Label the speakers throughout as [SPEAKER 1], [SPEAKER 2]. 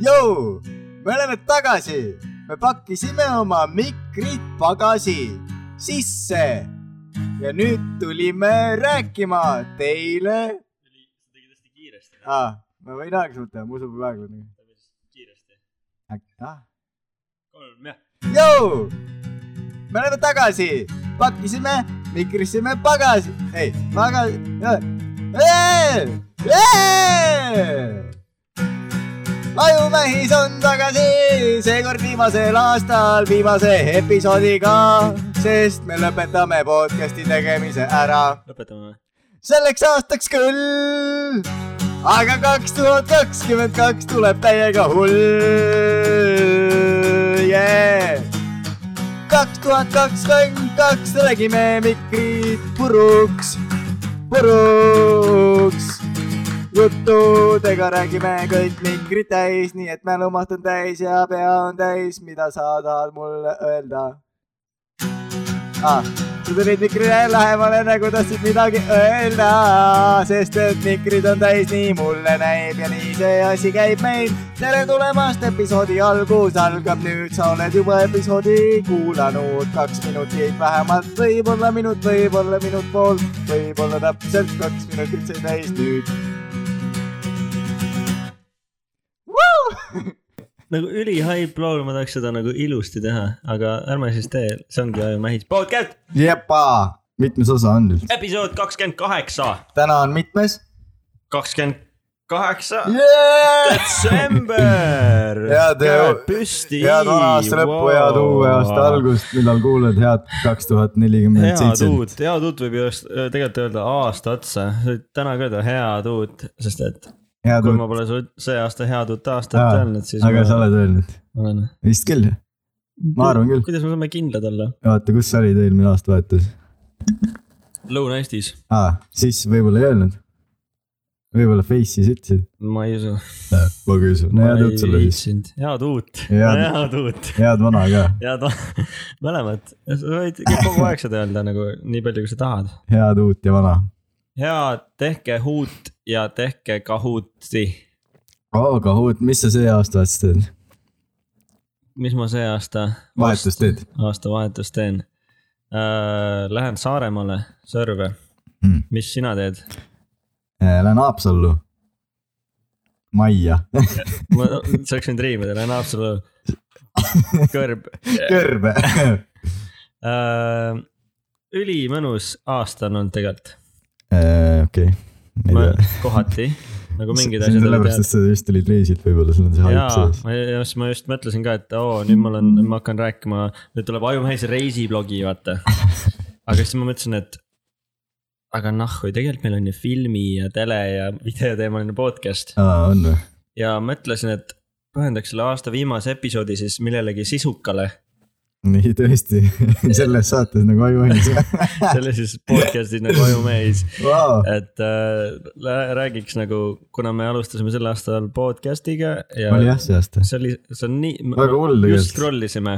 [SPEAKER 1] jõu , me oleme tagasi , me pakkisime oma mikrid pagasi sisse ja nüüd tulime rääkima teile
[SPEAKER 2] sa tegid hästi kiiresti .
[SPEAKER 1] ah, . ma võin aeglaselt teha , ma usun , et aeglane .
[SPEAKER 2] kiiresti .
[SPEAKER 1] äkki , ah
[SPEAKER 2] kolm jah .
[SPEAKER 1] jõu , me oleme tagasi , pakkisime , mikrisime pagasi , ei , pagasi . lajumähis on tagasi , seekord viimasel aastal viimase episoodiga , sest me lõpetame podcast'i tegemise ära
[SPEAKER 2] lõpetame või ?
[SPEAKER 1] selleks aastaks küll . aga kaks tuhat kakskümmend kaks tuleb täiega hull yeah. . kaks tuhat kakskümmend kaks tegime mikrid puruks , puruks juttudega räägime kõik mikrid täis , nii et mälumaht on täis ja pea on täis , mida sa tahad mulle öelda ah, ? sa tulid mikrile lähemale nagu tahtsid midagi öelda , sest et mikrid on täis , nii mulle näib ja nii see asi käib meil . tere tulemast , episoodi algus algab nüüd , sa oled juba episoodi kuulanud kaks minutit vähemalt , võib-olla minut , võib-olla minut pool , võib-olla täpselt kaks minutit sai täis nüüd .
[SPEAKER 2] nagu ülihaip laul , ma tahaks seda nagu ilusti teha , aga ärme siis tee , see ongi Aju Mähis podcast ,
[SPEAKER 1] jepa , mitmes osa on nüüd ?
[SPEAKER 2] episood kakskümmend kaheksa ,
[SPEAKER 1] täna on mitmes
[SPEAKER 2] kakskümmend kaheksa
[SPEAKER 1] yeah! ?
[SPEAKER 2] detsember .
[SPEAKER 1] Head-
[SPEAKER 2] püsti .
[SPEAKER 1] head vana aasta lõppu , head uue aasta . algust , millal kuulad head kaks tuhat nelikümmend
[SPEAKER 2] head
[SPEAKER 1] seitse .
[SPEAKER 2] uut , head uut võib ju just- äh, tegelikult öelda aasta otsa , täna ka öelda head uut , sest et
[SPEAKER 1] head
[SPEAKER 2] kui
[SPEAKER 1] uut
[SPEAKER 2] ma , pole su see aasta head uut aastat
[SPEAKER 1] Aa,
[SPEAKER 2] öelnud , siis
[SPEAKER 1] aga
[SPEAKER 2] ma
[SPEAKER 1] sa oled öelnud ,
[SPEAKER 2] olen .
[SPEAKER 1] vist küll . Ma arvan küll.
[SPEAKER 2] kuidas me saame kindlad olla ?
[SPEAKER 1] vaata , kus sa olid eelmine aastavahetus
[SPEAKER 2] Lõuna-Eestis ,
[SPEAKER 1] ah, , siis võib-olla ei öelnud . võib-olla Face'is ütlesid .
[SPEAKER 2] ma ei usu .
[SPEAKER 1] Äh, ma ka ei usu , no head uut sulle siis ,
[SPEAKER 2] head uut ,
[SPEAKER 1] Head-
[SPEAKER 2] head uut ,
[SPEAKER 1] head vana ka ,
[SPEAKER 2] head , mõlemat , sa võid kogu aeg seda öelda nagu nii palju , kui sa tahad .
[SPEAKER 1] head uut ja vana .
[SPEAKER 2] head , tehke uut ja tehke kahuti .
[SPEAKER 1] aga uut , mis sa see aastavahetus teed ,
[SPEAKER 2] mis ma see aasta ,
[SPEAKER 1] vahetust teed
[SPEAKER 2] aastavahetust teen ? Lähen Saaremaale serve ,
[SPEAKER 1] mm. ?
[SPEAKER 2] mis sina teed ?
[SPEAKER 1] Äh, Lähen Haapsallu . Maia ,
[SPEAKER 2] ma saaks nüüd riimida , lähen Haapsalu kõrb .
[SPEAKER 1] kõrbe .
[SPEAKER 2] Äh, ülimõnus aasta on olnud tegelikult ,
[SPEAKER 1] Äh, okei , ei tea .
[SPEAKER 2] kohati nagu mingid asjad .
[SPEAKER 1] sellepärast , et sa just olid reisilt , võib-olla sul on see
[SPEAKER 2] jaa
[SPEAKER 1] haip , sees .
[SPEAKER 2] ma just , ma just mõtlesin ka , et oo , nüüd mul on , ma hakkan rääkima , nüüd tuleb Ajumehise reisiblogi , vaata . aga siis ma mõtlesin , et aga nahhu , tegelikult meil on ju filmi ja tele ja videoteemaline podcast
[SPEAKER 1] aa , on või ?
[SPEAKER 2] ja mõtlesin , et pühendaks selle aasta viimase episoodi siis millelegi sisukale .
[SPEAKER 1] nii tõesti , selles saates nagu ajuandis
[SPEAKER 2] selle siis podcast'i nagu Ajumehis ,
[SPEAKER 1] wow. .
[SPEAKER 2] et äh, lä- räägiks nagu , kuna me alustasime sel aastal podcast'iga ja
[SPEAKER 1] oli jah see aasta .
[SPEAKER 2] see oli , see on nii ,
[SPEAKER 1] väga hull tegelikult .
[SPEAKER 2] just scroll isime ,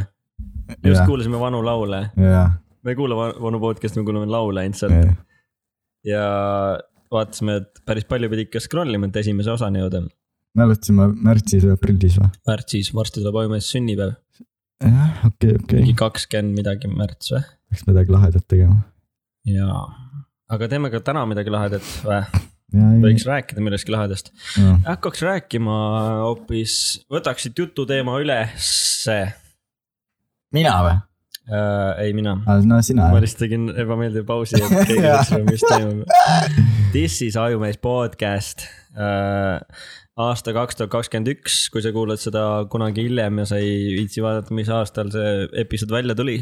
[SPEAKER 2] just
[SPEAKER 1] Jah.
[SPEAKER 2] kuulasime vanu laule
[SPEAKER 1] jaa ,
[SPEAKER 2] me ei kuula va- vanu podcast'i , me kuulame laule ainult sealt
[SPEAKER 1] jaa ,
[SPEAKER 2] ja vaatasime , et päris palju pidi ikka scroll ima , et esimese osani jõuda .
[SPEAKER 1] me alustasime märtsis või aprillis või ?
[SPEAKER 2] märtsis , varsti tuleb Ajumees sünnipäev ,
[SPEAKER 1] jah , okei , okei
[SPEAKER 2] mingi , kakskümmend midagi märts või ?
[SPEAKER 1] peaks midagi lahedat tegema .
[SPEAKER 2] jaa , aga teeme ka täna midagi lahedat
[SPEAKER 1] Mhm.
[SPEAKER 2] või ,
[SPEAKER 1] jaa ,
[SPEAKER 2] võiks rääkida millestki lahedast .
[SPEAKER 1] jaa ,
[SPEAKER 2] hakkaks rääkima hoopis , võtaksid jututeema ülesse äh, .
[SPEAKER 1] mina või ?
[SPEAKER 2] Äh, ei , mina ,
[SPEAKER 1] no sina
[SPEAKER 2] ma
[SPEAKER 1] jah .
[SPEAKER 2] lihtsalt tegin ebameeldiva pausi , et keegi
[SPEAKER 1] Jaa.
[SPEAKER 2] teaks , mis toimub . This is Ajumees podcast uh, . aasta kaks tuhat kakskümmend üks , kui sa kuulad seda kunagi hiljem ja sa ei viitsi vaadata , mis aastal see episood välja tuli .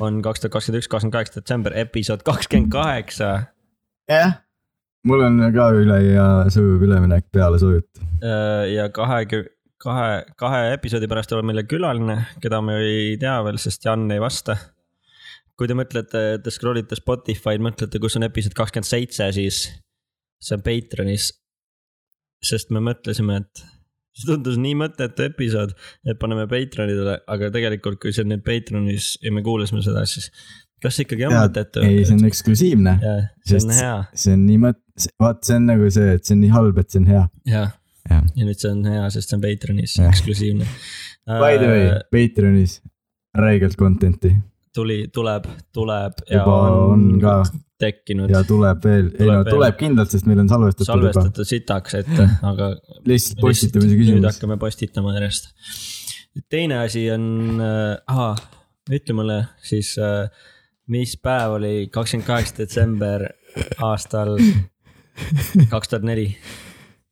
[SPEAKER 2] on kaks tuhat kakskümmend üks , kakskümmend kaheksa detsember , episood kakskümmend kaheksa .
[SPEAKER 1] jah , mul on ka üle ja sujuv üleminek peale sujut .
[SPEAKER 2] Äh, ja kahekümne , kahe , kahe episoodi pärast tuleb meile külaline , keda me ei tea veel , sest Jan ei vasta kui te mõtlete , te scroll ite Spotify'd , mõtlete , kus on episood kakskümmend seitse , siis see on Patreonis . sest me mõtlesime , et see tundus nii mõttetu episood , et paneme Patreonidele , aga tegelikult , kui see on nüüd Patreonis ja me kuulasime seda , siis kas see ikkagi on
[SPEAKER 1] Tead,
[SPEAKER 2] mõttetu ?
[SPEAKER 1] ei , see on eksklusiivne .
[SPEAKER 2] jah , see on
[SPEAKER 1] sest-
[SPEAKER 2] hea ,
[SPEAKER 1] see on nii mõt- , vaat see on nagu see , et see on nii halb , et see on hea .
[SPEAKER 2] jah .
[SPEAKER 1] jah ,
[SPEAKER 2] ja nüüd see on hea , sest see on Patreonis
[SPEAKER 1] Jah.
[SPEAKER 2] eksklusiivne . Äh,
[SPEAKER 1] By the way , Patreonis räigelt content'i
[SPEAKER 2] tuli , tuleb , tuleb ja
[SPEAKER 1] juba on, on ka
[SPEAKER 2] tekkinud
[SPEAKER 1] ja tuleb veel , ei
[SPEAKER 2] Tuleb
[SPEAKER 1] no
[SPEAKER 2] veel.
[SPEAKER 1] tuleb kindlalt , sest meil on salvestatud juba .
[SPEAKER 2] salvestatud sitaks , et aga .
[SPEAKER 1] lihtsalt postitamise
[SPEAKER 2] nüüd
[SPEAKER 1] küsimus .
[SPEAKER 2] hakkame postitama järjest . teine asi on äh, , ütle mulle siis äh, , mis päev oli kakskümmend kaheksa detsember aastal kaks tuhat neli .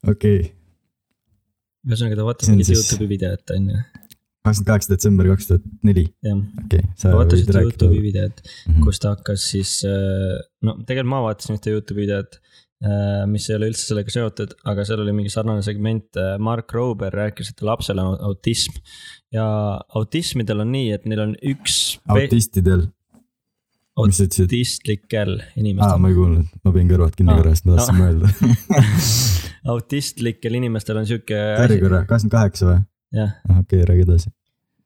[SPEAKER 1] okei ,
[SPEAKER 2] ühesõnaga ta vaatas
[SPEAKER 1] See on
[SPEAKER 2] mingit
[SPEAKER 1] siis-
[SPEAKER 2] Youtube'i videot on ju ,
[SPEAKER 1] kakskümmend kaheksa detsember kaks tuhat neli ,
[SPEAKER 2] jah .
[SPEAKER 1] okei .
[SPEAKER 2] ta vaatas ühte Youtube'i videot ,
[SPEAKER 1] Mhm.
[SPEAKER 2] kus ta hakkas siis , no tegelikult ma vaatasin ühte Youtube'i videot , mis ei ole üldse sellega seotud , aga seal oli mingi sarnane segment , Mark Rober rääkis , et tal lapsel on autism . ja autismidel on nii , et neil on üks pe-
[SPEAKER 1] autistidel , mis sa ütlesid ?
[SPEAKER 2] autistlikel
[SPEAKER 1] aa ,
[SPEAKER 2] inimestel ,
[SPEAKER 1] ma ei kuulnud , ma panin kõrvad kinni
[SPEAKER 2] Aa,
[SPEAKER 1] korra , sest ma tahtsin mõelda .
[SPEAKER 2] autistlikel inimestel on sihuke
[SPEAKER 1] sorry
[SPEAKER 2] asi ,
[SPEAKER 1] korra , kakskümmend kaheksa või ?
[SPEAKER 2] jah ,
[SPEAKER 1] okei , räägi edasi .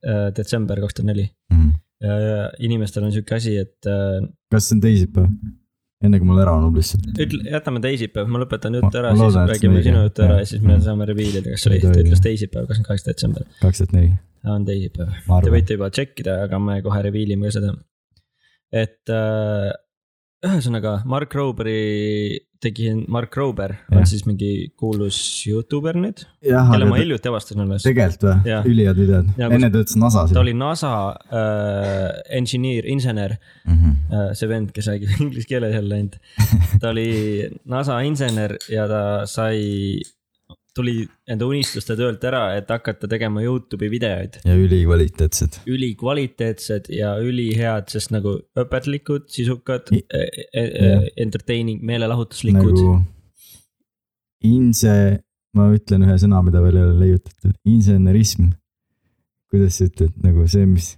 [SPEAKER 2] äh, detsember kaks tuhat neli , inimestel on sihuke asi , et äh,
[SPEAKER 1] kas see on teisipäev ? enne kui mul ära unub lihtsalt .
[SPEAKER 2] ütle , jätame teisipäev , ma lõpetan
[SPEAKER 1] Ma-
[SPEAKER 2] jutu ära ,
[SPEAKER 1] ma
[SPEAKER 2] siis
[SPEAKER 1] loodan, et see
[SPEAKER 2] räägime
[SPEAKER 1] on õige.
[SPEAKER 2] sinu jutu
[SPEAKER 1] Jah.
[SPEAKER 2] ära
[SPEAKER 1] Mm.
[SPEAKER 2] ja siis me saame reveal ida , kas see oli ,
[SPEAKER 1] Ei
[SPEAKER 2] ta
[SPEAKER 1] tohi.
[SPEAKER 2] ütles teisipäev , kakskümmend kaheksa detsember ,
[SPEAKER 1] kaks tuhat neli ,
[SPEAKER 2] on teisipäev .
[SPEAKER 1] ma
[SPEAKER 2] Te
[SPEAKER 1] arvan .
[SPEAKER 2] võite juba tšekkida , aga me kohe reveal ime ka seda . et äh, ühesõnaga Mark Roberi tegi , Mark Rober on
[SPEAKER 1] Jah.
[SPEAKER 2] siis mingi kuulus Youtuber nüüd ,
[SPEAKER 1] jah ,
[SPEAKER 2] kelle
[SPEAKER 1] aga
[SPEAKER 2] ma
[SPEAKER 1] te-
[SPEAKER 2] hiljuti avastasin alles .
[SPEAKER 1] tegelikult või
[SPEAKER 2] Jah. ?
[SPEAKER 1] ülihead videod
[SPEAKER 2] Ja , kus-
[SPEAKER 1] enne töötas NASA-s .
[SPEAKER 2] ta oli NASA äh, engineer , insener ,
[SPEAKER 1] Mhm.
[SPEAKER 2] Äh, see vend , kes räägib inglise keeles jälle ainult . ta oli NASA insener ja ta sai , tuli enda unistuste töölt ära , et hakata tegema Youtube'i videoid .
[SPEAKER 1] ja ülikvaliteetsed .
[SPEAKER 2] ülikvaliteetsed ja ülihead , sest nagu õpetlikud , sisukad e-
[SPEAKER 1] I- , jah.
[SPEAKER 2] entertaining , meelelahutuslikud nagu... .
[SPEAKER 1] nagu inse , ma ütlen ühe sõna , mida veel ei ole leiutatud , insenerism . kuidas sa ütled nagu see , mis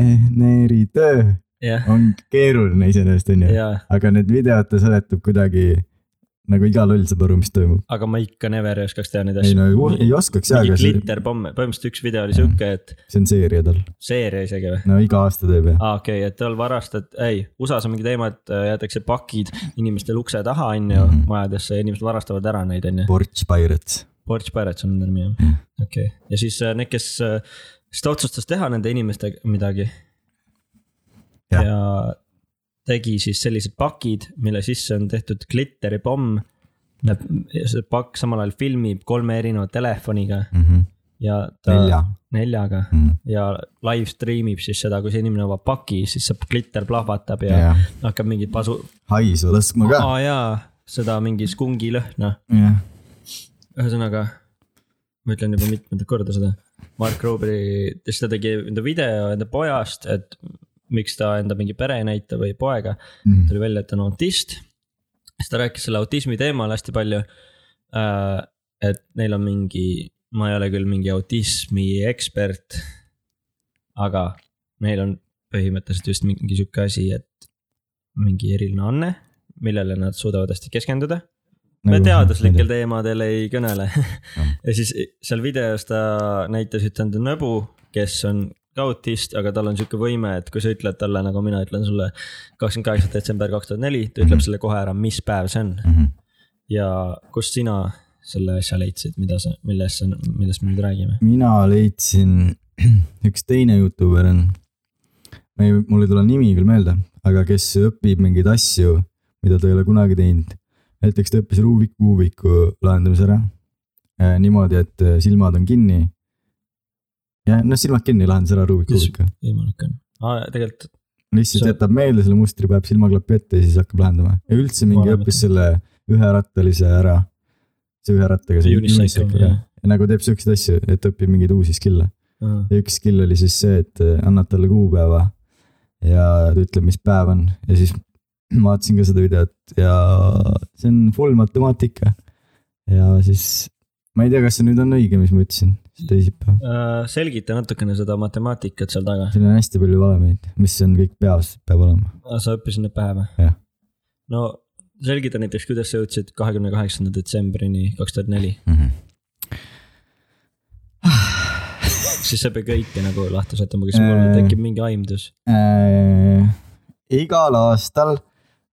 [SPEAKER 1] inseneritöö
[SPEAKER 2] jah ,
[SPEAKER 1] on keeruline iseenesest onju ,
[SPEAKER 2] ja ,
[SPEAKER 1] aga need videod ta seletab kuidagi nagu iga loll saab aru , mis toimub .
[SPEAKER 2] aga ma ikka never ei oskaks teha neid
[SPEAKER 1] ei no
[SPEAKER 2] asju .
[SPEAKER 1] ei oskaks jaa ,
[SPEAKER 2] mingi
[SPEAKER 1] aga see,
[SPEAKER 2] klitterpomme , põhimõtteliselt üks video oli
[SPEAKER 1] Jah.
[SPEAKER 2] sihuke , et
[SPEAKER 1] see on seeria tal ,
[SPEAKER 2] seeria isegi või ?
[SPEAKER 1] no iga aasta teeb jah .
[SPEAKER 2] aa , okei okay, , et tal varastad , ei , USA-s on mingi teema , et äh, jäetakse pakid inimestel ukse taha , on ju
[SPEAKER 1] Mhm. ,
[SPEAKER 2] majadesse ja inimesed varastavad ära neid , on ju .
[SPEAKER 1] Porch Pirates ,
[SPEAKER 2] Porch Pirates on nende nimi jah
[SPEAKER 1] Jah. ,
[SPEAKER 2] okei okay. , ja siis äh, need , kes , siis ta otsustas teha nende inimestega midagi .
[SPEAKER 1] Jah.
[SPEAKER 2] ja tegi siis sellised pakid , mille sisse on tehtud kliteripomm . ja see pakk samal ajal filmib kolme erineva telefoniga ja ta
[SPEAKER 1] Mhm. nelja . Mhm.
[SPEAKER 2] neljaga ja live stream ib siis seda , kui see inimene avab paki , siis see kliter plahvatab ja, ja.
[SPEAKER 1] jah ,
[SPEAKER 2] hakkab mingit pasu ,
[SPEAKER 1] haisu laskma ka ,
[SPEAKER 2] aa jaa , seda mingi skungi lõhna
[SPEAKER 1] jah
[SPEAKER 2] ühesõnaga , ma ütlen juba mitmendat korda seda . Mark Roberi , siis ta tegi enda video enda pojast , et miks ta enda mingi pere ei näita või poega .
[SPEAKER 1] Mhm.
[SPEAKER 2] tuli välja , et ta on autist . siis ta rääkis selle autismi teemal hästi palju . et neil on mingi , ma ei ole küll mingi autismi ekspert . aga neil on põhimõtteliselt vist mingi sihuke asi , et mingi eriline anne , millele nad suudavad hästi keskenduda . me
[SPEAKER 1] Nagu-
[SPEAKER 2] teaduslikel teemadel ei kõnele
[SPEAKER 1] Jah. .
[SPEAKER 2] ja siis seal videos ta näitas ühte enda nõbu , kes on ka autist , aga tal on sihuke võime , et kui sa ütled talle , nagu mina ütlen sulle , kakskümmend kaheksa detsember kaks tuhat neli , ta ütleb
[SPEAKER 1] Mhm.
[SPEAKER 2] sulle kohe ära , mis päev see on
[SPEAKER 1] Mhm.
[SPEAKER 2] ja kust sina selle asja leidsid , mida sa , millest , millest me nüüd räägime .
[SPEAKER 1] mina leidsin , üks teine Youtuber on , ma ei , mul ei tule nimi küll meelde , aga kes õpib mingeid asju , mida ta ei ole kunagi teinud . näiteks ta õppis Rubik kuubiku lahendamise ära Eh, niimoodi , et eh, silmad on kinni . ja noh , silmad kinni lahendas ära Rubik
[SPEAKER 2] Kuidas-
[SPEAKER 1] kuubiku ,
[SPEAKER 2] võimalik on , tegelikult
[SPEAKER 1] lihtsalt
[SPEAKER 2] see-
[SPEAKER 1] jätab meelde selle mustri , paneb silmaklapi ette ja siis hakkab lahendama ja üldse mingi
[SPEAKER 2] Vanem-
[SPEAKER 1] õppis selle üherattalise ära . see ühe rattaga , see
[SPEAKER 2] unicycle
[SPEAKER 1] unicycle, jah. ja nagu teeb siukseid asju , et õpib mingeid uusi skill'e .
[SPEAKER 2] jah .
[SPEAKER 1] ja üks skill oli siis see , et äh, annad talle kuupäeva ja ta ütleb , mis päev on ja siis vaatasin ka seda videot ja see on full matemaatika . ja siis ma ei tea , kas see nüüd on õige , mis ma ütlesin , see teisipäev .
[SPEAKER 2] Äh, selgita natukene seda matemaatikat seal taga .
[SPEAKER 1] seal on hästi palju valemeid , mis on kõik peas , peab olema .
[SPEAKER 2] Aa, sa õppisid need päeva ?
[SPEAKER 1] Jah. .
[SPEAKER 2] no selgita näiteks , kuidas sa jõudsid kahekümne kaheksanda detsembrini kaks tuhat neli , siis sa ei pea kõike nagu lahti seletama , kas mul
[SPEAKER 1] Äh.
[SPEAKER 2] tekib mingi aimdus .
[SPEAKER 1] äh, igal aastal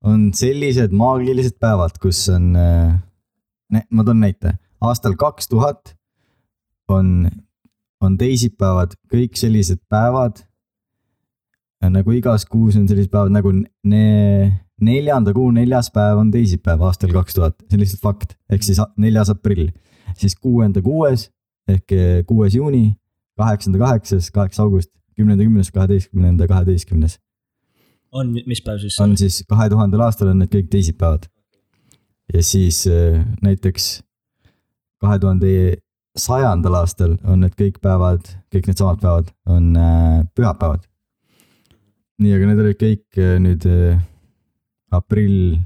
[SPEAKER 1] on sellised maagilised päevad , kus on äh, ma toon näite , aastal kaks tuhat on , on teisipäevad kõik sellised päevad . nagu igas kuus on sellised päevad nagu ne, neljanda kuu neljas päev on teisipäev aastal kaks tuhat , see on lihtsalt fakt , ehk siis a- neljas aprill , siis kuuenda kuues ehk eh, kuues juuni , kaheksanda kaheksas , kaheksa august , kümnenda kümnes , kaheteistkümnenda kaheteistkümnes .
[SPEAKER 2] on , mis päev siis
[SPEAKER 1] on ? siis kahe tuhandel aastal on need kõik teisipäevad . ja siis eh, näiteks kahe tuhande sajandal aastal on need kõik päevad , kõik needsamad päevad on eh, pühapäevad . nii , aga need olid kõik eh, nüüd eh, aprill ,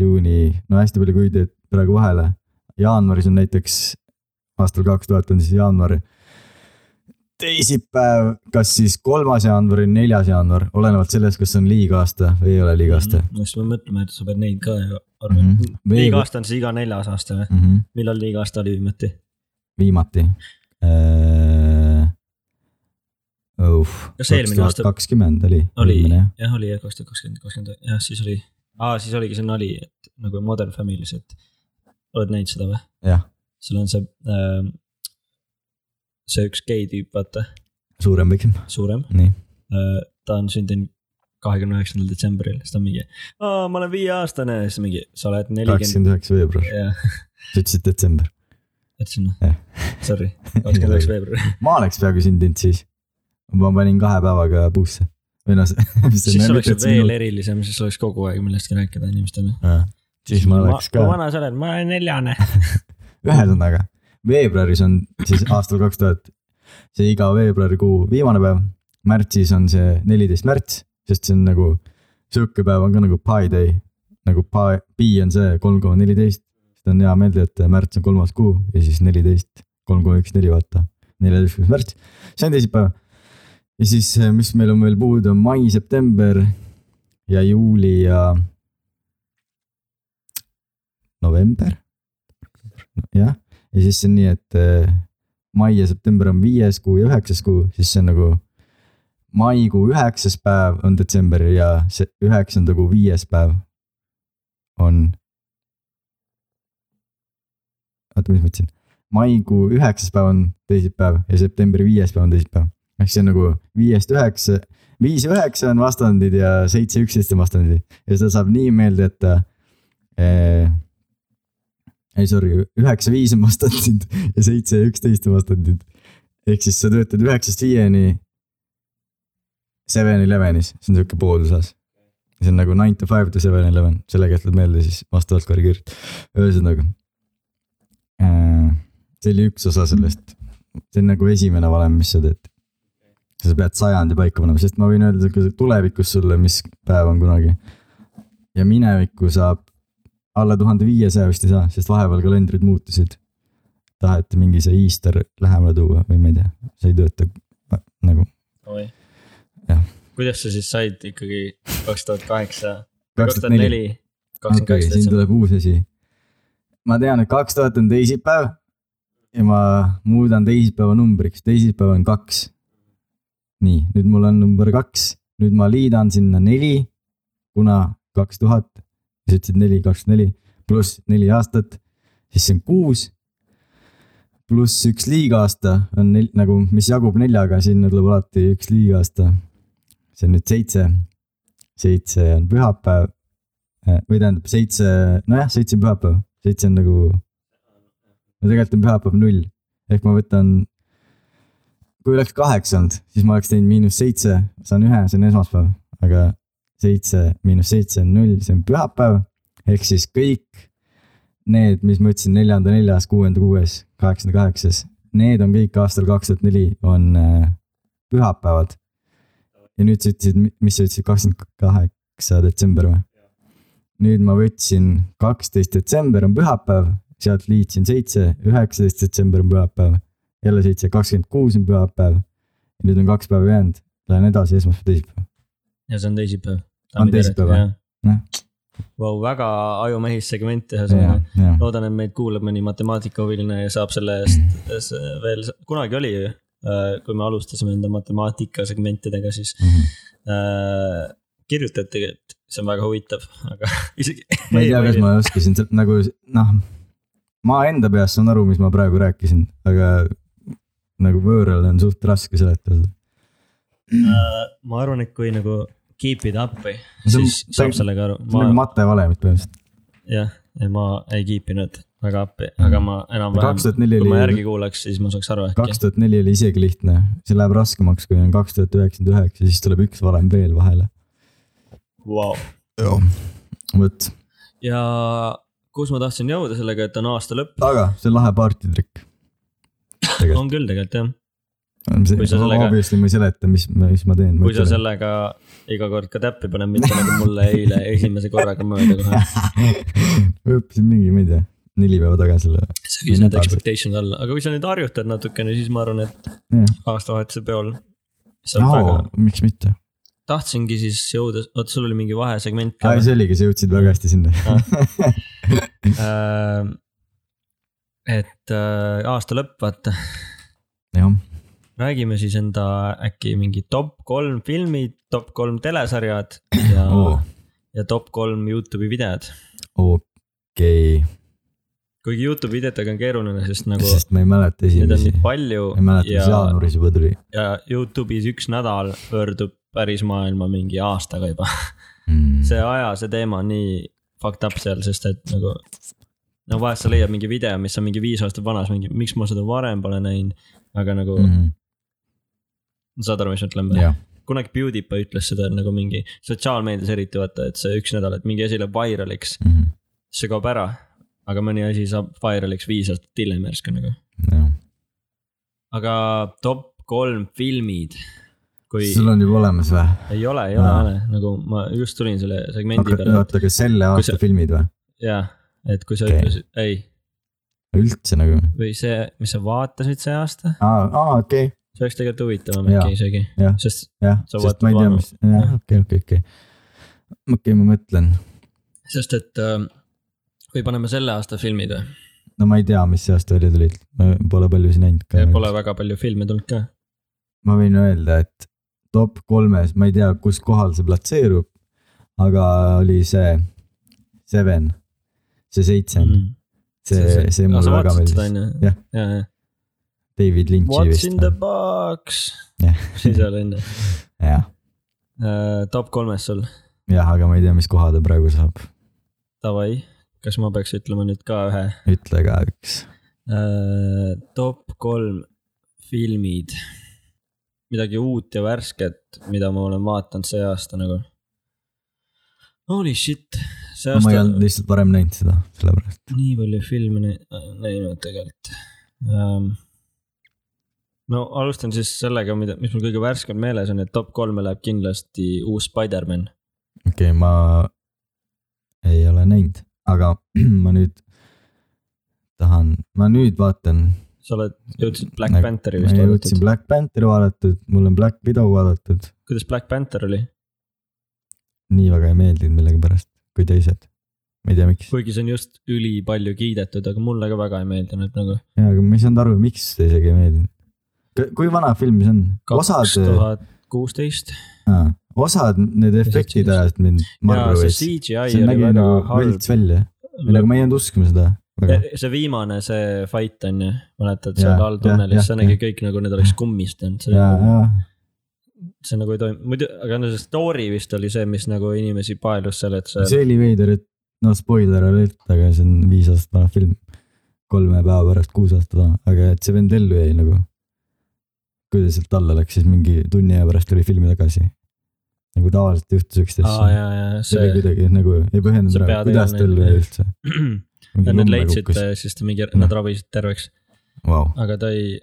[SPEAKER 1] juuni , no hästi palju kuid jäid praegu vahele . jaanuaris on näiteks aastal kaks tuhat on siis jaanuar teisipäev , kas siis kolmas jaanuar või neljas jaanuar , olenevalt sellest , kas on liigaasta või ei ole liigaasta . Mhm.
[SPEAKER 2] siis me mõtleme , et sa pead neid ka ju arvama mm -hmm. .
[SPEAKER 1] liiga
[SPEAKER 2] liiga aasta on siis iga neljas aasta või ?
[SPEAKER 1] mm . -hmm.
[SPEAKER 2] millal liiga aasta oli viimati ?
[SPEAKER 1] viimati äh, .
[SPEAKER 2] Kas eelmine aasta-
[SPEAKER 1] kakskümmend oli .
[SPEAKER 2] oli , jah , oli jah , kaks tuhat kakskümmend , kakskümmend , jah , siis oli . aa , siis oligi see nali , et nagu Modern Family's , et oled näinud seda või ?
[SPEAKER 1] jah ,
[SPEAKER 2] sul on see ähm, , see üks gei tüüp , vaata ,
[SPEAKER 1] suurem pikem ,
[SPEAKER 2] suurem
[SPEAKER 1] nii .
[SPEAKER 2] äh, . ta on sündinud kahekümne üheksandal detsembril , siis ta on mingi , aa , ma olen viieaastane , siis mingi , sa oled nelikümmend ,
[SPEAKER 1] kakskümmend üheksa veebruar ,
[SPEAKER 2] jah ,
[SPEAKER 1] sa ütlesid detsember .
[SPEAKER 2] ütlesin ,
[SPEAKER 1] Jah.
[SPEAKER 2] sorry , kakskümmend üheksa veebruar .
[SPEAKER 1] ma oleks peaaegu sündinud siis . ma panin kahe päevaga puusse või noh ,
[SPEAKER 2] siis oleks see veel . erilisem , siis oleks kogu aeg millestki rääkida inimestele .
[SPEAKER 1] siis ma oleks ka
[SPEAKER 2] kui . vana sa oled , ma olen neljane .
[SPEAKER 1] ühesõnaga , veebruaris on siis aastal kaks tuhat see iga veebruarikuu viimane päev . märtsis on see neliteist märts , sest see on nagu sihuke päev on ka nagu pi day , nagu pi , pi on see kolm koma neliteist . seda on hea meelde , et märts on kolmas kuu ja siis neliteist , kolm koma üks neli , vaata , neljateistkümnes märts , see on teisipäev . ja siis , mis meil on veel puudu , on mai , september ja juuli ja november jah , ja siis see on nii , et äh, mai ja september on viies kuu ja üheksas kuu , siis see on nagu . maikuu üheksas päev on detsember ja see üheksanda kuu viies päev on . oota , mis ma ütlesin , maikuu üheksas päev on teisipäev ja septembri viies päev on teisipäev . ehk see on nagu viiest üheksa , viis ja üheksa on vastandid ja seitse ja üksteist on vastandid ja seda saab nii meelde jätta äh, ei sorry , üheksa viis on vastandid ja seitse ja üksteist on vastandid . ehk siis sa töötad üheksast viieni . Seven Elevenis , see on sihuke poolusas . see on nagu nine to five to seven eleven , sellega jätad meelde siis vastavalt korrigeerid , ühesõnaga . see oli üks osa sellest , see on nagu esimene valem , mis sa teed . sa pead sajandi paika panema , sest ma võin öelda ka tulevikus sulle , mis päev on kunagi . ja minevikku saab alla tuhande viiesaja vist ei saa , sest vahepeal kalendrid muutusid . taheti mingi see Easter lähemale tuua või ma ei tea , see ei tööta äh, nagu Jah.
[SPEAKER 2] kuidas sa siis said ikkagi kaks tuhat kaheksa ,
[SPEAKER 1] kaks
[SPEAKER 2] kaks tuhat neli , kakskümmend
[SPEAKER 1] okei ,
[SPEAKER 2] kaheksa
[SPEAKER 1] siin
[SPEAKER 2] detsember ,
[SPEAKER 1] tuleb uus asi . ma tean , et kaks tuhat on teisipäev ja ma muudan teisipäeva numbriks , teisipäev on kaks . nii , nüüd mul on number kaks , nüüd ma liidan sinna neli , kuna kaks tuhat , sa ütlesid neli , kakskümmend neli , pluss neli aastat , siis see on kuus . pluss üks liigaasta on nel, nagu , mis jagub neljaga , sinna tuleb alati üks liigaasta . see on nüüd seitse , seitse on pühapäev , Eh, või tähendab seitse , nojah , seitse on pühapäev , seitse on nagu . no tegelikult on pühapäev null , ehk ma võtan . kui oleks kaheksa olnud , siis ma oleks teinud miinus seitse , saan ühe , see on esmaspäev , aga seitse miinus seitse on null , see on pühapäev . ehk siis kõik need , mis ma ütlesin , neljanda , neljas , kuuenda , kuues , kaheksanda , kaheksas , need on kõik aastal kaks tuhat neli on äh, pühapäevad . ja nüüd sa ütlesid , mis sa ütlesid , kakskümmend kaheksa detsember või ? nüüd ma võtsin kaksteist detsember on pühapäev , sealt liitsin seitse , üheksateist detsember on pühapäev , jälle seitse , kakskümmend kuus on pühapäev . ja nüüd on kaks päeva jäänud , lähen edasi esmaspäev , teisipäev .
[SPEAKER 2] ja see on teisipäev .
[SPEAKER 1] On teisipäev, jah. Noh.
[SPEAKER 2] Vau , väga ajumehis segment
[SPEAKER 1] ja
[SPEAKER 2] ühesõnaga ,.
[SPEAKER 1] ja ,
[SPEAKER 2] loodan , et meid kuulab mõni matemaatikahuviline ja saab selle eest s- veel , kunagi oli eh, ju , kui me alustasime enda matemaatika segmentidega , siis
[SPEAKER 1] Mhm.
[SPEAKER 2] äh, kirjutati , et see on väga huvitav , aga isegi .
[SPEAKER 1] ma ei tea , kas ma oskasin se- nagu noh , ma enda peas saan aru , mis ma praegu rääkisin , aga nagu võõrale on suht raske seletada .
[SPEAKER 2] eh, ma arvan , et kui nagu keep it up'i ,
[SPEAKER 1] See on-
[SPEAKER 2] siis saab
[SPEAKER 1] see-
[SPEAKER 2] sellega aru .
[SPEAKER 1] see on nagu matevalemid põhimõtteliselt .
[SPEAKER 2] jah , ma ei keep inud väga up'i ,
[SPEAKER 1] Mhm.
[SPEAKER 2] aga ma enam-vähem ,
[SPEAKER 1] 2004
[SPEAKER 2] kui ma
[SPEAKER 1] oli-
[SPEAKER 2] järgi kuulaks , siis ma saaks aru äkki
[SPEAKER 1] kaks . tuhat neli oli isegi lihtne , see läheb raskemaks , kui on kaks tuhat üheksakümmend üheksa , siis tuleb üks valem veel vahele .
[SPEAKER 2] Wow.
[SPEAKER 1] vot ,
[SPEAKER 2] ja kus ma tahtsin jõuda sellega , et on aasta lõpp ,
[SPEAKER 1] aga see on lahe partitrikk . tegelikult ,
[SPEAKER 2] on küll tegelikult jah . kui sa sellega-
[SPEAKER 1] obviously ma ei seleta , mis , mis ma teen .
[SPEAKER 2] kui sa sellega iga kord ka täppi paned , mitte nagu mulle eile esimese korraga mööda kohe .
[SPEAKER 1] ma õppisin mingi , ma ei tea , neli päeva tagasi selle .
[SPEAKER 2] sa viis need
[SPEAKER 1] Nädal-
[SPEAKER 2] expectation'id alla , aga kui sa nüüd harjutad natukene , siis ma arvan , et aastavahetuse peol . see on no. väga
[SPEAKER 1] no , miks mitte .
[SPEAKER 2] tahtsingi siis jõuda , oot sul oli mingi vahesegment ka
[SPEAKER 1] aa , see oligi , sa jõudsid väga hästi sinna .
[SPEAKER 2] äh, . et äh, aasta lõpp , vaata ,
[SPEAKER 1] jah ,
[SPEAKER 2] räägime siis enda äkki mingi top kolm filmi , top kolm telesarjad ja
[SPEAKER 1] Oo.
[SPEAKER 2] oh. , ja top kolm Youtube'i videod .
[SPEAKER 1] okei ,
[SPEAKER 2] kuigi Youtube'i videotega on keeruline , sest nagu
[SPEAKER 1] sest ma ei mäleta
[SPEAKER 2] neid on
[SPEAKER 1] esimesi
[SPEAKER 2] nii . palju
[SPEAKER 1] ma ei mäleta , mis
[SPEAKER 2] ja ,
[SPEAKER 1] jaanuaris juba tuli
[SPEAKER 2] ja Youtube'is üks nädal pöördub päris maailma mingi aastaga juba .
[SPEAKER 1] mm. .
[SPEAKER 2] see aja , see teema on nii fucked up seal , sest et nagu . no vahest sa leiad mingi video , mis on mingi viis aastat vanas , mingi , miks ma seda varem pole näinud , aga nagu mm.
[SPEAKER 1] -hmm.
[SPEAKER 2] saad aru , mis ma ütlen ?
[SPEAKER 1] jah ,
[SPEAKER 2] kunagi PewDiePie ütles seda et nagu mingi sotsiaalmeedias eriti vaata , et see üks nädal , et mingi asi läheb vairaliks ,
[SPEAKER 1] mhm.
[SPEAKER 2] see kaob ära . aga mõni asi saab vairaliks viis aastat hiljem järsku nagu .
[SPEAKER 1] jah .
[SPEAKER 2] aga top kolm filmid , kui
[SPEAKER 1] sul on juba olemas või ?
[SPEAKER 2] ei ole , ei ole
[SPEAKER 1] Aa. ,
[SPEAKER 2] ole , nagu ma just tulin selle segmendi peale ,
[SPEAKER 1] oota , aga selle
[SPEAKER 2] Kui
[SPEAKER 1] aasta
[SPEAKER 2] sa-
[SPEAKER 1] filmid või ?
[SPEAKER 2] jaa , et kui sa
[SPEAKER 1] Okei.
[SPEAKER 2] okay. ütlesid , ei ,
[SPEAKER 1] üldse nagu ,
[SPEAKER 2] või see , mis sa vaatasid see aasta ,
[SPEAKER 1] aa , aa , okei ,
[SPEAKER 2] see oleks tegelikult huvitavam
[SPEAKER 1] Jaa.
[SPEAKER 2] äkki isegi
[SPEAKER 1] Jah. ,
[SPEAKER 2] sest
[SPEAKER 1] jah ,
[SPEAKER 2] Sa
[SPEAKER 1] sest
[SPEAKER 2] vaatad
[SPEAKER 1] ma ei tea ,
[SPEAKER 2] vanu.
[SPEAKER 1] mis , jah , okei , okei , okei . okei , ma mõtlen ,
[SPEAKER 2] sest et äh, või paneme selle aasta filmid või ,
[SPEAKER 1] no ma ei tea , mis see aasta välja tulid , ma pole paljusid näinud
[SPEAKER 2] pole
[SPEAKER 1] ka .
[SPEAKER 2] väga palju filme tulnud ka .
[SPEAKER 1] ma võin öelda , et top kolmes , ma ei tea , kus kohal see platseerub , aga oli see Seven , see seitse
[SPEAKER 2] Mm.
[SPEAKER 1] on , see , see mulle väga meeldis .
[SPEAKER 2] ja
[SPEAKER 1] Jah. ,
[SPEAKER 2] ja , ja .
[SPEAKER 1] David Lynch'i
[SPEAKER 2] What's in
[SPEAKER 1] vist
[SPEAKER 2] the , box ,
[SPEAKER 1] jah ,
[SPEAKER 2] siis oli onju .
[SPEAKER 1] jah ,
[SPEAKER 2] Top kolmes sul ,
[SPEAKER 1] jah , aga ma ei tea , mis koha ta praegu saab ,
[SPEAKER 2] davai , kas ma peaks ütlema nüüd ka ühe
[SPEAKER 1] ütle ka üks .
[SPEAKER 2] Äh, top kolm filmid , midagi uut ja värsket , mida ma olen vaadanud see aasta nagu . Holy shit , see
[SPEAKER 1] ma
[SPEAKER 2] aasta
[SPEAKER 1] ei
[SPEAKER 2] on
[SPEAKER 1] olnud lihtsalt varem näinud seda , sellepärast .
[SPEAKER 2] nii palju filme nä- näinud tegelikult ähm, . no alustan siis sellega , mida , mis mul kõige värskem meeles on , et top kolme läheb kindlasti uus Spider-man .
[SPEAKER 1] okei okay, , ma ei ole näinud , aga ma nüüd tahan , ma nüüd vaatan .
[SPEAKER 2] sa oled , jõudsid Black
[SPEAKER 1] Nagu-
[SPEAKER 2] Pantheri
[SPEAKER 1] ma
[SPEAKER 2] vist
[SPEAKER 1] jõudsin
[SPEAKER 2] vaadatud ,
[SPEAKER 1] Black Pantheri vaadatud , mul on Black Widow vaadatud ,
[SPEAKER 2] kuidas Black Panther oli ,
[SPEAKER 1] nii väga ei meeldinud millegipärast kui teised . ma ei tea , miks ,
[SPEAKER 2] kuigi see on just ülipalju kiidetud , aga mulle ka väga ei meeldinud nagu .
[SPEAKER 1] jaa , aga ma ei saanud aru , miks ta isegi ei meeldinud . kui vana film see on ?
[SPEAKER 2] kaks
[SPEAKER 1] osad ,
[SPEAKER 2] tuhat kuusteist .
[SPEAKER 1] osad need efektid
[SPEAKER 2] seitseteist.
[SPEAKER 1] ajasid mind
[SPEAKER 2] ja
[SPEAKER 1] marru
[SPEAKER 2] see
[SPEAKER 1] veits .
[SPEAKER 2] CGI
[SPEAKER 1] see
[SPEAKER 2] oli
[SPEAKER 1] nägi
[SPEAKER 2] väga
[SPEAKER 1] nagu
[SPEAKER 2] halb Eh,
[SPEAKER 1] võlts . välja , nagu ma ei jäänud uskuma seda .
[SPEAKER 2] see viimane , see fight on ju , mäletad
[SPEAKER 1] Jaa,
[SPEAKER 2] seal
[SPEAKER 1] jah,
[SPEAKER 2] all
[SPEAKER 1] jah,
[SPEAKER 2] tunnelis , see nägi
[SPEAKER 1] jah.
[SPEAKER 2] kõik nagu need oleks kummistanud , see
[SPEAKER 1] ja ,
[SPEAKER 2] nagu ,
[SPEAKER 1] ja
[SPEAKER 2] see nagu ei toimi , muidu , aga no see story vist oli see , mis nagu inimesi paelus seal , et see ,
[SPEAKER 1] see oli veider , et noh , spoiler alert , aga see on viis aastat vana film . kolme päeva pärast , kuus aastat vana , aga et see vend ellu jäi nagu . kui ta sealt alla läks , siis mingi tunni aja pärast tuli filmi tagasi . nagu tavaliselt ei juhtu siukest
[SPEAKER 2] aa
[SPEAKER 1] asja .
[SPEAKER 2] ja , ja
[SPEAKER 1] see oli
[SPEAKER 2] see ,
[SPEAKER 1] kuidagi nagu ei põhjendanud
[SPEAKER 2] see
[SPEAKER 1] ära , kuidas ta
[SPEAKER 2] peategelane-
[SPEAKER 1] ellu jäi üldse .
[SPEAKER 2] ja nad leidsid , siis ta mingi , nad
[SPEAKER 1] Noh.
[SPEAKER 2] ravisid terveks ,
[SPEAKER 1] Vau ,
[SPEAKER 2] aga ta ei ,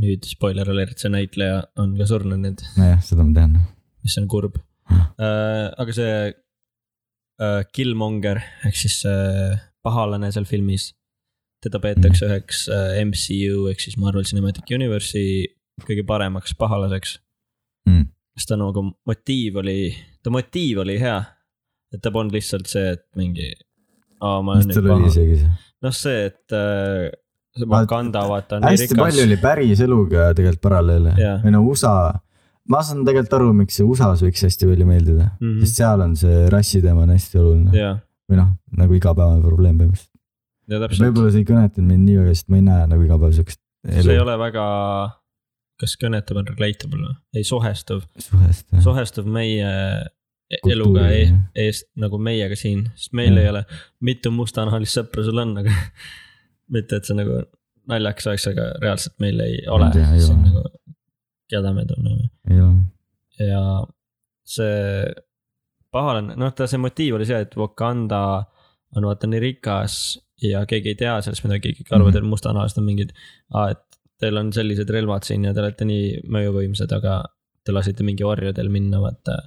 [SPEAKER 2] nüüd spoiler alert , see näitleja on ka surnud nüüd ,
[SPEAKER 1] nojah , seda ma tean .
[SPEAKER 2] mis on kurb .
[SPEAKER 1] Ah.
[SPEAKER 2] aga see äh, Killmonger ehk siis see pahalane seal filmis , teda peetakse
[SPEAKER 1] Mhm.
[SPEAKER 2] üheks äh, MCU ehk siis Marvel Cinematic Universe'i kõige paremaks pahalaseks
[SPEAKER 1] Mm. .
[SPEAKER 2] sest ta nagu motiiv oli , ta motiiv oli hea , et ta polnud lihtsalt see , et mingi .
[SPEAKER 1] mis tal oli
[SPEAKER 2] noh ,
[SPEAKER 1] isegi see ?
[SPEAKER 2] see , et äh, see
[SPEAKER 1] Ah,
[SPEAKER 2] Wakanda vaata on nii
[SPEAKER 1] hästi palju
[SPEAKER 2] rikas ,
[SPEAKER 1] oli päris eluga tegelikult paralleele
[SPEAKER 2] Jaa.
[SPEAKER 1] või no USA ma saan tegelikult aru , miks see USA-s võiks hästi välja meeldida mm ,
[SPEAKER 2] Mhm.
[SPEAKER 1] -hmm. sest seal on see rassi teema on hästi oluline yeah.
[SPEAKER 2] ja ,
[SPEAKER 1] või noh , nagu igapäevane probleem põhimõtteliselt .
[SPEAKER 2] ja täpselt ,
[SPEAKER 1] võib-olla see ei kõnetanud mind nii väga , sest ma ei näe nagu iga päev siukest
[SPEAKER 2] see ei
[SPEAKER 1] elu
[SPEAKER 2] ole väga , kas kõnetav on relatable või , ei sohestuv ,
[SPEAKER 1] suhest .
[SPEAKER 2] sohestub meie eluga
[SPEAKER 1] Kultuuriga,
[SPEAKER 2] e-
[SPEAKER 1] jah.
[SPEAKER 2] eest nagu meiega siin , sest meil
[SPEAKER 1] Jah.
[SPEAKER 2] ei ole , mitu mustanahalist sõpra sul on , aga mitte , et see nagu naljakas oleks , aga reaalselt meil ei ole
[SPEAKER 1] tea, ei ole.
[SPEAKER 2] nagu, keda me tunneme
[SPEAKER 1] ei ole ,
[SPEAKER 2] ja see pahalane , noh , ta see motiiv oli see , et Wakanda on vaata nii rikas ja keegi ei tea sellest midagi , kõik arvavad , et mustanahalised on mingid , et teil on sellised relvad siin ja te olete nii mõjuvõimsad , aga te lasite mingi orjadel minna vaata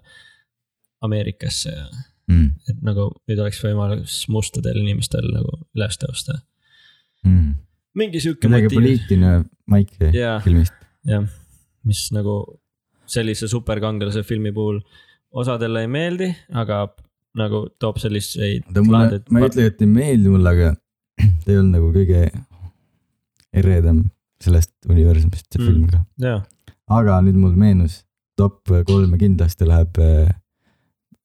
[SPEAKER 2] Ameerikasse ja
[SPEAKER 1] mm. .
[SPEAKER 2] et nagu nüüd oleks võimalus mustadel inimestel nagu üles tõusta .
[SPEAKER 1] Mm.
[SPEAKER 2] mingi sihuke
[SPEAKER 1] kuidagi
[SPEAKER 2] motiiv ,
[SPEAKER 1] poliitiline maik
[SPEAKER 2] Jaa.
[SPEAKER 1] yeah. filmist .
[SPEAKER 2] jah , mis nagu sellise superkangelase filmi puhul osadele ei meeldi , aga nagu toob selliseid .
[SPEAKER 1] ta mulle , ma ei ütle , et ei meeldi mulle , aga ta ei olnud nagu kõige eredam sellest universumist , see
[SPEAKER 2] Mm.
[SPEAKER 1] mm. film ka .
[SPEAKER 2] jah ,
[SPEAKER 1] aga nüüd mul meenus , top kolme kindlasti läheb äh,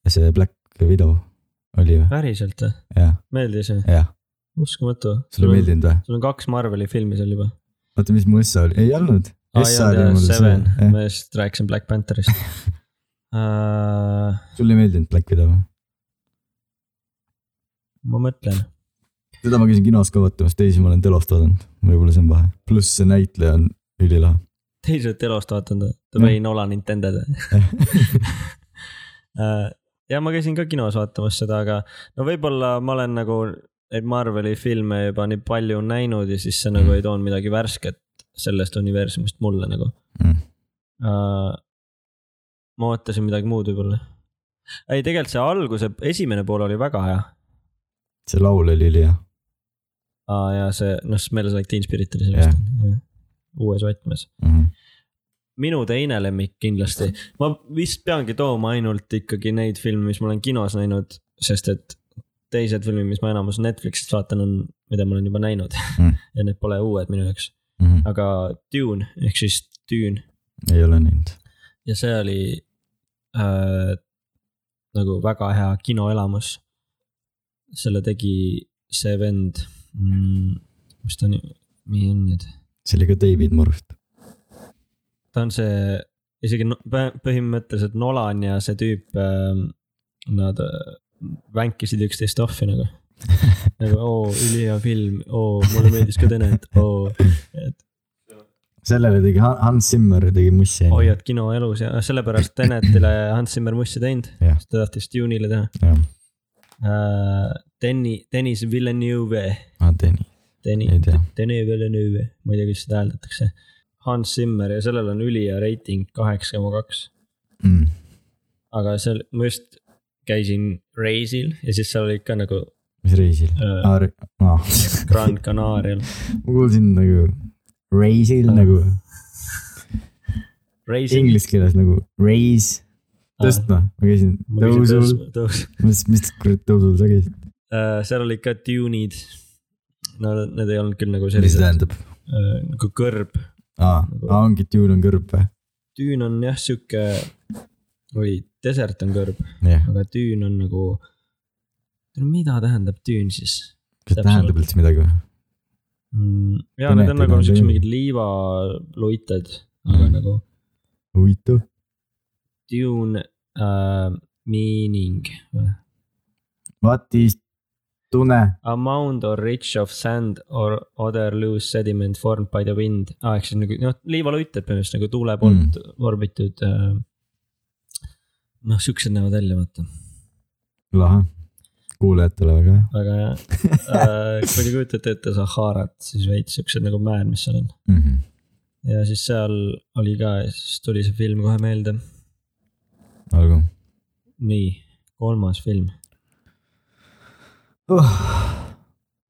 [SPEAKER 1] see Black Widow oli ju ,
[SPEAKER 2] päriselt või ,
[SPEAKER 1] jah ,
[SPEAKER 2] meeldis või ,
[SPEAKER 1] jah ,
[SPEAKER 2] uskumatu .
[SPEAKER 1] sulle ei ? meeldinud või ?
[SPEAKER 2] sul on kaks Marveli filmi seal juba .
[SPEAKER 1] oota , mis mu Essa oli , ei olnud . Essa oli mul see Eh,
[SPEAKER 2] Seven ,
[SPEAKER 1] jah.
[SPEAKER 2] ma just rääkisin Black Pantherist uh, .
[SPEAKER 1] sulle ei meeldinud Black Widow või ?
[SPEAKER 2] ma mõtlen ,
[SPEAKER 1] seda ma käisin kinos ka vaatamas , teisi ma olen telost vaadanud , võib-olla see on vahe , pluss see näitleja on ülilahe .
[SPEAKER 2] teised elost vaatanud ,
[SPEAKER 1] Jah.
[SPEAKER 2] Dwayne Nolan Nintendo Äh, ja ma käisin ka kinos vaatamas seda , aga no võib-olla ma olen nagu neid Marveli filme juba nii palju näinud ja siis see nagu ei toonud midagi värsket sellest universumist mulle nagu
[SPEAKER 1] Mm.
[SPEAKER 2] uh, . ma ootasin midagi muud võib-olla . ei , tegelikult see alguse esimene pool oli väga hea
[SPEAKER 1] see laul oli ülihea .
[SPEAKER 2] uh, ja see noh , Smells like teen spirit oli sellest yeah. uues võtmes .
[SPEAKER 1] Mhm,
[SPEAKER 2] minu teine lemmik kindlasti , ma vist peangi tooma ainult ikkagi neid filme , mis ma olen kinos näinud , sest et teised filmid , mis ma enamus Netflixist vaatan , on , mida ma olen juba näinud
[SPEAKER 1] Mm.
[SPEAKER 2] ja need pole uued minu jaoks , aga Dune ehk siis Dune
[SPEAKER 1] mhm. ei ole näinud .
[SPEAKER 2] ja see oli äh, nagu väga hea kinoelamus . selle tegi see vend mm, , mis ta nimi , nii on nüüd
[SPEAKER 1] see oli ka David Morust .
[SPEAKER 2] ta on see isegi no- pä- põhimõtteliselt Nolan ja see tüüp , nad äh, vänkisid üksteist off'i nagu . nagu oo , ülihea film , oo , mulle meeldis ka Tenet , oo , et
[SPEAKER 1] sellele tegi Han- Hans Zimmer tegi mussi .
[SPEAKER 2] hoiad kino elus ja sellepärast Tenetile Hans Zimmer mussi teinud ,
[SPEAKER 1] Jah.
[SPEAKER 2] sest ta tahtis Dune'ile teha
[SPEAKER 1] jah ,
[SPEAKER 2] uh, . Deni- , Deniss Villeneuve ,
[SPEAKER 1] ma teen Ah, nii . Ei
[SPEAKER 2] Deni-
[SPEAKER 1] tea. ,
[SPEAKER 2] Deni Villeneuve , ma ei tea , kuidas seda hääldatakse . Hans Zimmer ja sellel on ülihea reiting kaheksa koma kaks
[SPEAKER 1] Mm.
[SPEAKER 2] aga seal ma just käisin reisil ja siis seal oli ikka nagu
[SPEAKER 1] mis reisil ? Ah,
[SPEAKER 2] äh,
[SPEAKER 1] aa , ma
[SPEAKER 2] Gran Canarial .
[SPEAKER 1] kuulsin nagu reisil
[SPEAKER 2] Aa.
[SPEAKER 1] nagu
[SPEAKER 2] reisil .
[SPEAKER 1] inglise keeles nagu reis , tõstma . Ah. ma käisin tõusul ,.
[SPEAKER 2] tõus .
[SPEAKER 1] mis , mis kurat tõusul sa käisid ?
[SPEAKER 2] seal oli ka tune'id . no need ei olnud küll nagu sellised
[SPEAKER 1] tähendab ?
[SPEAKER 2] äh, nagu kõrb .
[SPEAKER 1] aa , ongi tüül on kõrb või ?
[SPEAKER 2] tüün on jah sihuke või desert on kõrb ,
[SPEAKER 1] jah ,
[SPEAKER 2] aga tüün on nagu . mida tähendab tüün siis
[SPEAKER 1] kas
[SPEAKER 2] Täpselt.
[SPEAKER 1] see tähendab üldse midagi või ?
[SPEAKER 2] mm, ? ja
[SPEAKER 1] Tunnetid
[SPEAKER 2] need on nagu
[SPEAKER 1] on
[SPEAKER 2] siuksed
[SPEAKER 1] tüün.
[SPEAKER 2] mingid liivaluited , aga
[SPEAKER 1] Mm.
[SPEAKER 2] nagu
[SPEAKER 1] huvitav ,
[SPEAKER 2] tune uh, meaning .
[SPEAKER 1] what is tunne ?
[SPEAKER 2] Amount or rich of sand or other loose sediment formed by the wind ah, . ehk siis nagu noh , liivaluited põhimõtteliselt nagu tuule poolt mm. vorbitud uh, . noh , siuksed näevad välja , vaata ,
[SPEAKER 1] lahe , kuulajatele väga hea
[SPEAKER 2] aga uh, kui te kujutate ette Saharat , siis veits siuksed nagu mäed , mis seal on .
[SPEAKER 1] mm . -hmm.
[SPEAKER 2] ja siis seal oli ka , siis tuli see film kohe meelde .
[SPEAKER 1] olgu
[SPEAKER 2] nii , kolmas film .
[SPEAKER 1] oh. .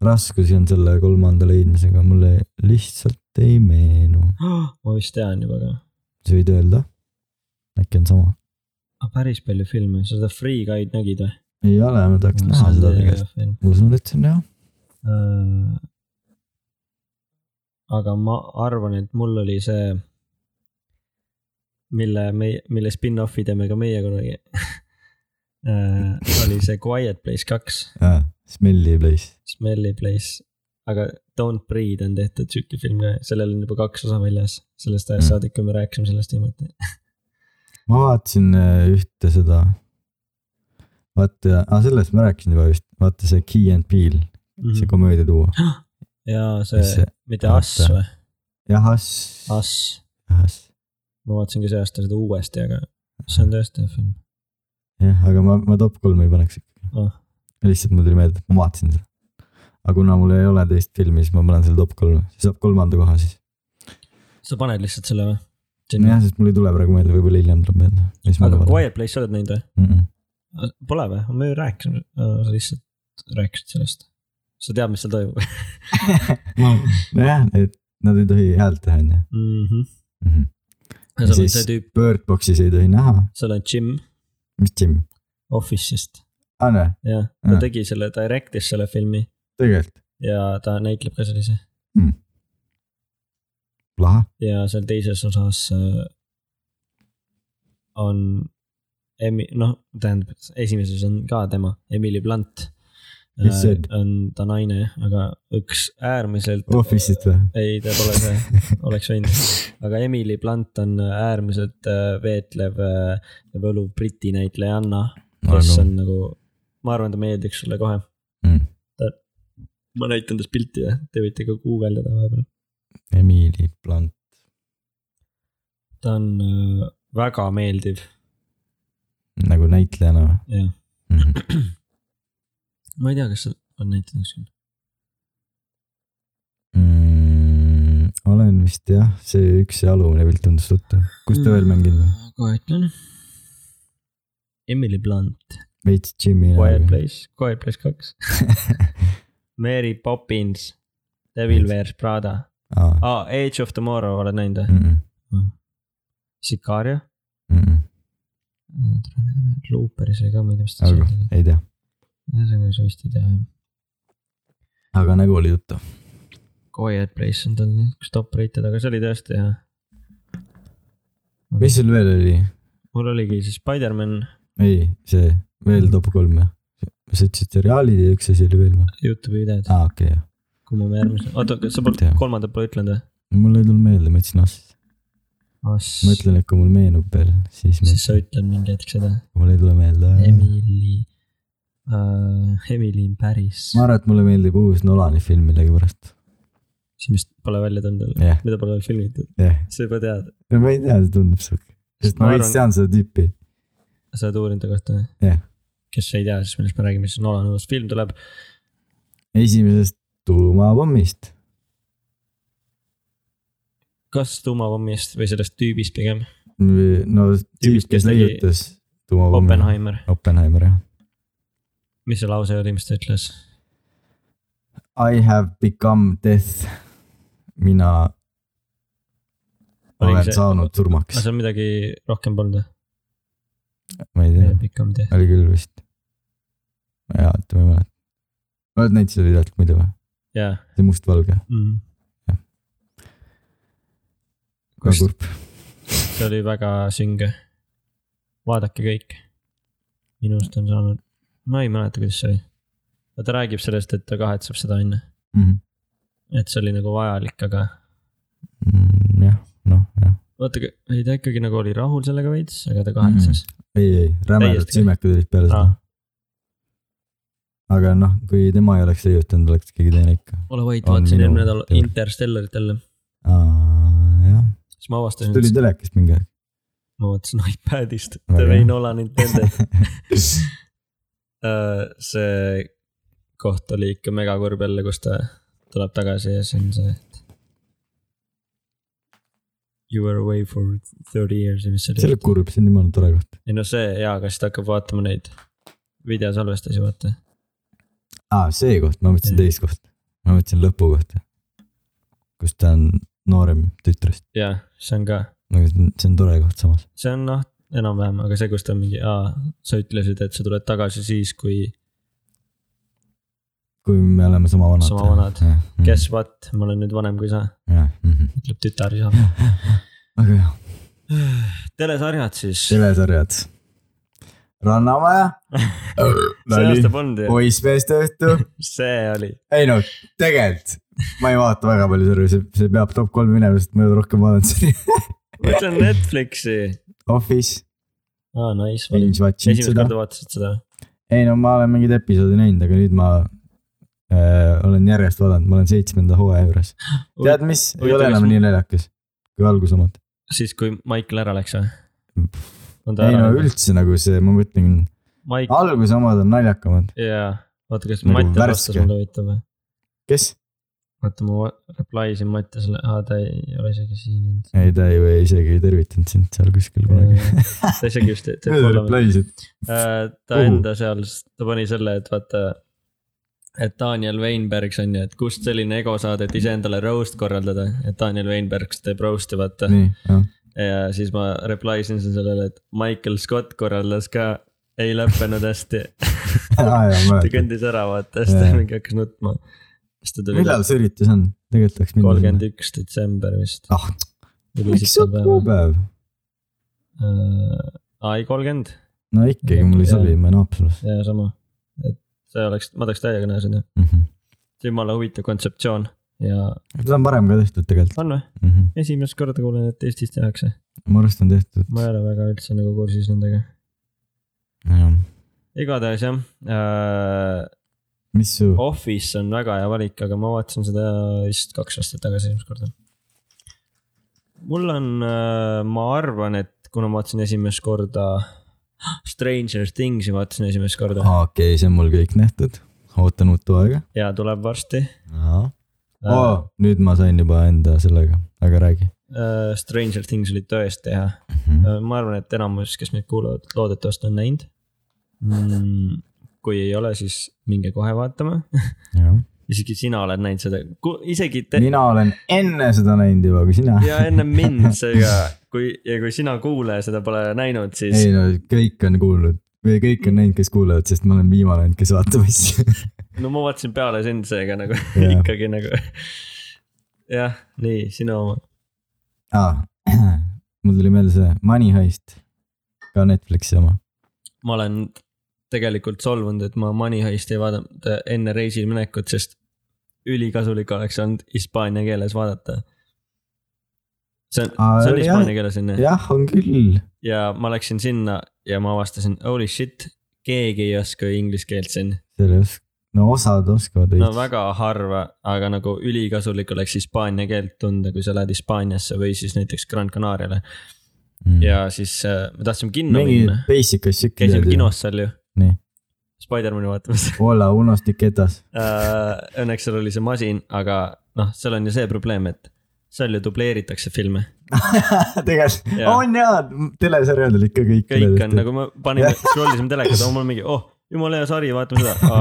[SPEAKER 1] raskusi on selle kolmanda leidmisega , mulle lihtsalt ei meenu ,
[SPEAKER 2] ma vist tean juba ka
[SPEAKER 1] sa võid öelda . äkki on sama ?
[SPEAKER 2] ah, , päris palju filme , sa seda Free Guy'd nägid või ?
[SPEAKER 1] ei ole , ma tahaks no, näha seda tegelikult .
[SPEAKER 2] tegelikult .
[SPEAKER 1] ma usun , et see on hea .
[SPEAKER 2] Äh, aga ma arvan , et mul oli see mille me , mille spin-off'i teeme ka meie kunagi Äh, oli see Quiet Place kaks ,
[SPEAKER 1] jaa , Smelly Place .
[SPEAKER 2] Smelly Place , aga Don't Breathe on tehtud sihuke film ka , sellel on juba kaks osa väljas , sellest ajast
[SPEAKER 1] Mm.
[SPEAKER 2] saadik , kui me rääkisime sellest viimati .
[SPEAKER 1] ma vaatasin äh, ühte seda , vaata , aa sellest ma rääkisin juba vist , vaata see Key and Peele , see komöödia duo .
[SPEAKER 2] ja Mhm. see , mitte
[SPEAKER 1] oota.
[SPEAKER 2] Us või ,
[SPEAKER 1] jah , Ass .
[SPEAKER 2] Us ,
[SPEAKER 1] Ass .
[SPEAKER 2] ma vaatasin ka see aasta seda uuesti , aga see on tõesti hea film .
[SPEAKER 1] jah , aga ma , ma top kolme ei paneks ikkagi
[SPEAKER 2] Ah.
[SPEAKER 1] ah. . lihtsalt mul tuli meelde , et ma vaatasin seda . aga kuna mul ei ole teist filmi , siis ma panen selle top kolme , see saab kolmanda koha siis .
[SPEAKER 2] sa paned lihtsalt selle või ?
[SPEAKER 1] jah , sest mul ei tule praegu meelde , võib-olla hiljem tuleb meelde .
[SPEAKER 2] aga Quiet Place sa oled näinud või ?
[SPEAKER 1] mm . -mm.
[SPEAKER 2] Äh, Pole või , me ju rääkisime , äh, sa lihtsalt rääkisid sellest . sa tead , mis seal toimub
[SPEAKER 1] nojah , et nad ei tohi häält teha , onju .
[SPEAKER 2] mm ? -hmm. Mhm. ja
[SPEAKER 1] ja
[SPEAKER 2] seal on
[SPEAKER 1] siis
[SPEAKER 2] see tüüp ,
[SPEAKER 1] Birdboxis ei tohi näha ,
[SPEAKER 2] seal on Jim
[SPEAKER 1] mis Jim ,
[SPEAKER 2] Office'ist ,
[SPEAKER 1] aa näe ,
[SPEAKER 2] jah , ta
[SPEAKER 1] Ah.
[SPEAKER 2] tegi selle , direct'is selle filmi
[SPEAKER 1] tegelikult
[SPEAKER 2] ja ta näitleb ka selles ise
[SPEAKER 1] lahe ,
[SPEAKER 2] ja seal teises osas äh, on Emi- , noh , tähendab , esimeses on ka tema , Emily Blunt .
[SPEAKER 1] Kes see on?
[SPEAKER 2] on ta naine , aga üks äärmiselt .
[SPEAKER 1] Office'ist või ?
[SPEAKER 2] ei , ta pole see , oleks võinud , aga Emily Blunt on äärmiselt äh, veetlev äh, ja võluv briti näitlejanna , kes on nagu , ma arvan , ta meeldiks sulle kohe
[SPEAKER 1] Mm. .
[SPEAKER 2] ma näitan tast pilti ja te võite ka guugeldada vahepeal .
[SPEAKER 1] Emily Blunt ,
[SPEAKER 2] ta on äh, väga meeldiv ,
[SPEAKER 1] nagu näitlejana või
[SPEAKER 2] jah .
[SPEAKER 1] mm -hmm. ?
[SPEAKER 2] ma ei tea , kas sa on näitlenud kuskil .
[SPEAKER 1] Mm, olen vist jah , see üks see alumine pilt tundus tuttav , kus ta veel
[SPEAKER 2] Mm.
[SPEAKER 1] mänginud on ?
[SPEAKER 2] kohe ütlen . Emily Blunt ,
[SPEAKER 1] veits Jimmy .
[SPEAKER 2] Quiet Place , Quiet Place kaks . Mary Poppins , Devil Wears Prada
[SPEAKER 1] aa ,
[SPEAKER 2] ah, . Age of Tomorrow oled näinud või ? Sikaria . Looperis oli ka , ma ei tea , mis ta
[SPEAKER 1] aga
[SPEAKER 2] seal tegi .
[SPEAKER 1] ei tea ,
[SPEAKER 2] ühesõnaga , sa vist ei tea jah .
[SPEAKER 1] aga nägu oli tuttav .
[SPEAKER 2] Quiet Place on tal üks top rated , aga see oli tõesti hea .
[SPEAKER 1] mis sul veel oli ?
[SPEAKER 2] mul oligi siis Spider-man
[SPEAKER 1] ei , see veel top kolm jah ? sa ütlesid seriaalid ja üks asi oli veel või ?
[SPEAKER 2] Youtube'i videod ,
[SPEAKER 1] aa , okei jah ,
[SPEAKER 2] kui ma järgmise , oota , kas sa polnud
[SPEAKER 1] Tea.
[SPEAKER 2] kolmandat pole ütlenud või ?
[SPEAKER 1] mul ei tulnud meelde , ma ütlesin asja . ma
[SPEAKER 2] siis
[SPEAKER 1] ütlen , et kui mul meenub veel , siis ma
[SPEAKER 2] sa ütled mingi hetk seda .
[SPEAKER 1] mul ei tule
[SPEAKER 2] Äh.
[SPEAKER 1] meelde .
[SPEAKER 2] Emily uh, , Emily in Paris ,
[SPEAKER 1] ma arvan , et mulle meeldib uus Nolani film millegipärast .
[SPEAKER 2] see vist pole välja tulnud veel ,
[SPEAKER 1] jah ,
[SPEAKER 2] mida pole veel filmitud ,
[SPEAKER 1] jah ,
[SPEAKER 2] sa juba tead ,
[SPEAKER 1] ma ei tea , see tundub siuke , sest
[SPEAKER 2] Ma
[SPEAKER 1] ma
[SPEAKER 2] arvan-
[SPEAKER 1] vist tean seda tüüpi
[SPEAKER 2] sa oled uurinud ta kohta või ?
[SPEAKER 1] jah ,
[SPEAKER 2] kes ei tea , siis millest me räägime , siis Nolan uus film tuleb .
[SPEAKER 1] esimesest tuumapommist .
[SPEAKER 2] kas tuumapommist või sellest tüübist pigem ,
[SPEAKER 1] no tüüp ,
[SPEAKER 2] Tüüp, kes
[SPEAKER 1] kes
[SPEAKER 2] tegi
[SPEAKER 1] leiutas tuumapommi .
[SPEAKER 2] Oppenheimer ,
[SPEAKER 1] Oppenheimer jah .
[SPEAKER 2] mis see lause oli , mis ta ütles ?
[SPEAKER 1] I have become death . mina
[SPEAKER 2] Oligi
[SPEAKER 1] olen
[SPEAKER 2] see-
[SPEAKER 1] saanud surmaks
[SPEAKER 2] aga , seal midagi rohkem polnud
[SPEAKER 1] ma ei tea
[SPEAKER 2] või ,, pikem tee ?
[SPEAKER 1] oli küll vist . jaa , oota ma ei mäleta . oled näinud seda videot muidu või ?
[SPEAKER 2] jaa
[SPEAKER 1] see mustvalge ,
[SPEAKER 2] mm.
[SPEAKER 1] Jah. . väga
[SPEAKER 2] kus
[SPEAKER 1] kurb .
[SPEAKER 2] see oli väga sünge . vaadake kõik . minust on saanud , ma ei mäleta , kuidas see oli . aga ta räägib sellest , et ta kahetseb seda onju ,
[SPEAKER 1] Mhm.
[SPEAKER 2] et see oli nagu vajalik , aga
[SPEAKER 1] jah , noh jah ,
[SPEAKER 2] vaata , ei ta ikkagi nagu oli rahul sellega veits , aga
[SPEAKER 1] Mhm.
[SPEAKER 2] ta kahetses mm .
[SPEAKER 1] ei , ei rämedad
[SPEAKER 2] Täiesti.
[SPEAKER 1] süümekad olid peale seda
[SPEAKER 2] Aa. .
[SPEAKER 1] aga noh , kui tema ei oleks leiutanud , oleks keegi teine ikka .
[SPEAKER 2] ole vait ,
[SPEAKER 1] On
[SPEAKER 2] vaatasin
[SPEAKER 1] minu
[SPEAKER 2] eelmine nädal
[SPEAKER 1] teooria.
[SPEAKER 2] Interstellarit jälle ,
[SPEAKER 1] aa , jah ,
[SPEAKER 2] siis ma
[SPEAKER 1] see
[SPEAKER 2] avastasin ,
[SPEAKER 1] tuli
[SPEAKER 2] et
[SPEAKER 1] telekast mingi aeg .
[SPEAKER 2] ma vaatasin iPadist
[SPEAKER 1] Väga
[SPEAKER 2] The Way
[SPEAKER 1] hea.
[SPEAKER 2] Nolan Intended . Äh, see koht oli ikka megakurb jälle , kus ta tuleb tagasi ja siis on see , et . You were away for thirty years ja mis see
[SPEAKER 1] see
[SPEAKER 2] oli
[SPEAKER 1] oli . kurb , see on jumala tore koht .
[SPEAKER 2] ei no see jaa , aga siis ta hakkab vaatama neid videosalvestusi , vaata .
[SPEAKER 1] aa , see koht , ma mõtlesin
[SPEAKER 2] Jah.
[SPEAKER 1] teist kohta . ma mõtlesin lõpu kohta . kus ta on noorem tütrest ,
[SPEAKER 2] jaa , see on ka ,
[SPEAKER 1] nagu see on- see on tore koht samas .
[SPEAKER 2] see on noh , enam-vähem , aga see , kus ta mingi , aa , sa ütlesid , et sa tuled tagasi siis , kui
[SPEAKER 1] kui me oleme sama vanad .
[SPEAKER 2] Sama vanad. .
[SPEAKER 1] Mm.
[SPEAKER 2] guess what ,
[SPEAKER 1] mhm.
[SPEAKER 2] ma olen nüüd vanem kui sa ,
[SPEAKER 1] jah ,
[SPEAKER 2] ütleb tütar isa .
[SPEAKER 1] väga hea .
[SPEAKER 2] telesarjad siis .
[SPEAKER 1] telesarjad . Rannamaja
[SPEAKER 2] see aasta polnud ju ,
[SPEAKER 1] poissmeeste õhtu ,
[SPEAKER 2] see oli .
[SPEAKER 1] ei no tegelikult ma ei vaata väga palju sarju , see , see peab top kolm minema , sest ma ei ole rohkem vaadanud seda .
[SPEAKER 2] ma ütlen Netflixi .
[SPEAKER 1] Office ,
[SPEAKER 2] aa , nice .
[SPEAKER 1] binge watching
[SPEAKER 2] esimest
[SPEAKER 1] seda .
[SPEAKER 2] korda vaatasid seda ?
[SPEAKER 1] ei no ma olen mingeid episoode näinud , aga nüüd ma äh, olen järjest vaadanud , ma olen seitsmenda hooaja juures . tead mis , ei
[SPEAKER 2] huvitav,
[SPEAKER 1] ole enam
[SPEAKER 2] kas-
[SPEAKER 1] nii naljakas kui alguse omad .
[SPEAKER 2] siis , kui Maicel ära läks või ?
[SPEAKER 1] ei no . üldse nagu see , ma mõtlen ,
[SPEAKER 2] Maik ,
[SPEAKER 1] alguse omad on naljakamad .
[SPEAKER 2] jaa , oota , kas
[SPEAKER 1] Nagu
[SPEAKER 2] Mati vastas
[SPEAKER 1] värske.
[SPEAKER 2] mulle huvitav või ?
[SPEAKER 1] kes ?
[SPEAKER 2] oota , ma va- reply isin Mattiasele , aa ta ei ole isegi siin .
[SPEAKER 1] ei , ta ju ei- isegi ei tervitanud sind seal kuskil kunagi .
[SPEAKER 2] Äh, ta isegi vist .
[SPEAKER 1] mööda replays , et
[SPEAKER 2] Äh, ta
[SPEAKER 1] Kuhu?
[SPEAKER 2] enda seal , ta pani selle , et vaata , et Daniel Weinbergs on ju , et kust selline ego saada , et iseendale roast korraldada , et Daniel Weinbergs teeb roast'i , vaata .
[SPEAKER 1] nii , jah .
[SPEAKER 2] ja siis ma reply isin sellele , et Michael Scott korraldas ka , ei lõppenud hästi .
[SPEAKER 1] aa jaa , ma
[SPEAKER 2] ta
[SPEAKER 1] mäletan .
[SPEAKER 2] kõndis ära , vaata , siis ta
[SPEAKER 1] Jaa.
[SPEAKER 2] mingi hakkas nutma . siis ta tuli
[SPEAKER 1] millal see üritus on ? tegelikult läks minna .
[SPEAKER 2] kolmkümmend üks detsember vist .
[SPEAKER 1] ah , miks see on kuupäev ?
[SPEAKER 2] aa , ei Äh, kolmkümmend ,
[SPEAKER 1] no ikkagi , mul ei
[SPEAKER 2] Jaa.
[SPEAKER 1] sobi , ma olen Haapsalus
[SPEAKER 2] jaa sama , et see oleks , ma tahaks täiega näha seda ,
[SPEAKER 1] mm . -hmm.
[SPEAKER 2] jumala huvitav kontseptsioon ja
[SPEAKER 1] seda on varem ka tehtud tegelikult
[SPEAKER 2] on või ?
[SPEAKER 1] mm . -hmm.
[SPEAKER 2] esimest korda kuulen , et Eestis tehakse ,
[SPEAKER 1] mu arust on tehtud .
[SPEAKER 2] ma ei ole väga üldse nagu kursis nendega .
[SPEAKER 1] jah ,
[SPEAKER 2] igatahes jah äh, ,
[SPEAKER 1] mis su oh. ,
[SPEAKER 2] Office on väga hea valik , aga ma vaatasin seda vist kaks aastat tagasi esimest korda . mul on äh, , ma arvan , et kuna ma vaatasin esimest korda Stranger Things'i vaatasin esimest korda
[SPEAKER 1] okei okay, , see on mul kõik nähtud . ootan uut hooaega .
[SPEAKER 2] ja tuleb varsti
[SPEAKER 1] Oh, nüüd ma sain juba enda sellega , aga räägi
[SPEAKER 2] Äh, Stranger Things oli tõesti hea .
[SPEAKER 1] mm . -hmm.
[SPEAKER 2] ma arvan , et enamus , kes meid kuulavad , loodetavasti on näinud mm, . kui ei ole , siis minge kohe vaatama .
[SPEAKER 1] jah ,
[SPEAKER 2] isegi sina oled näinud seda , isegi te...
[SPEAKER 1] mina olen enne seda näinud juba , kui sina .
[SPEAKER 2] ja enne mind seega , kui ja kui sina kuulaja seda pole näinud , siis
[SPEAKER 1] ei no kõik on kuulnud või kõik on näinud , kes kuulevad , sest ma olen viimane ainult , kes vaatab asju .
[SPEAKER 2] no ma vaatasin peale sind seega nagu
[SPEAKER 1] Jaa.
[SPEAKER 2] ikkagi nagu . jah , nii sinu oma ,
[SPEAKER 1] aa , mul tuli meelde see Money Heist , ka Netflixi oma .
[SPEAKER 2] ma olen tegelikult solvunud , et ma Money Heist ei vaadanud enne reisil minekut , sest ülikasulik oleks olnud hispaania keeles vaadata . see on ,
[SPEAKER 1] Aa,
[SPEAKER 2] see on
[SPEAKER 1] Äh, jah.
[SPEAKER 2] hispaania keeles on ju ?
[SPEAKER 1] jah , on küll .
[SPEAKER 2] ja ma läksin sinna ja ma avastasin , holy shit , keegi ei oska ju inglise keelt siin .
[SPEAKER 1] selle os- , no osad oskavad
[SPEAKER 2] no
[SPEAKER 1] veits .
[SPEAKER 2] väga harva , aga nagu ülikasulik oleks hispaania keelt tunda , kui sa lähed Hispaaniasse või siis näiteks Gran Canariale . ja siis äh, me tahtsime kinno
[SPEAKER 1] Mm. mingi
[SPEAKER 2] minna ,
[SPEAKER 1] basic asju .
[SPEAKER 2] käisime . kinos seal ju .
[SPEAKER 1] Nii. .
[SPEAKER 2] Spider-man'i vaatamas
[SPEAKER 1] Hola unos tiquetas .
[SPEAKER 2] Äh, Õnneks seal oli see masin , aga noh , seal on ju see probleem , et seal ju dubleeritakse filme .
[SPEAKER 1] tegelikult
[SPEAKER 2] Jaa.
[SPEAKER 1] on jaa , telesarjadel ikka kõik .
[SPEAKER 2] kõik on . nagu me panime , scroll isime telekas , mul mingi , oh , jumala hea sari , vaatame seda .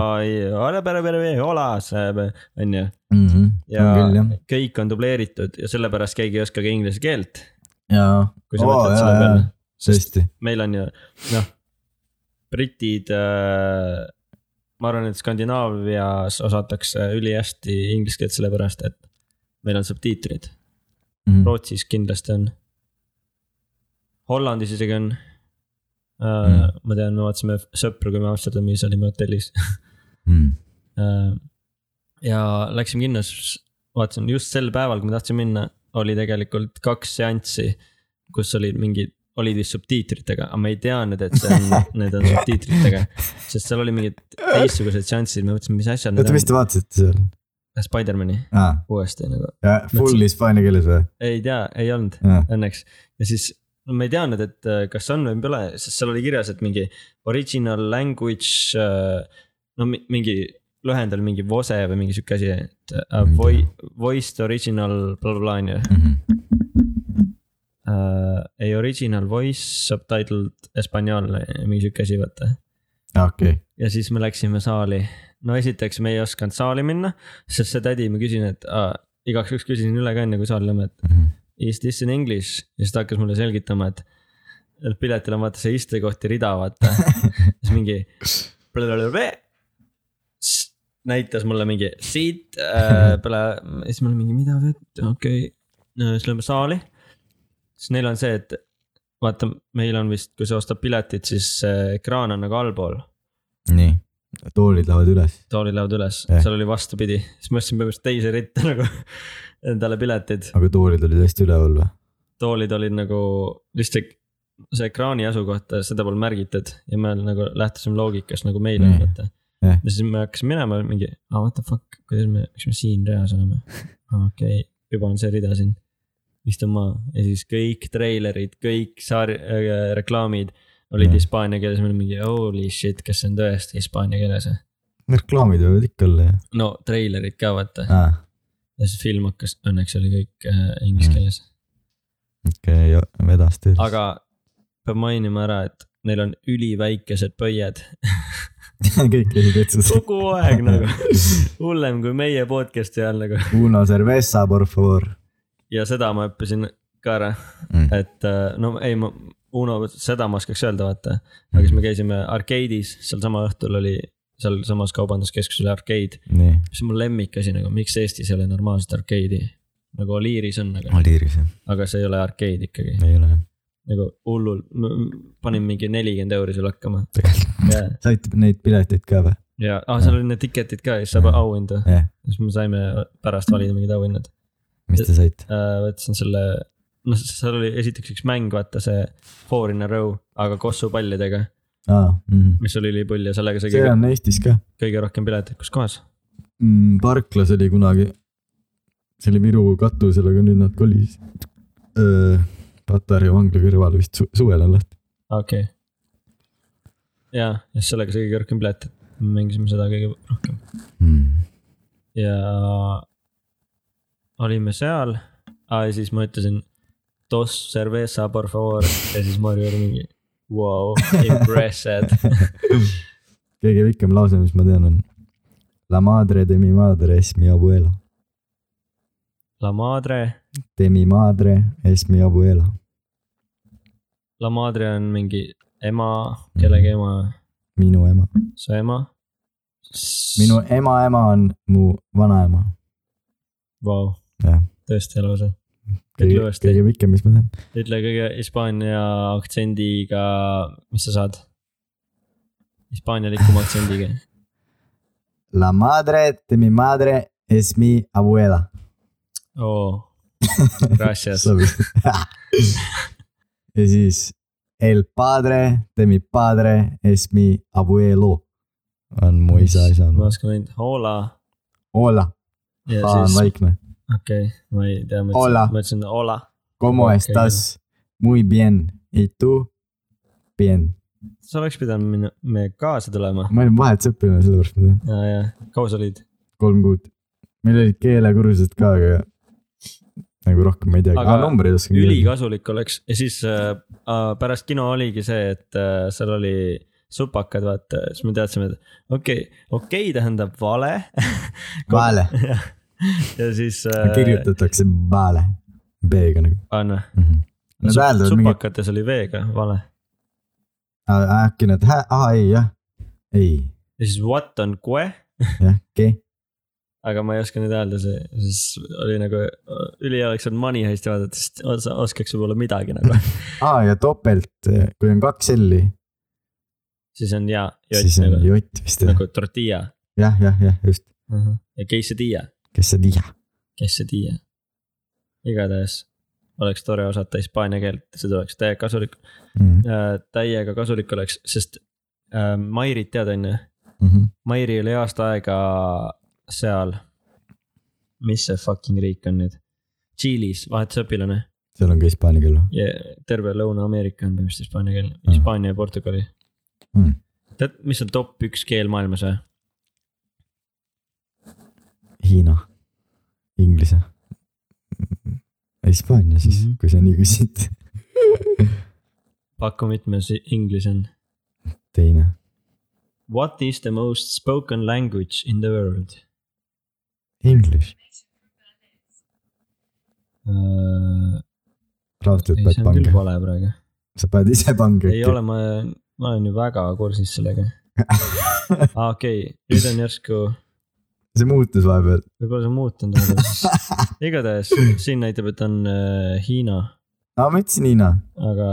[SPEAKER 2] on ju ,
[SPEAKER 1] Mhm, on
[SPEAKER 2] ja
[SPEAKER 1] küll jah ,
[SPEAKER 2] kõik on dubleeritud ja sellepärast keegi ei oska ka inglise keelt ,
[SPEAKER 1] jaa .
[SPEAKER 2] kui sa mõtled selle peale . sest
[SPEAKER 1] tõesti ,
[SPEAKER 2] meil on ju , noh , britid äh, ma arvan , et Skandinaavias osatakse ülihästi inglise keelt sellepärast , et meil on subtiitrid .
[SPEAKER 1] Mhm.
[SPEAKER 2] Rootsis kindlasti on . Hollandis isegi on uh, .
[SPEAKER 1] Mm.
[SPEAKER 2] ma tean , me vaatasime sõpru , kui me Amsterdamis olime hotellis
[SPEAKER 1] Mhm.
[SPEAKER 2] uh, . ja läksime kinnos , vaatasin just sel päeval , kui me tahtsime minna , oli tegelikult kaks seanssi , kus olid mingid olid vist subtiitritega , aga ma ei teadnud , et see on , need on subtiitritega , sest seal oli mingid teistsugused seanssid , me mõtlesime , mis asja need
[SPEAKER 1] oota , mis te
[SPEAKER 2] on ,
[SPEAKER 1] vaatasite seal ?
[SPEAKER 2] Spider-man'i
[SPEAKER 1] aa ,
[SPEAKER 2] uuesti nagu ,
[SPEAKER 1] full hispaania keeles või ?
[SPEAKER 2] ei tea , ei olnud . õnneks . ja siis no ma ei teadnud , et äh, kas on või pole , sest seal oli kirjas , et mingi original language . no mi- mingi lühend oli mingi vose või mingi sihuke asi , et uh,
[SPEAKER 1] Ma ei
[SPEAKER 2] voi- , voiced original blablabla on ju .
[SPEAKER 1] Mhm.
[SPEAKER 2] ei original voice subtitled espanjol , mingi sihuke asi , vaata .
[SPEAKER 1] okei ,
[SPEAKER 2] ja siis me läksime saali . no esiteks me ei osanud saali minna , sest see tädi , ma küsin , et uh, igaks juhuks küsisin üle ka enne kui saali lähme , et
[SPEAKER 1] Mhm.
[SPEAKER 2] is this in english ja siis ta hakkas mulle selgitama , et . et piletil on vaata see istekohti rida , vaata siis mingi . näitas mulle mingi siit äh, peale , siis ma olin mingi , mida , okei okay. , siis lähme saali . siis neil on see , et vaata , meil on vist , kui sa ostad piletid , siis see ekraan on nagu allpool ,
[SPEAKER 1] nii , toolid lähevad üles .
[SPEAKER 2] toolilaud üles
[SPEAKER 1] Jah.
[SPEAKER 2] eh. , seal oli vastupidi , siis ma ostsin põhimõtteliselt teise ritta nagu endale piletid ,
[SPEAKER 1] aga toolid olid hästi üleval või ?
[SPEAKER 2] toolid olid nagu lihtsalt see ekraani asukoht , seda pole märgitud ja me nagu lähtusime loogikast nagu meile
[SPEAKER 1] Nii.
[SPEAKER 2] on , vaata .
[SPEAKER 1] Jah.
[SPEAKER 2] ja siis me hakkasime minema mingi , aa what the fuck , kuidas me , miks me siin reas oleme . okei , juba on see rida siin . istun maha ja siis kõik treilerid , kõik sari- äh, , reklaamid olid
[SPEAKER 1] Jah.
[SPEAKER 2] hispaania keeles , me olime mingi holy shit , kas see on tõesti hispaania keeles või ?
[SPEAKER 1] reklaamid võivad ikka olla ju
[SPEAKER 2] no treilerid ka vaata
[SPEAKER 1] ah, .
[SPEAKER 2] ja siis film hakkas , õnneks oli kõik äh, inglise
[SPEAKER 1] Mm.
[SPEAKER 2] keeles ,
[SPEAKER 1] okei okay, , vedas teil .
[SPEAKER 2] aga peab mainima ära , et neil on üliväikesed pöied
[SPEAKER 1] kõik käisid otsas .
[SPEAKER 2] kogu aeg nagu , hullem kui meie podcast'i ajal nagu
[SPEAKER 1] Uno cerveza por favor
[SPEAKER 2] ja seda ma õppisin ka ära ,
[SPEAKER 1] mm. .
[SPEAKER 2] et äh, no ei , ma , Uno , seda ma oskaks öelda , vaata . aga siis me käisime arkeedis , sealsama õhtul oli sealsamas kaubanduskeskuses oli arkeed ,
[SPEAKER 1] nii ,
[SPEAKER 2] mis on mu lemmikasi nagu , miks Eestis ei ole normaalset arkeedi . nagu Oliiris on , aga ,
[SPEAKER 1] Maliiris jah ,
[SPEAKER 2] aga see ei ole arkeed ikkagi ,
[SPEAKER 1] ei ole jah ,
[SPEAKER 2] nagu hullul , panin mingi nelikümmend euri seal hakkama
[SPEAKER 1] tegelikult .
[SPEAKER 2] ja ,
[SPEAKER 1] saite neid pileteid ka või ?
[SPEAKER 2] ja ah, seal olid need tiketid ka ja siis saab
[SPEAKER 1] Jah.
[SPEAKER 2] auhindu ,
[SPEAKER 1] jah ,
[SPEAKER 2] siis me saime pärast valida mingid auhinnad .
[SPEAKER 1] mis te saite ?
[SPEAKER 2] Äh, võtsin selle , noh , seal oli esiteks üks mäng , vaata see four in a row , aga kossupallidega ,
[SPEAKER 1] aa ,
[SPEAKER 2] mis oli ülipull ja sellega sai
[SPEAKER 1] see
[SPEAKER 2] kõige,
[SPEAKER 1] on Eestis ka
[SPEAKER 2] kõige rohkem pileteid , kus kohas ?
[SPEAKER 1] mm, . parklas oli kunagi , see oli Viru katusel , aga nüüd nad kolis . Patarei vangla kõrval vist su suvel on lahti .
[SPEAKER 2] okei okay. . ja , ja sellega sai kõige rohkem pileteid , mängisime seda kõige rohkem ja olime seal ah, . ja siis ma ütlesin dos cerveza por favor ja siis Marju oli mingi wow, impressed
[SPEAKER 1] kõige pikem lause , mis ma tean , on La madre de mi madre es mi abuela .
[SPEAKER 2] la madre
[SPEAKER 1] De mi madre es mi abuela .
[SPEAKER 2] La Madre on mingi ema , kellegi ema ,
[SPEAKER 1] minu ema .
[SPEAKER 2] su ema .
[SPEAKER 1] minu ema ema on mu vanaema .
[SPEAKER 2] wow.
[SPEAKER 1] Jah. .
[SPEAKER 2] tõesti elus , Ütle
[SPEAKER 1] kõige
[SPEAKER 2] uuesti.
[SPEAKER 1] kõige pikem , mis ma tean .
[SPEAKER 2] ütle kõige Hispaania aktsendiga , mis sa saad ? hispaanialikuma aktsendiga ,
[SPEAKER 1] La madre de mi madre es mi abuela .
[SPEAKER 2] oo . Gracias ,
[SPEAKER 1] ja siis El padre de mi padre es mi abuelo . on mu isa isa .
[SPEAKER 2] ma oskan ainult hola
[SPEAKER 1] Hola ,
[SPEAKER 2] ja
[SPEAKER 1] A on
[SPEAKER 2] siis ,
[SPEAKER 1] vaikne .
[SPEAKER 2] okei okay, , ma ei tea , ma
[SPEAKER 1] Hola.
[SPEAKER 2] ütlesin , ma ütlesin hola ,
[SPEAKER 1] Como okay.
[SPEAKER 2] Okei.
[SPEAKER 1] estas ? Muy bien . Y tú ? Bien .
[SPEAKER 2] sa oleks pidanud minu- me kaasa tulema .
[SPEAKER 1] ma olin vahet õppima , sellepärast ma tean .
[SPEAKER 2] ja , ja , kaua sa olid ?
[SPEAKER 1] kolm kuud . meil olid keelekursused ka , aga nagu rohkem ma ei teagi .
[SPEAKER 2] Aga
[SPEAKER 1] aga numbreid oskan küll .
[SPEAKER 2] ülikasulik oleks ja siis äh, äh, pärast kino oligi see , et äh, seal oli supakad , vaata , siis me teadsime , et okei okay, , okei okay, tähendab vale
[SPEAKER 1] Vale ,
[SPEAKER 2] ja siis äh, .
[SPEAKER 1] kirjutatakse vale , B-ga nagu
[SPEAKER 2] anna ,
[SPEAKER 1] mm . -hmm. Nad hääldavad mingit ,
[SPEAKER 2] supakates oli V-ga vale
[SPEAKER 1] äkki nad , ahah ei jah , ei
[SPEAKER 2] ja siis what on kue ,
[SPEAKER 1] jah , G ,
[SPEAKER 2] aga ma ei oska nüüd öelda , see siis oli nagu äh, ülihea oleks olnud Money Heisti vaadata , sest os- oskaks võib-olla midagi nagu ,
[SPEAKER 1] aa ja topelt , kui on kaks L-i ,
[SPEAKER 2] siis on ja ,
[SPEAKER 1] siis on
[SPEAKER 2] nagu,
[SPEAKER 1] jott vist jah ,
[SPEAKER 2] nagu tortilla
[SPEAKER 1] jah , jah , jah , just ,
[SPEAKER 2] uh -huh. ja quesadilla
[SPEAKER 1] kes see tiha ,
[SPEAKER 2] kes see tiia . igatahes oleks tore osata hispaania keelt , see tuleks täiega kasulik
[SPEAKER 1] mm,
[SPEAKER 2] äh, , täiega kasulik oleks , sest äh, Mairit tead , on ju .
[SPEAKER 1] mhm.
[SPEAKER 2] Mairi oli aasta aega seal . mis see fucking riik on nüüd ? Tšiilis , vahetusõpilane
[SPEAKER 1] seal on ka hispaania keel või ?
[SPEAKER 2] ja terve Lõuna-Ameerika on põhimõtteliselt hispaania keel ,
[SPEAKER 1] Mhm.
[SPEAKER 2] Hispaania ja Portugali
[SPEAKER 1] Mhm. .
[SPEAKER 2] tead , mis on top üks keel maailmas või ?
[SPEAKER 1] Hiina , inglise , Hispaania siis
[SPEAKER 2] Mhm. ,
[SPEAKER 1] kui sa nii küsid ,
[SPEAKER 2] paku mitmes inglise on .
[SPEAKER 1] teine
[SPEAKER 2] What is the most spoken language in the world ?
[SPEAKER 1] English ,
[SPEAKER 2] Äh,
[SPEAKER 1] raudselt
[SPEAKER 2] ei ,
[SPEAKER 1] pead
[SPEAKER 2] see on küll
[SPEAKER 1] pange ,
[SPEAKER 2] vale praegu .
[SPEAKER 1] sa paned ise pange
[SPEAKER 2] ei . ole , ma , ma olen ju väga kursis sellega . aa , okei , nüüd on järsku ,
[SPEAKER 1] see muutus vahepeal ,
[SPEAKER 2] võib-olla see on muutunud alguses . igatahes siin näitab , et on äh, Hiina ,
[SPEAKER 1] aa ma ütlesin Hiina ,
[SPEAKER 2] aga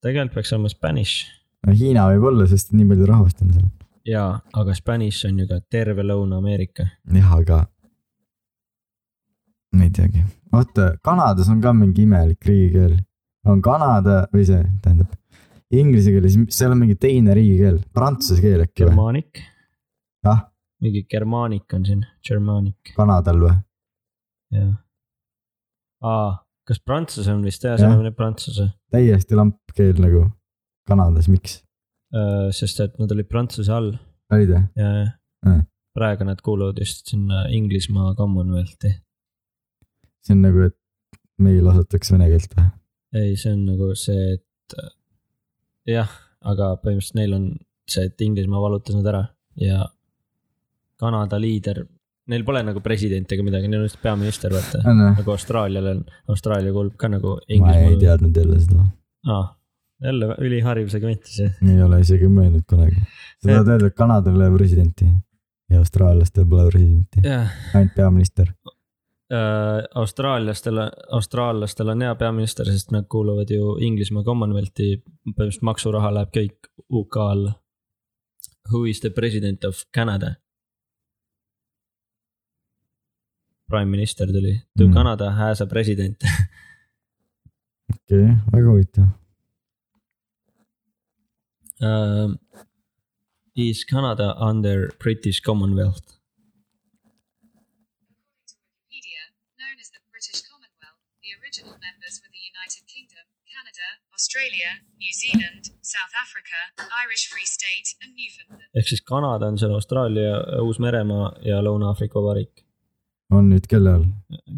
[SPEAKER 2] tegelikult peaks olema Spanish
[SPEAKER 1] no Hiina võib-olla , sest nii palju rahvast on seal .
[SPEAKER 2] jaa , aga Spanish on ju ka terve Lõuna-Ameerika .
[SPEAKER 1] jah , aga . ma ei teagi , oota , Kanadas on ka mingi imelik riigikeel . on Kanada või see , tähendab inglise keeles , seal on mingi teine riigikeel , prantsuse keel äkki või ?
[SPEAKER 2] Germanic ,
[SPEAKER 1] ah ,
[SPEAKER 2] mingi Germanic on siin , Germanic ,
[SPEAKER 1] Kanadal või ?
[SPEAKER 2] jaa . aa , Ah, kas prantsuse on vist jah ,
[SPEAKER 1] Jah.
[SPEAKER 2] see on nüüd prantsuse ,
[SPEAKER 1] täiesti lamp keel nagu Kanadas , miks ?
[SPEAKER 2] Äh, sest et nad olid prantsuse all
[SPEAKER 1] olid või ?
[SPEAKER 2] ja , ja
[SPEAKER 1] Mm.
[SPEAKER 2] praegu nad kuuluvad just sinna Inglismaa Commonwealthi .
[SPEAKER 1] see on nagu , et meil osatakse vene keelt või ?
[SPEAKER 2] ei , see on nagu see , et jah , aga põhimõtteliselt neil on see , et Inglismaa vallutas nad ära ja Kanada liider , neil pole nagu presidenti ega midagi , neil on lihtsalt peaminister , vaata .
[SPEAKER 1] on või ?
[SPEAKER 2] nagu Austraalial on , Austraalia kuulub ka nagu
[SPEAKER 1] ma ei
[SPEAKER 2] Inglismaa .
[SPEAKER 1] teadnud jälle seda ,
[SPEAKER 2] aa , jälle ülihariv segment siis .
[SPEAKER 1] ei ole isegi mõelnud kunagi . sa tahad öelda , et Kanadal ei ole presidenti ja austraallastel pole presidenti ,
[SPEAKER 2] jah ,
[SPEAKER 1] ainult peaminister .
[SPEAKER 2] austraallastel , austraallastel Äh, on hea peaminister , sest nad kuuluvad ju Inglismaa Commonwealthi , põhimõtteliselt maksuraha läheb kõik UK alla . Who is the president of Canada ? Prime minister tuli , to
[SPEAKER 1] Mm.
[SPEAKER 2] mm. Canada has a president .
[SPEAKER 1] okei okay, , väga huvitav .
[SPEAKER 2] Ähm, Is Canada under British Commonwealth ?
[SPEAKER 3] According to Wikipedia, known as the British Commonwealth, the original members were the United Kingdom, Canada, Australia, New Zealand, South Africa, Irish Free State, and Newfoundland.
[SPEAKER 2] ehk siis Kanada on seal Austraalia , Uus-Meremaa ja Lõuna-Aafrika Vabariik ,
[SPEAKER 1] on nüüd kelle all ?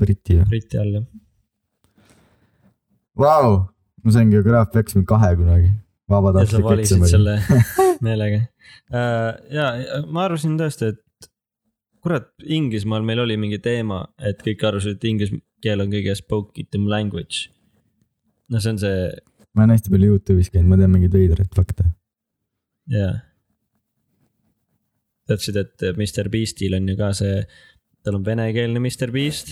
[SPEAKER 1] Briti või ?
[SPEAKER 2] Briti all jah .
[SPEAKER 1] Vau , ma sain geograafia eksami kahe kunagi .
[SPEAKER 2] ja sa
[SPEAKER 1] vabatahtlik
[SPEAKER 2] valisid
[SPEAKER 1] eksam oli .
[SPEAKER 2] selle meelega . ja ma arvasin tõesti , et kurat , Inglismaal meil oli mingi teema , et kõik arvasid , et inglise keel on kõige spoke item language . no see on see ,
[SPEAKER 1] ma olen hästi palju Youtube'is käinud , ma tean mingeid veidraid fakte .
[SPEAKER 2] jaa . teadsid , et Mr Beastil on ju ka see , tal on venekeelne Mr Beast ,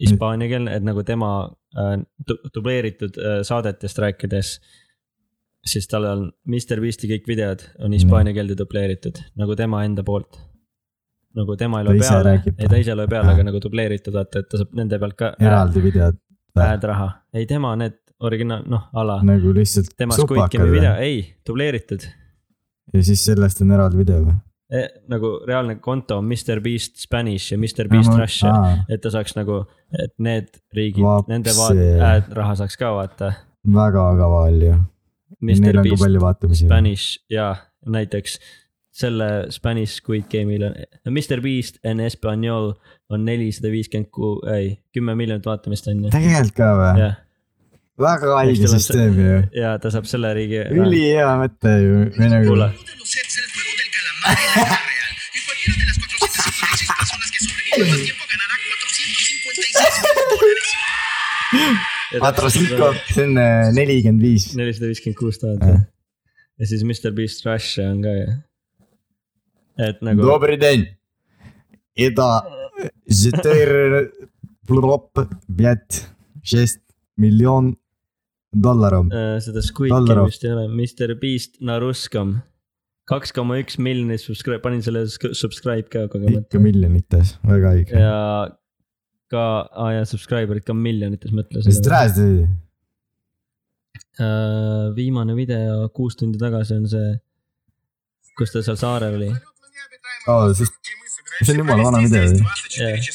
[SPEAKER 2] hispaaniakeelne , et nagu tema äh, du- dubleeritud äh, saadetest rääkides , siis tal on Mr Beasti kõik videod
[SPEAKER 1] Mm.
[SPEAKER 2] on hispaania keelde dubleeritud nagu tema enda poolt . nagu tema ei
[SPEAKER 1] Ta
[SPEAKER 2] loe
[SPEAKER 1] ise
[SPEAKER 2] peale ,
[SPEAKER 1] räägib
[SPEAKER 2] ei ta ise loe peale ,
[SPEAKER 1] Ah.
[SPEAKER 2] aga nagu dubleeritud , vaata , et ta saab nende pealt ka hääd
[SPEAKER 1] eraldi videod
[SPEAKER 2] hääd raha , ei tema need originaal , noh , ala ,
[SPEAKER 1] nagu lihtsalt
[SPEAKER 2] tema Squidgami
[SPEAKER 1] supakad või
[SPEAKER 2] video , ei , dubleeritud
[SPEAKER 1] ja siis sellest on eraldi video või ?
[SPEAKER 2] Eh, nagu reaalne konto on Mr Beast Spanish ja Mr Beast Russia , et ta saaks nagu , et need riigid
[SPEAKER 1] Ah. Vapsi. ,
[SPEAKER 2] nende vaat- , raha saaks ka vaata .
[SPEAKER 1] väga kaval ju .
[SPEAKER 2] Mr
[SPEAKER 1] Neil on ka
[SPEAKER 2] Beast
[SPEAKER 1] palju vaatamisi .
[SPEAKER 2] Spanish ja näiteks selle Spanish Squid Game'il on , Mr Beast en Espanol on nelisada viiskümmend kuu , ei , kümme miljonit vaatamist on ju .
[SPEAKER 1] tegelikult ka või ?
[SPEAKER 2] ja ,
[SPEAKER 1] väga
[SPEAKER 2] Eks
[SPEAKER 1] haige
[SPEAKER 2] tal on
[SPEAKER 1] süsteem ju .
[SPEAKER 2] ja ta saab selle riigi .
[SPEAKER 1] ülihea mõte ju . nagu
[SPEAKER 2] kuule ,
[SPEAKER 4] Golden Usets, el juego del calamar en la vida real. Y cualquiera de las 456 personas que sobrevivan más tiempo ganará 456 dólares.
[SPEAKER 1] Patrosiko , see on äh, nelikümmend viis .
[SPEAKER 2] nelisada viiskümmend kuus tuhat
[SPEAKER 1] Jah.
[SPEAKER 2] jah . ja siis Mr Beast eh, Russia on ka ju . et nagu ,
[SPEAKER 1] Добрый день. Это 4 плоп 5 6 миллион долларов.
[SPEAKER 2] seda Squid
[SPEAKER 1] Dollar off.
[SPEAKER 2] Game'ist ei ole , Mr eh, Beast Naruskom . kaks koma üks miljonit subscribe , panin selle sk- subscribe ka
[SPEAKER 1] ikka
[SPEAKER 2] kogemata .
[SPEAKER 1] miljonites , väga õige .
[SPEAKER 2] ja ka , aa jaa , subscriber'id ka miljonites mõtlesin .
[SPEAKER 1] Здравствуйте .
[SPEAKER 2] Äh, viimane video kuus tundi tagasi on see , kus ta seal saarel oli .
[SPEAKER 1] О, siis see on jumala vana video ju .
[SPEAKER 2] jah ,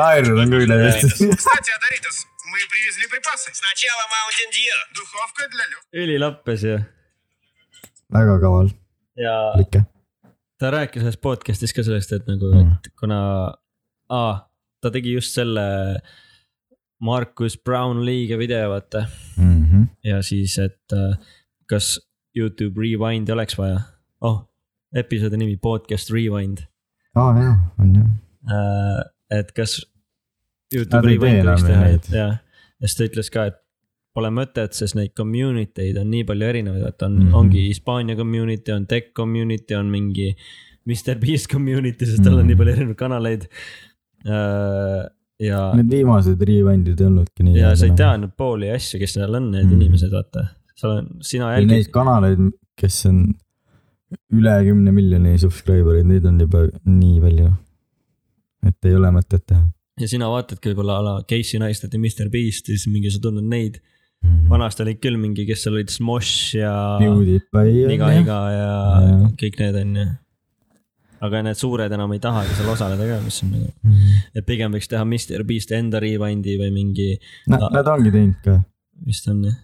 [SPEAKER 1] naerud on ka üle Eesti .
[SPEAKER 4] Кстати, Адаритас, мы привезли припасы. Сначала Mountain Dew. Духовка для легких.
[SPEAKER 2] ülilappes ju .
[SPEAKER 1] väga kaval ,
[SPEAKER 2] ja
[SPEAKER 1] ikka .
[SPEAKER 2] ta rääkis ühes podcast'is ka sellest , et nagu
[SPEAKER 1] Mm.
[SPEAKER 2] mm. , et kuna ah, , ta tegi just selle Markus Brownlee'ga video , vaata .
[SPEAKER 1] Mhm.
[SPEAKER 2] ja siis , et äh, kas Youtube Rewind'i oleks vaja . oh , episoodi nimi podcast Rewind .
[SPEAKER 1] aa jaa , on jah .
[SPEAKER 2] Äh, et kas
[SPEAKER 1] Nad
[SPEAKER 2] Youtube
[SPEAKER 1] ei tee
[SPEAKER 2] Rewind võiks
[SPEAKER 1] enam
[SPEAKER 2] teha ,
[SPEAKER 1] neid.
[SPEAKER 2] et ja , ja siis ta ütles ka , et pole mõtet , sest neid community eid on nii palju erinevaid , et on mm ,
[SPEAKER 1] Mhm.
[SPEAKER 2] -hmm. ongi Hispaania community , on tech community , on mingi . Mr Beast community , sest tal on
[SPEAKER 1] Mhm.
[SPEAKER 2] nii palju erinevaid kanaleid . Äh, ja ,
[SPEAKER 1] Need viimased revand'id ei olnudki nii .
[SPEAKER 2] ja sa ei tea nüüd pooli asju , kes seal on , need
[SPEAKER 1] Mm.
[SPEAKER 2] mm. inimesed , vaata . seal on , sina
[SPEAKER 1] või neid
[SPEAKER 2] jälgid ,
[SPEAKER 1] kanaleid , kes on üle kümne miljoni subscriber'id , neid on juba nii palju . et ei ole mõtet teha .
[SPEAKER 2] ja sina vaatadki võib-olla a la Casey Neistat ja Mr Beast ja siis mingi sa tunned neid .
[SPEAKER 1] Mhm.
[SPEAKER 2] vanasti olid küll mingi , kes seal olid Smosh ja
[SPEAKER 1] PewDiePie on
[SPEAKER 2] Niga
[SPEAKER 1] jah ,
[SPEAKER 2] Iga ja
[SPEAKER 1] Jah.
[SPEAKER 2] kõik need on ju . aga need suured enam ei tahagi seal osaleda ka , mis on nagu , et pigem võiks teha Mr Beast enda rewind'i või mingi ,
[SPEAKER 1] nad , nad ongi teinud ka ,
[SPEAKER 2] vist on jah .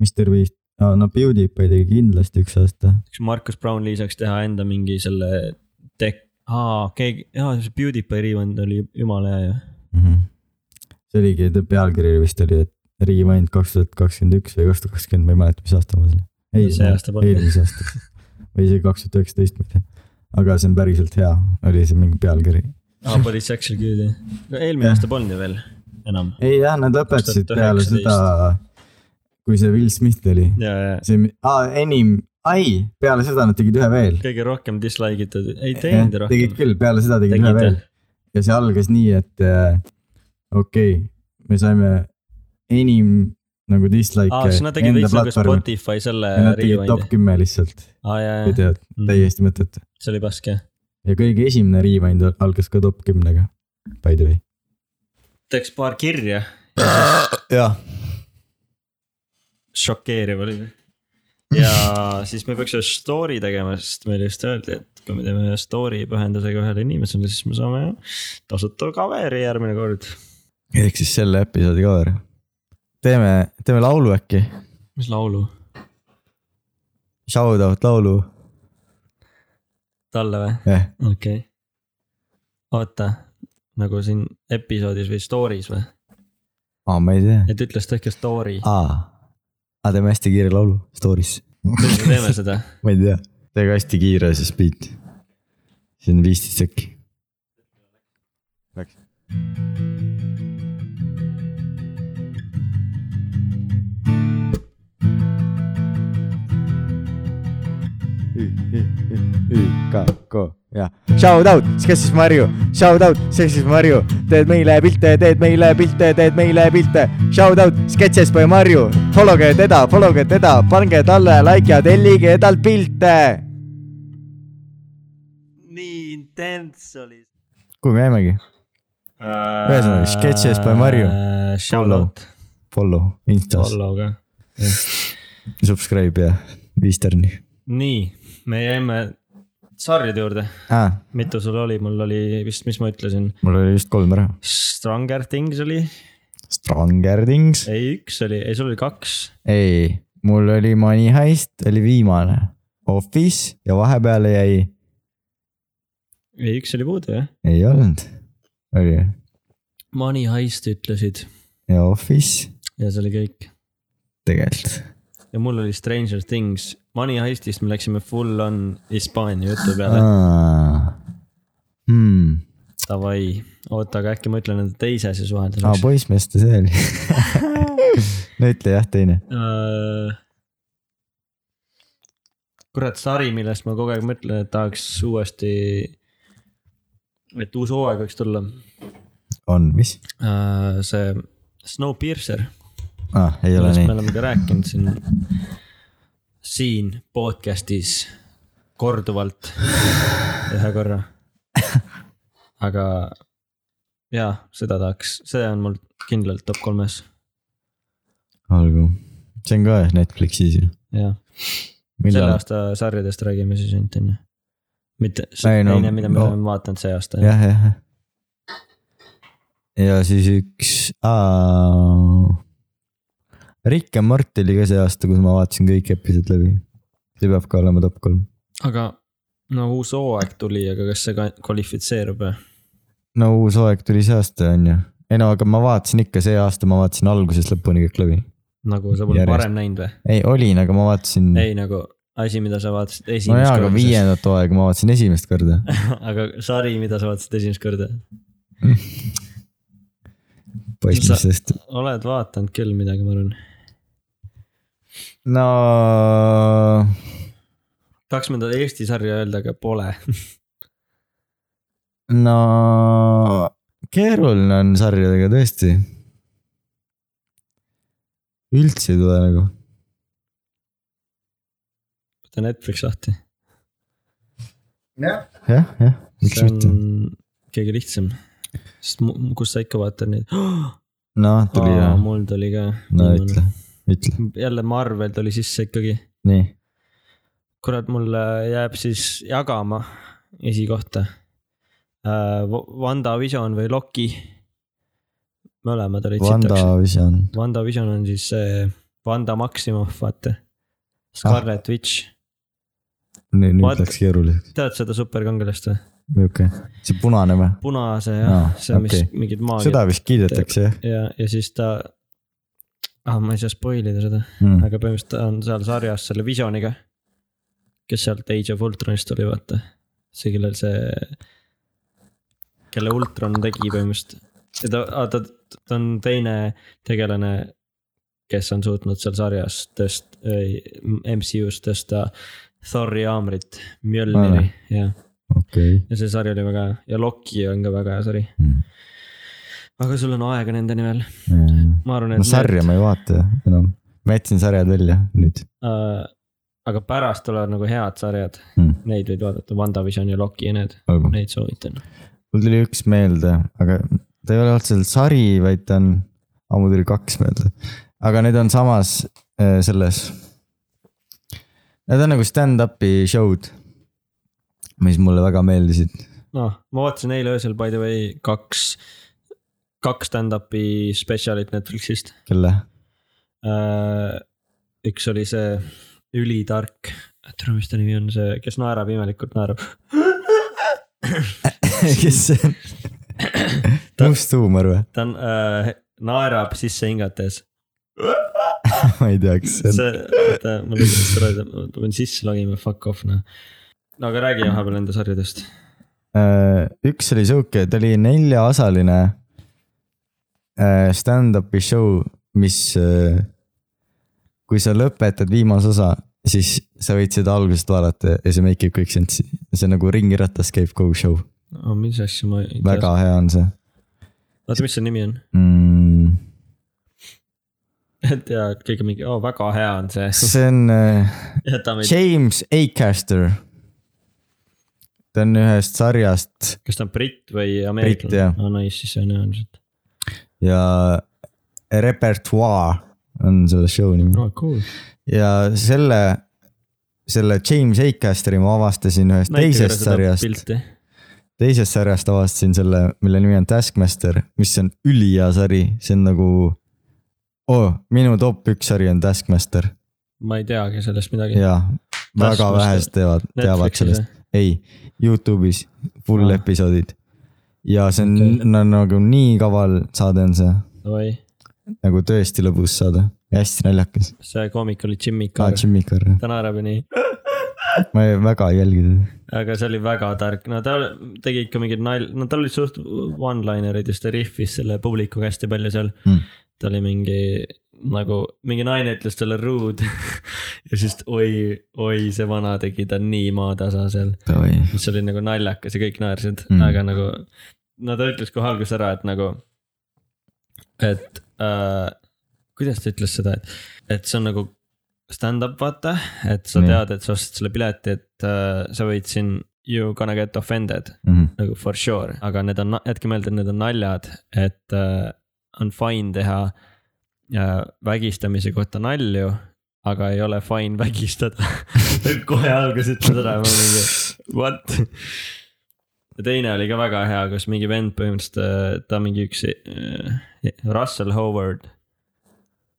[SPEAKER 1] Mr Beast , no PewDiePie tegi kindlasti üks aasta .
[SPEAKER 2] kas Markus Brownlee saaks teha enda mingi selle tek- , aa , keegi , jaa , see PewDiePie rewind oli jumala hea ju . Mhm.
[SPEAKER 1] see oligi , ta pealkiri vist oli , et Rewind kaks tuhat kakskümmend üks või kaks tuhat kakskümmend , ma ei mäleta , mis aasta ma selle . ei
[SPEAKER 2] See , aasta polnud.
[SPEAKER 1] eelmise aasta või isegi kaks tuhat üheksateist , ma ei tea . aga see on päriselt hea , oli see mingi pealkiri
[SPEAKER 2] aa , but it's actually good jah . no eelmine
[SPEAKER 1] Jah.
[SPEAKER 2] aasta polnud ju veel enam .
[SPEAKER 1] ei jah , nad lõpetasid peale seda , kui see Will Smith oli ,
[SPEAKER 2] ja , ja
[SPEAKER 1] see ah, enim , ai , peale seda nad tegid ühe veel .
[SPEAKER 2] kõige rohkem dislike itud , ei teinud ju
[SPEAKER 1] tegid
[SPEAKER 2] rohkem .
[SPEAKER 1] küll , peale seda tegid ühe
[SPEAKER 2] Tegid,
[SPEAKER 1] veel
[SPEAKER 2] jah.
[SPEAKER 1] ja see algas nii , et äh, okei okay, , me saime enim nagu
[SPEAKER 2] aa ,
[SPEAKER 1] dislike'e
[SPEAKER 2] siis nad tegid
[SPEAKER 1] enda
[SPEAKER 2] veits nagu
[SPEAKER 1] platvormilt
[SPEAKER 2] Spotify selle
[SPEAKER 1] ja nad tegid top
[SPEAKER 2] rewind'i .
[SPEAKER 1] kümme lihtsalt ,
[SPEAKER 2] aa , ja , ja ,
[SPEAKER 1] videod , täiesti mõttetu .
[SPEAKER 2] see oli paske .
[SPEAKER 1] ja kõige esimene rewind al- algas ka top kümnega , by the way .
[SPEAKER 2] teeks paar kirja ,
[SPEAKER 1] jah ,
[SPEAKER 2] šokeeriv oli . ja siis me peaks ühe story tegema , sest meile just öeldi , et kui me teeme ühe story pühendusega ühele inimesele , siis me saame tasuta kaveri järgmine kord .
[SPEAKER 1] ehk siis selle episoodi cover . teeme , teeme laulu äkki
[SPEAKER 2] mis laulu ?
[SPEAKER 1] Shout out laulu
[SPEAKER 2] talle või ?
[SPEAKER 1] eh, .
[SPEAKER 2] okei okay. . oota , nagu siin episoodis või story's või ,
[SPEAKER 1] aa , ma ei tea .
[SPEAKER 2] et ütles tehke story ,
[SPEAKER 1] aa , aga teeme hästi kiire laulu story's .
[SPEAKER 2] teeme seda .
[SPEAKER 1] ma ei tea , teeme hästi kiire siis beat . see on viisteist sekki . Läks . YKK ja shout out , Sketsis Marju , shout out , Sketsis Marju , teed meile pilte , teed meile pilte , teed meile pilte . Shout out , Sketsis by Marju , follow ge teda , follow ge teda , pange talle like ja tellige talt pilte .
[SPEAKER 2] nii intens oli .
[SPEAKER 1] kuhu me jäimegi ? Ühesõnaga, Sketches by Marju.
[SPEAKER 2] Äh, Shout out ,
[SPEAKER 1] Follow , Instas ,
[SPEAKER 2] follow ka .
[SPEAKER 1] subscribe ja viis tärni
[SPEAKER 2] nii , me jäime sarjade juurde ,
[SPEAKER 1] ah, .
[SPEAKER 2] mitu sul oli , mul oli vist , mis ma ütlesin ,
[SPEAKER 1] mul oli vist kolm ära .
[SPEAKER 2] Stronger Things oli ,
[SPEAKER 1] Stronger Things .
[SPEAKER 2] ei üks oli , ei sul oli kaks .
[SPEAKER 1] ei , mul oli Money Heist oli viimane . Office ja vahepeale jäi ,
[SPEAKER 2] ei , üks oli puudu jah .
[SPEAKER 1] ei olnud . oli ju.
[SPEAKER 2] Money Heist ütlesid
[SPEAKER 1] ja Office
[SPEAKER 2] ja see oli kõik .
[SPEAKER 1] tegelikult .
[SPEAKER 2] ja mul oli Stranger Things , Money Heistist me läksime full on Hispaania jutu
[SPEAKER 1] Ah.
[SPEAKER 2] peale .
[SPEAKER 1] Hmm.
[SPEAKER 2] Davai , oota , aga äkki ma ütlen nende teise siis vahelduseks
[SPEAKER 1] aa , poissmeeste see oli . no ütle jah , teine .
[SPEAKER 2] Äh, kurat , sari , millest ma kogu aeg mõtlen , et tahaks uuesti , et uus hooaeg võiks tulla .
[SPEAKER 1] on , mis
[SPEAKER 2] see Snowpiercer ,
[SPEAKER 1] ah, ? ei ole
[SPEAKER 2] millest me
[SPEAKER 1] nii .
[SPEAKER 2] oleme ka rääkinud siin , siin podcast'is korduvalt ühe korra . aga jaa , seda tahaks , see on mul kindlalt top kolmes ,
[SPEAKER 1] olgu , see on ka Netflixis ju .
[SPEAKER 2] jah . selle
[SPEAKER 1] millal ?
[SPEAKER 2] aasta sarjadest räägime siis ainult onju . mitte see
[SPEAKER 1] Ei,
[SPEAKER 2] ei,
[SPEAKER 1] no,
[SPEAKER 2] no, teine , mida me
[SPEAKER 1] no.
[SPEAKER 2] no. oleme vaadanud see aasta .
[SPEAKER 1] jah , jah . ja siis üks aa... . Rick ja Mart oli ka see aasta , kus ma vaatasin kõik episood läbi . see peab ka olema top kolm .
[SPEAKER 2] aga no uus hooaeg tuli , aga kas see ka kvalifitseerub või ?
[SPEAKER 1] no uus hooaeg tuli see aasta , on ju . ei no aga ma vaatasin ikka see aasta , ma vaatasin algusest lõpuni kõik läbi .
[SPEAKER 2] nagu sa pole
[SPEAKER 1] Järjest.
[SPEAKER 2] varem näinud või ?
[SPEAKER 1] ei , olin , aga ma vaatasin .
[SPEAKER 2] ei nagu asi , mida sa vaatasid
[SPEAKER 1] no
[SPEAKER 2] esimest
[SPEAKER 1] jaa , aga
[SPEAKER 2] korda .
[SPEAKER 1] viiendat hooaega ma vaatasin esimest korda .
[SPEAKER 2] aga sari , mida sa vaatasid esimest korda ?
[SPEAKER 1] poistmistest .
[SPEAKER 2] oled vaadanud küll midagi , ma arvan .
[SPEAKER 1] no
[SPEAKER 2] tahaks mõnda Eesti sarja öelda , aga pole .
[SPEAKER 1] no keeruline on sarjadega tõesti . üldse ei tule nagu .
[SPEAKER 2] võta Netflix lahti .
[SPEAKER 1] jah , jah , miks
[SPEAKER 2] see
[SPEAKER 1] mitte .
[SPEAKER 2] on kõige lihtsam . sest mu- kus sa ikka vaatad neid ,
[SPEAKER 1] noh , tuli hea .
[SPEAKER 2] mul tuli ka .
[SPEAKER 1] no ütle , ütle ,
[SPEAKER 2] jälle Marvel tuli sisse ikkagi .
[SPEAKER 1] nii .
[SPEAKER 2] kurat , mul äh, jääb siis jagama esikohta . WandaVision või Loki . mõlemad olid sitaks .
[SPEAKER 1] WandaVision ,
[SPEAKER 2] WandaVision on siis see Wanda Maximoff , vaata .
[SPEAKER 1] Ah.
[SPEAKER 2] Scarlet Witch ,
[SPEAKER 1] nüüd
[SPEAKER 2] What?
[SPEAKER 1] läks keeruliseks ,
[SPEAKER 2] tead seda superkangelast või ?
[SPEAKER 1] niuke , see punane või ?
[SPEAKER 2] punase ja no,
[SPEAKER 1] Aa,
[SPEAKER 2] see , mis
[SPEAKER 1] okei.
[SPEAKER 2] okay. mingid maagiad
[SPEAKER 1] seda vist kiidetakse jah
[SPEAKER 2] ja , ja siis ta . ah , ma ei saa spoil ida seda ,
[SPEAKER 1] mm. .
[SPEAKER 2] aga põhimõtteliselt ta on seal sarjas selle Visioniga . kes sealt Age of Ultronist tuli , vaata . see , kellel see , kelle Ultron tegi põhimõtteliselt . ja ta , ta , ta on teine tegelane , kes on suutnud seal sarjas tõst- , MCU-s tõsta Thori haamrit , Mjölniri , jah .
[SPEAKER 1] okei
[SPEAKER 2] ja see sari oli väga hea ja Loki on ka väga hea sari .
[SPEAKER 1] okay. .
[SPEAKER 2] aga sul on aega nende nimel , ma arvan , et
[SPEAKER 1] no sarja ma ei vaata enam , ma jätsin sarjad välja nüüd
[SPEAKER 2] äh, aga pärast tulevad nagu head sarjad ,
[SPEAKER 1] mm. .
[SPEAKER 2] neid võid vaadata , WandaVision ja Loki ja need ,
[SPEAKER 1] olgu ,
[SPEAKER 2] neid soovitan .
[SPEAKER 1] mul tuli üks meelde , aga ta ei ole otseselt sari , vaid ta on , aa mul tuli kaks meelde , aga need on samas äh, selles . Need on nagu stand-up'i show'd , mis mulle väga meeldisid .
[SPEAKER 2] noh , ma vaatasin eile öösel by the way kaks , kaks stand-up'i spetsialit Netflixist
[SPEAKER 1] kelle ?
[SPEAKER 2] äh, . üks oli see ülitark , tere , mis ta nimi on , see , kes naerab imelikult , naerab .
[SPEAKER 1] kes see on ? must huumor või ?
[SPEAKER 2] ta on äh, , naerab sisse hingates
[SPEAKER 1] ma ei tea , kas see on .
[SPEAKER 2] see , oota , ma lihtsalt seda ei tea , ma pean sisse logima , fuck off noh . no aga räägi vahepeal enda sarjadest .
[SPEAKER 1] Äh, üks oli sihuke , ta oli neljaosaline äh, stand-up'i show , mis äh, . kui sa lõpetad viimase osa , siis sa võid seda algusest vaadata ja see make ib kõik sense'i . see on nagu ringirattas käib kogu show ,
[SPEAKER 2] no mis asja ma ei tea .
[SPEAKER 1] väga hea on see
[SPEAKER 2] oota , mis see nimi on ?
[SPEAKER 1] mm, .
[SPEAKER 2] et ja kõige mingi , oo väga hea on see .
[SPEAKER 1] see on äh,
[SPEAKER 2] jätame ,
[SPEAKER 1] James Acaster . ta on ühest sarjast
[SPEAKER 2] kas ta on britt või
[SPEAKER 1] Britt,
[SPEAKER 2] ameeriklane
[SPEAKER 1] jah. ?
[SPEAKER 2] aa nice , siis see on hea ilmselt .
[SPEAKER 1] ja repertuaar on selle show nimi .
[SPEAKER 2] aa Oh, cool .
[SPEAKER 1] ja selle , selle James Acasteri ma avastasin ühest teisest sarjast ,
[SPEAKER 2] pilti .
[SPEAKER 1] teisest sarjast avastasin selle , mille nimi on Taskmaster , mis on ülihea sari , see on nagu oh, . minu top üks sari on Taskmaster
[SPEAKER 2] ma ei teagi sellest midagi .
[SPEAKER 1] ja väga
[SPEAKER 2] Taskmaster.
[SPEAKER 1] vähesed teavad , teavad sellest ,. ei , Youtube'is full
[SPEAKER 2] Aa.
[SPEAKER 1] ah. episoodid . ja see on
[SPEAKER 2] Okei.
[SPEAKER 1] okay. nagu nii kaval saade on see ,
[SPEAKER 2] oi ,
[SPEAKER 1] nagu tõesti lõbus saade , hästi naljakas .
[SPEAKER 2] see koomik oli Jimmy
[SPEAKER 1] aa ,
[SPEAKER 2] Carr .
[SPEAKER 1] Jimmy Carr ,
[SPEAKER 2] ta naerab ju nii .
[SPEAKER 1] ma ei- väga ei jälgi teda .
[SPEAKER 2] aga see oli väga tark , no ta tegi ikka mingeid nal- , no tal oli suht one-linereid ja siis ta rihvis selle publikuga hästi palju seal
[SPEAKER 1] Mm. .
[SPEAKER 2] ta oli mingi nagu , mingi naine ütles talle ruud ja siis oi , oi , see vana tegi ta nii maatasa seal ,
[SPEAKER 1] Davai
[SPEAKER 2] mis oli nagu naljakas ja kõik naersid mm. ,
[SPEAKER 1] Mm.
[SPEAKER 2] aga nagu . no ta ütles kohe alguses ära , et nagu , et äh, kuidas ta ütles seda , et , et see on nagu stand-up , vaata , et sa
[SPEAKER 1] Nii.
[SPEAKER 2] tead , et sa ostad selle pileti , et äh, sa võid siin you gonna get offended
[SPEAKER 1] mm . -hmm.
[SPEAKER 2] nagu for sure , aga need on , jätke meelde , need on naljad , et äh, on fine teha äh, vägistamise kohta nalju , aga ei ole fine vägistada . kohe alguses ütles ära , ma mingi what . ja teine oli ka väga hea , kus mingi vend põhimõtteliselt äh, , ta mingi üks äh, Russell Howard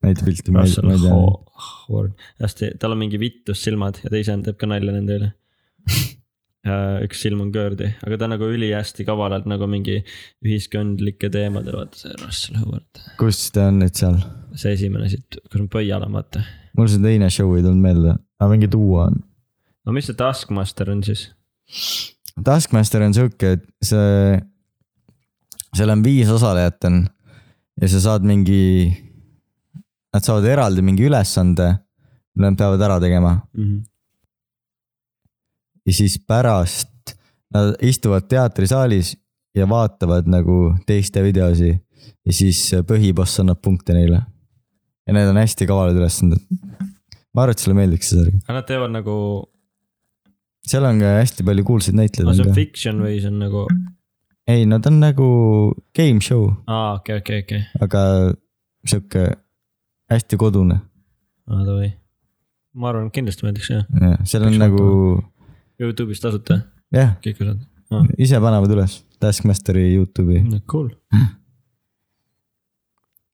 [SPEAKER 1] näita pilti , ma ei ,
[SPEAKER 2] Russell
[SPEAKER 1] ma ei tea .
[SPEAKER 2] Ho- Howard , hästi , tal on mingi vitussilmad ja ta ise teeb ka nalja nende üle . üks silm on köördi , aga ta nagu ülihästi kavalalt nagu mingi ühiskondlike teemadel , vaata see Russell Howard .
[SPEAKER 1] kus ta on nüüd seal ?
[SPEAKER 2] see esimene siit , kus ma pöial on , vaata .
[SPEAKER 1] mul see teine show ei tulnud meelde , aga mingi duo on .
[SPEAKER 2] no mis see Taskmaster on siis ?
[SPEAKER 1] Taskmaster on sihuke , et see , seal on viis osalejat on ja sa saad mingi , nad saavad eraldi mingi ülesande , mille nad peavad ära tegema ja siis pärast nad istuvad teatrisaalis ja vaatavad nagu teiste videosi ja siis põhiboss annab punkte neile . ja need on hästi kavalad ülesanded . ma arvan , et sulle meeldiks see särg ,
[SPEAKER 2] aga nad teevad nagu ,
[SPEAKER 1] seal on ka hästi palju kuulsaid
[SPEAKER 2] aga
[SPEAKER 1] näitlejaid
[SPEAKER 2] see
[SPEAKER 1] on
[SPEAKER 2] on
[SPEAKER 1] ka .
[SPEAKER 2] fiction või see on nagu ,
[SPEAKER 1] ei , no ta on nagu game show ,
[SPEAKER 2] aa okei , okei , okei ,
[SPEAKER 1] aga sihuke hästi kodune ,
[SPEAKER 2] aa davai . ma arvan , et kindlasti meeldiks jah ,
[SPEAKER 1] seal on
[SPEAKER 2] Peaks
[SPEAKER 1] nagu
[SPEAKER 2] Youtube'is tasuta
[SPEAKER 1] jah ,
[SPEAKER 2] kõik osad ,
[SPEAKER 1] ise panevad üles Taskmasteri Youtube'i ,
[SPEAKER 2] cool .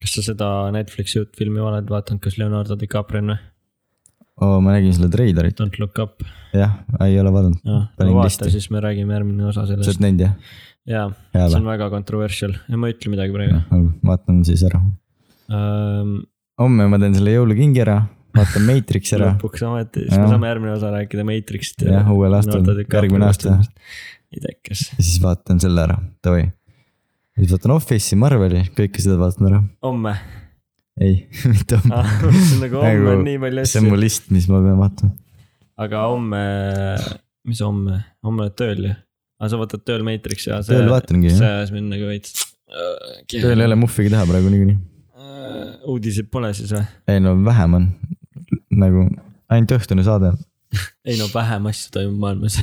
[SPEAKER 2] kas sa seda Netflixi uut filmi oled vaadanud , kas Leonardo DiCaprio on või ?
[SPEAKER 1] ma nägin selle treilerit ,
[SPEAKER 2] Don't look up ,
[SPEAKER 1] jah , ei ole vaadanud ,
[SPEAKER 2] jah ,
[SPEAKER 1] Panin
[SPEAKER 2] vaata
[SPEAKER 1] listi.
[SPEAKER 2] siis me räägime järgmine osa
[SPEAKER 1] sa
[SPEAKER 2] sellest
[SPEAKER 1] oled , näinud jah ?
[SPEAKER 2] jaa ,
[SPEAKER 1] hea
[SPEAKER 2] see
[SPEAKER 1] või
[SPEAKER 2] on ? väga controversial , ma ei ütle midagi praegu . Ehm,
[SPEAKER 1] vaatan siis ära , homme ma teen selle jõulukingi ära , vaatan Matrix ära ,
[SPEAKER 2] lõpuks ometi , siis me
[SPEAKER 1] Jah.
[SPEAKER 2] saame järgmine osa rääkida Matrixist .
[SPEAKER 1] Jah, uuel aastal, järgmine aasta. .
[SPEAKER 2] ei tea , kas ,
[SPEAKER 1] ja siis vaatan selle ära , davai . siis vaatan Office'i , Marveli , kõike seda vaatan ära .
[SPEAKER 2] homme .
[SPEAKER 1] ei , mitte homme .
[SPEAKER 2] see on nagu homme on nii palju
[SPEAKER 1] see on
[SPEAKER 2] asju ,
[SPEAKER 1] mu list , mis ma pean vaatama .
[SPEAKER 2] aga homme , mis homme , homme oled tööl ju ? aa , sa vaatad tööl Matrixi ja see .
[SPEAKER 1] Tööl vaatangi, jah.
[SPEAKER 2] see ajas mind nagu veits . Äh,
[SPEAKER 1] tööl ei ole muffigi teha praegu niikuinii .
[SPEAKER 2] uudiseid pole siis või ?
[SPEAKER 1] ei no vähem on , nagu ainult õhtune saade on .
[SPEAKER 2] ei no vähem asju toimub maailmas .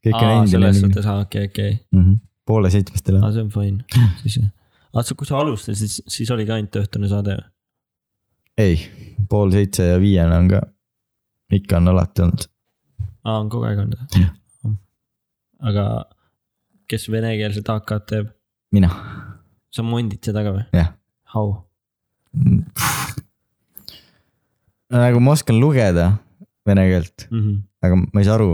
[SPEAKER 1] kõik on
[SPEAKER 2] aa , selles
[SPEAKER 1] endine .
[SPEAKER 2] suhtes , aa okei , okei ,
[SPEAKER 1] poole seitsmest ei lähe .
[SPEAKER 2] aa see on fine , siis jah . aa , sa , kui sa alustasid , siis , siis oligi ainult õhtune saade või ?
[SPEAKER 1] ei , pool seitse ja viiene on ka . ikka on alati olnud .
[SPEAKER 2] aa , on kogu aeg olnud
[SPEAKER 1] Jah. ?
[SPEAKER 2] aga kes venekeelset AK-d teeb ,
[SPEAKER 1] mina ,
[SPEAKER 2] sa mondid seda ka või ?
[SPEAKER 1] jah .
[SPEAKER 2] How ?
[SPEAKER 1] nagu ma oskan lugeda vene keelt ,
[SPEAKER 2] kuidas
[SPEAKER 1] aga ma ei saa aru ,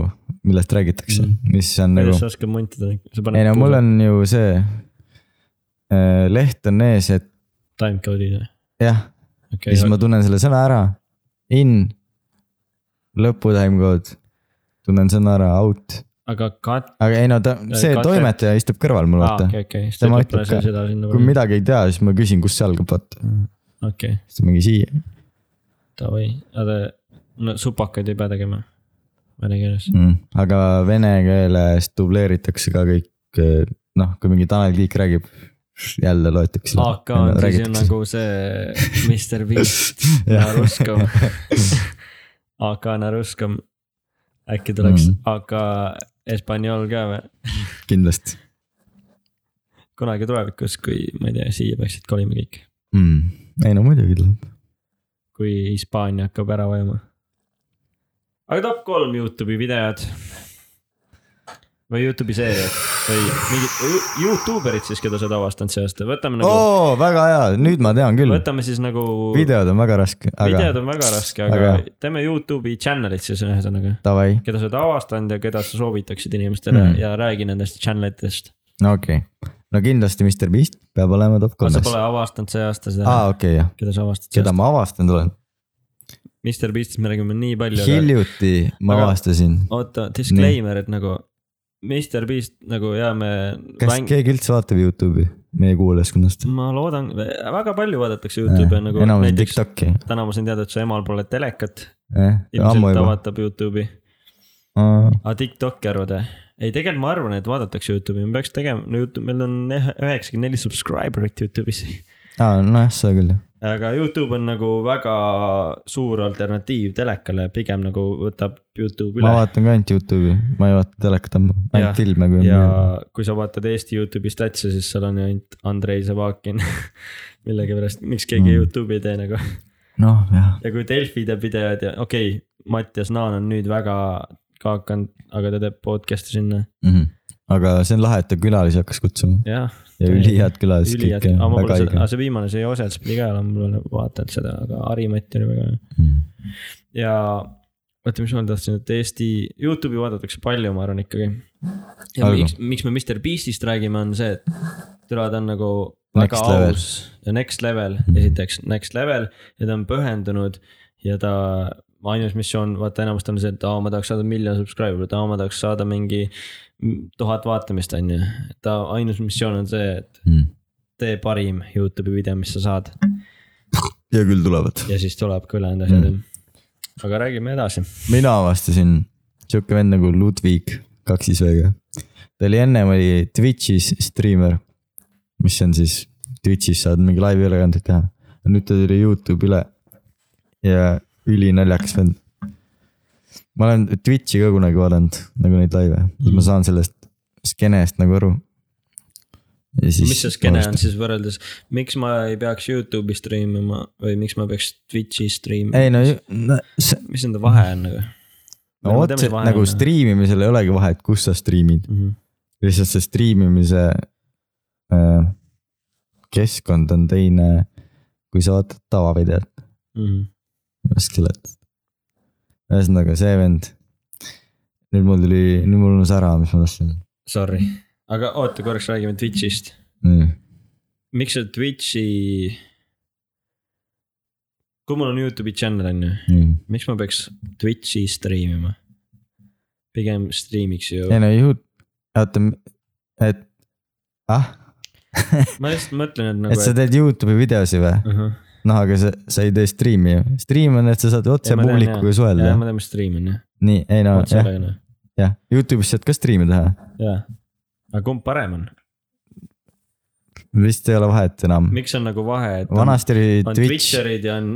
[SPEAKER 1] millest räägitakse ,
[SPEAKER 2] Mhm.
[SPEAKER 1] mis on nagu .
[SPEAKER 2] sa oskad montida ?
[SPEAKER 1] ei no mul . on ju see äh, leht on ees , et
[SPEAKER 2] Timecode'id või ?
[SPEAKER 1] jah , ja
[SPEAKER 2] okei
[SPEAKER 1] siis , ma tunnen selle sõna ära . In , lõpu timekood , tunnen sõna ära , out ,
[SPEAKER 2] aga kat- .
[SPEAKER 1] aga ei no ta , see
[SPEAKER 2] Concept.
[SPEAKER 1] toimetaja istub kõrval mul vaata .
[SPEAKER 2] okei , okei , siis
[SPEAKER 1] Tema
[SPEAKER 2] ta
[SPEAKER 1] ütleb
[SPEAKER 2] ütleb
[SPEAKER 1] ka,
[SPEAKER 2] ka seda sinna .
[SPEAKER 1] kui . midagi ei tea , siis ma küsin , kus see algab , vaata ,
[SPEAKER 2] okei ,
[SPEAKER 1] siis ta mingi siia
[SPEAKER 2] davai , aga no supakaid ei pea tegema vene keeles .
[SPEAKER 1] mm. . aga vene keeles dubleeritakse ka kõik , noh , kui mingi Tanel Kiik räägib , jälle loetakse .
[SPEAKER 2] AK on siis ju . nagu see Mr Beast
[SPEAKER 1] Jah.
[SPEAKER 2] ja Ruskom . AK on Ruskom . äkki tuleks
[SPEAKER 1] Mm.
[SPEAKER 2] AK Hispaaniol ka või ?
[SPEAKER 1] kindlasti
[SPEAKER 2] kunagi tulevikus , kui ma ei tea , siia peaksid kolima kõik ,
[SPEAKER 1] mm. . ei no muidugi tuleb .
[SPEAKER 2] kui Hispaania hakkab ära vajuma . aga top kolm Youtube'i videod . või Youtube'i seeriad või mingid Youtuber'id siis , keda sa oled avastanud see aasta , võtame nagu oh! ,
[SPEAKER 1] oo , väga hea , nüüd ma tean küll .
[SPEAKER 2] võtame siis nagu .
[SPEAKER 1] videod on väga raske ,
[SPEAKER 2] videod
[SPEAKER 1] aga
[SPEAKER 2] on väga raske , aga
[SPEAKER 1] Aga-
[SPEAKER 2] teeme Youtube'i channel'id siis ühesõnaga ,
[SPEAKER 1] davai ,
[SPEAKER 2] keda sa oled avastanud ja keda sa soovitaksid inimestele
[SPEAKER 1] Mm.
[SPEAKER 2] mm. ja räägi nendest channel itest .
[SPEAKER 1] no okei okay. . no kindlasti Mr Beast peab olema top
[SPEAKER 2] kas sa
[SPEAKER 1] kolmes .
[SPEAKER 2] pole avastanud see aasta seda
[SPEAKER 1] aa ,
[SPEAKER 2] ah, ,
[SPEAKER 1] okei okay, , jah ,
[SPEAKER 2] keda sa avastad see
[SPEAKER 1] keda
[SPEAKER 2] aasta ?
[SPEAKER 1] ma avastanud olen .
[SPEAKER 2] Mr Beast'ist me räägime nii palju , aga
[SPEAKER 1] hiljuti ma
[SPEAKER 2] Aga-
[SPEAKER 1] avastasin ,
[SPEAKER 2] oota , disclaimer , et nagu Mr Beast nagu ja me .
[SPEAKER 1] kas keegi üldse vaatab Youtube'i meie kuulajaskonnast ?
[SPEAKER 2] ma loodan , väga palju vaadatakse Youtube'i nagu
[SPEAKER 1] Äh, enamus on
[SPEAKER 2] näiteks
[SPEAKER 1] Tiktoki ,
[SPEAKER 2] täna ma sain teada , et su emal pole telekat ,
[SPEAKER 1] ammu
[SPEAKER 2] ilmselt ta
[SPEAKER 1] juba .
[SPEAKER 2] vaatab Youtube'i . aga TikTok'i arvad või ? ei , tegelikult ma arvan , et vaadatakse Youtube'i , me peaks tegema , no Youtube , meil on üheksakümmend neli subscriber'it Youtube'is .
[SPEAKER 1] aa , nojah , seda küll jah .
[SPEAKER 2] aga Youtube on nagu väga suur alternatiiv telekale , pigem nagu võtab Youtube
[SPEAKER 1] ma
[SPEAKER 2] üle .
[SPEAKER 1] vaatan ka ainult Youtube'i , ma ei vaata telekat ammu ,
[SPEAKER 2] Jah.
[SPEAKER 1] ainult filme kui on
[SPEAKER 2] ja
[SPEAKER 1] midagi .
[SPEAKER 2] kui sa vaatad Eesti Youtube'i statsi , siis seal on ju ainult Andrei Zavakin . millegipärast , miks keegi
[SPEAKER 1] Mm.
[SPEAKER 2] mm. Youtube'i ei tee nagu
[SPEAKER 1] noh , jah ,
[SPEAKER 2] ja kui Delfi teeb videod ja okei okay, , Mattias Naan on nüüd väga ka hakanud , aga ta teeb podcast'i sinna .
[SPEAKER 1] Mhm. aga see on lahe , et ta külalisi hakkas kutsuma
[SPEAKER 2] jah ,
[SPEAKER 1] ja ülihead külalised
[SPEAKER 2] ülihea
[SPEAKER 1] kõik , ja
[SPEAKER 2] aga ma
[SPEAKER 1] väga
[SPEAKER 2] pole seda ,
[SPEAKER 1] õige
[SPEAKER 2] aga . see viimane , see Joosels pidi ka olema , mul on nagu vaatanud seda , aga Harimat oli väga hea .
[SPEAKER 1] Mhm.
[SPEAKER 2] ja oota , mis ma veel tahtsin , et Eesti Youtube'i vaadatakse palju , ma arvan ikkagi . ja
[SPEAKER 1] Algu.
[SPEAKER 2] miks , miks me Mr Beast'ist räägime , on see , et türa ta on nagu väga
[SPEAKER 1] Next level.
[SPEAKER 2] aus ja next level
[SPEAKER 1] Mhm.
[SPEAKER 2] mm. , esiteks next level ja ta on pühendunud ja ta ainus missioon , vaata enamasti on see , et aa , ma tahaks saada miljon subscriber'it , aa , ma tahaks saada mingi mm, tuhat vaatamist , on ju . ta ainus missioon on see , et tee parim Youtube'i video , mis sa saad
[SPEAKER 1] ja küll tulevad .
[SPEAKER 2] ja siis tuleb ka ülejäänud
[SPEAKER 1] Mhm.
[SPEAKER 2] asjad mm. . aga räägime edasi .
[SPEAKER 1] mina avastasin sihuke vend nagu Ludwig kaks isega . ta oli ennem oli Twitch'is striimer , mis on siis Twitch'is saad mingi laivülekandeid teha . nüüd ta tuli Youtube'i üle ja ülinaljakas vend . ma olen Twitch'i ka kunagi vaadanud , nagu neid laive , et ma saan sellest skeenest nagu aru .
[SPEAKER 2] mis see skeene on ? siis võrreldes , miks ma ei peaks Youtube'i striimima või miks ma peaks Twitch'i striimima ?
[SPEAKER 1] ei no, ju- no see,
[SPEAKER 2] mis nende vahe on nagu ?
[SPEAKER 1] no otseselt nagu . striimimisel ei olegi vahet , kus sa striimid ,
[SPEAKER 2] Mhm,
[SPEAKER 1] lihtsalt see striimimise äh, keskkond on teine , kui sa vaatad tavavideot ,
[SPEAKER 2] mhm.
[SPEAKER 1] raske seletada . ühesõnaga see vend , nüüd mul tuli , nüüd mul unus ära , mis ma tahtsin .
[SPEAKER 2] Sorry , aga oota korraks , räägime Twitch'ist . miks see Twitch'i , kui mul on Youtube'i channel on ju , miks ma peaks Twitch'i striimima ? pigem striimiks ju ,
[SPEAKER 1] ei no ju , oota , et , ah ,
[SPEAKER 2] ma lihtsalt mõtlen , et
[SPEAKER 1] et sa
[SPEAKER 2] nagu .
[SPEAKER 1] teed Youtube'i videosi või ? noh , aga sa , sa ei tee striimi ju , striim on , et sa saad otse publikuga suhelda
[SPEAKER 2] jah ,, ma tean , ma striimin jah ,
[SPEAKER 1] nii , ei no
[SPEAKER 2] otse
[SPEAKER 1] jah ,
[SPEAKER 2] ülekanne ,
[SPEAKER 1] jah , Youtube'is saad ka striimi teha ,
[SPEAKER 2] jaa . aga kumb parem on ?
[SPEAKER 1] vist ei ole vahet enam .
[SPEAKER 2] miks on nagu vahe , et on,
[SPEAKER 1] vanasti oli
[SPEAKER 2] on
[SPEAKER 1] Twitch ,
[SPEAKER 2] Twitcherid ja on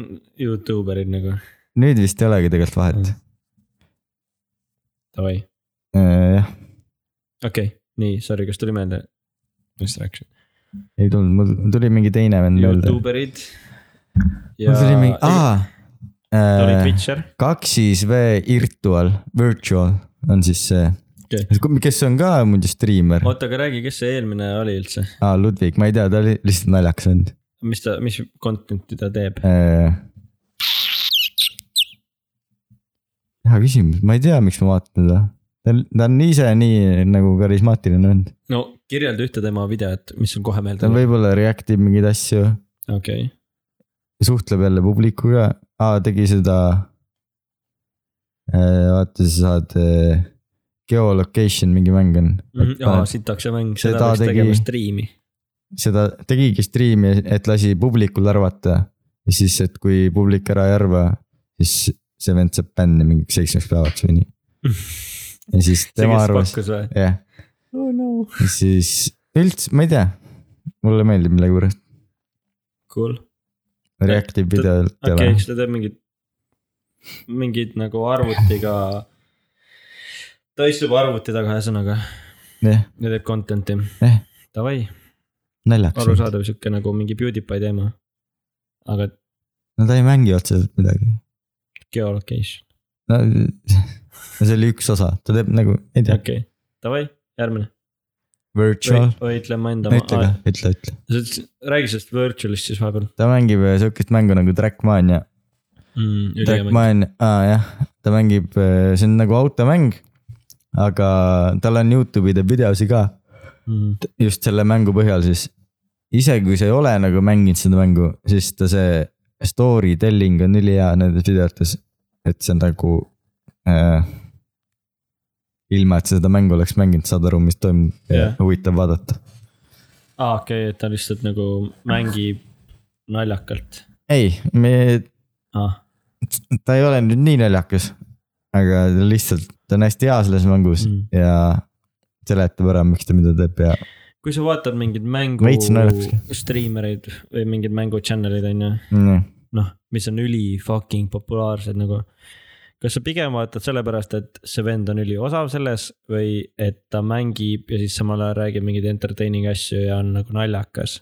[SPEAKER 2] Youtuberid nagu ,
[SPEAKER 1] nüüd vist ei olegi tegelikult vahet .
[SPEAKER 2] davai ,
[SPEAKER 1] Äh, jah ,
[SPEAKER 2] okei okay. , nii , sorry , kas tuli meelde , mis rääkisin ?
[SPEAKER 1] ei tulnud , mul tuli mingi teine vend meelde .
[SPEAKER 2] Youtuberid .
[SPEAKER 1] mul tuli mingi ,
[SPEAKER 2] ta oli
[SPEAKER 1] aa .
[SPEAKER 2] Twitcher ,
[SPEAKER 1] kaksis V virtual , virtual on siis see
[SPEAKER 2] Okei. ,
[SPEAKER 1] kes on ka muidu striimer ,
[SPEAKER 2] oota , aga räägi , kes see eelmine oli üldse ,
[SPEAKER 1] aa Ludvig , ma ei tea , ta oli lihtsalt naljakas vend . Äh.
[SPEAKER 2] mis ta , mis content'i ta teeb ?
[SPEAKER 1] hea küsimus , ma ei tea , miks ma vaatan teda . ta on , ta on ise nii nagu karismaatiline vend ,
[SPEAKER 2] no kirjelda ühte tema videot , mis sul kohe meelde
[SPEAKER 1] ta
[SPEAKER 2] tuleb ,
[SPEAKER 1] võib-olla react ib mingeid asju ,
[SPEAKER 2] okei ,
[SPEAKER 1] suhtleb jälle publikuga , tegi seda . vaata , sa saad , geolocation mingi mäng on ,
[SPEAKER 2] Mhm, sitaks see mäng ,
[SPEAKER 1] seda
[SPEAKER 2] seda peaks
[SPEAKER 1] tegi-
[SPEAKER 2] tegema striimi ,
[SPEAKER 1] seda tegigi striimi , et lasi publikul arvata ja siis , et kui publik ära ei arva , siis see vend saab bänni mingiks seitsmeks päevaks või nii . ja siis
[SPEAKER 2] see
[SPEAKER 1] tema
[SPEAKER 2] kes
[SPEAKER 1] arvas ,
[SPEAKER 2] pakkus või ?
[SPEAKER 1] jah ,
[SPEAKER 2] oh no .
[SPEAKER 1] siis üldse , ma ei tea , mulle meeldib millegipärast ,
[SPEAKER 2] Cool ,
[SPEAKER 1] Reactive videolt ei
[SPEAKER 2] okei
[SPEAKER 1] ole
[SPEAKER 2] okay, , eks ta teeb mingit , mingit nagu arvutiga , ta istub arvuti taga , ühesõnaga ,
[SPEAKER 1] jah ,
[SPEAKER 2] ja teeb content'i
[SPEAKER 1] Eh. .
[SPEAKER 2] Davai ,
[SPEAKER 1] naljakas ,
[SPEAKER 2] arusaadav sihuke nagu mingi PewDiePie teema . aga
[SPEAKER 1] no ta ei mängi otseselt midagi .
[SPEAKER 2] geolocation ,
[SPEAKER 1] no see oli üks osa , ta teeb nagu , ei
[SPEAKER 2] okei
[SPEAKER 1] tea ,
[SPEAKER 2] okay. , davai , järgmine .
[SPEAKER 1] virtual ,
[SPEAKER 2] ütleme enda Ah,
[SPEAKER 1] no ütle ka , ütle , ütle .
[SPEAKER 2] sa ütlesid , räägi sellest virtual'ist siis vahepeal
[SPEAKER 1] ta mängib sihukest mängu nagu Trackmania
[SPEAKER 2] mm, .
[SPEAKER 1] Trackman , aa jah , ta mängib , see on nagu automäng . aga tal on Youtube'i teeb videosi ka
[SPEAKER 2] Mm,
[SPEAKER 1] just selle mängu põhjal siis . isegi kui sa ei ole nagu mänginud seda mängu , siis ta see story telling on ülihea nendes videotes , et see on nagu äh, . ilma , et sa seda mängu oleks mänginud , saad aru , mis toimub yeah.
[SPEAKER 2] Jah. ,
[SPEAKER 1] huvitav vaadata .
[SPEAKER 2] aa ah, okei okay, , et ta lihtsalt nagu mängib naljakalt
[SPEAKER 1] ei , me
[SPEAKER 2] ah, .
[SPEAKER 1] ta ei ole nüüd nii naljakas , aga ta lihtsalt , ta on hästi hea selles mängus
[SPEAKER 2] Mm.
[SPEAKER 1] mm. ja seletab ära , miks ta mida teeb ja
[SPEAKER 2] kui sa vaatad mingeid mängu
[SPEAKER 1] Veits naljakas.
[SPEAKER 2] striimereid või mingeid mängu channel eid on ju ,
[SPEAKER 1] mm. .
[SPEAKER 2] noh , mis on üli fucking populaarsed nagu . kas sa pigem vaatad sellepärast , et see vend on üliosav selles või et ta mängib ja siis samal ajal räägib mingeid entertaining asju ja on nagu naljakas ?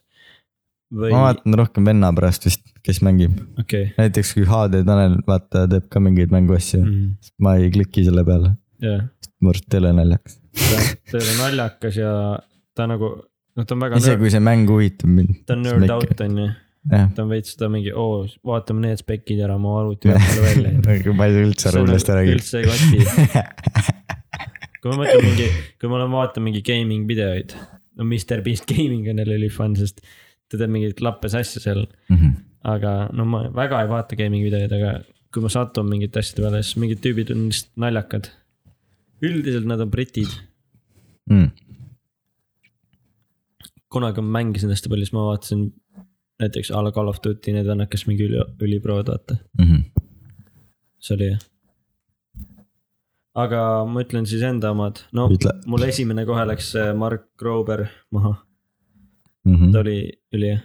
[SPEAKER 2] või
[SPEAKER 1] ma
[SPEAKER 2] okei
[SPEAKER 1] vaatan rohkem venna pärast vist , kes mängib ,
[SPEAKER 2] okay.
[SPEAKER 1] näiteks kui HD Tanel , vaata , teeb ka mingeid mänguasju mm. ,
[SPEAKER 2] mm, ,
[SPEAKER 1] ma ei kliki selle peale ,
[SPEAKER 2] jah ,
[SPEAKER 1] mu arust ei ole naljakas .
[SPEAKER 2] ta ta ei ole naljakas ja ta nagu , noh , ta on väga
[SPEAKER 1] isegi , kui see mäng huvitab mind .
[SPEAKER 2] ta on nerd out on ju ,
[SPEAKER 1] jah ,
[SPEAKER 2] ta on veits seda mingi , oo , vaatame need spec'id ära , ma arvuti pealt selle välja
[SPEAKER 1] ma ei saa üldse aru , millest ta räägib .
[SPEAKER 2] nagu üldse ei koti . kui ma mõtlen mingi , kui ma olen vaatan mingi gaming videoid , no Mr Beast Gaming on jälle ülifann , sest ta teeb mingeid lappes asju seal . aga no ma väga ei vaata gaming videoid , aga kui ma satun mingite asjade peale , siis mingid tüübid on lihtsalt naljakad . üldiselt nad on britid ,
[SPEAKER 1] Mm,
[SPEAKER 2] kunagi ma mängisin hästi palju , siis ma vaatasin näiteks a la Call of Duty , need on hakkas
[SPEAKER 1] mhm,
[SPEAKER 2] mingi üli , üliprood vaata , see oli . aga ma ütlen siis enda omad , no
[SPEAKER 1] Ütle.
[SPEAKER 2] mul esimene kohe läks äh, Mark Grober maha ,
[SPEAKER 1] Mhm.
[SPEAKER 2] ta
[SPEAKER 1] -hmm.
[SPEAKER 2] oli ülihea .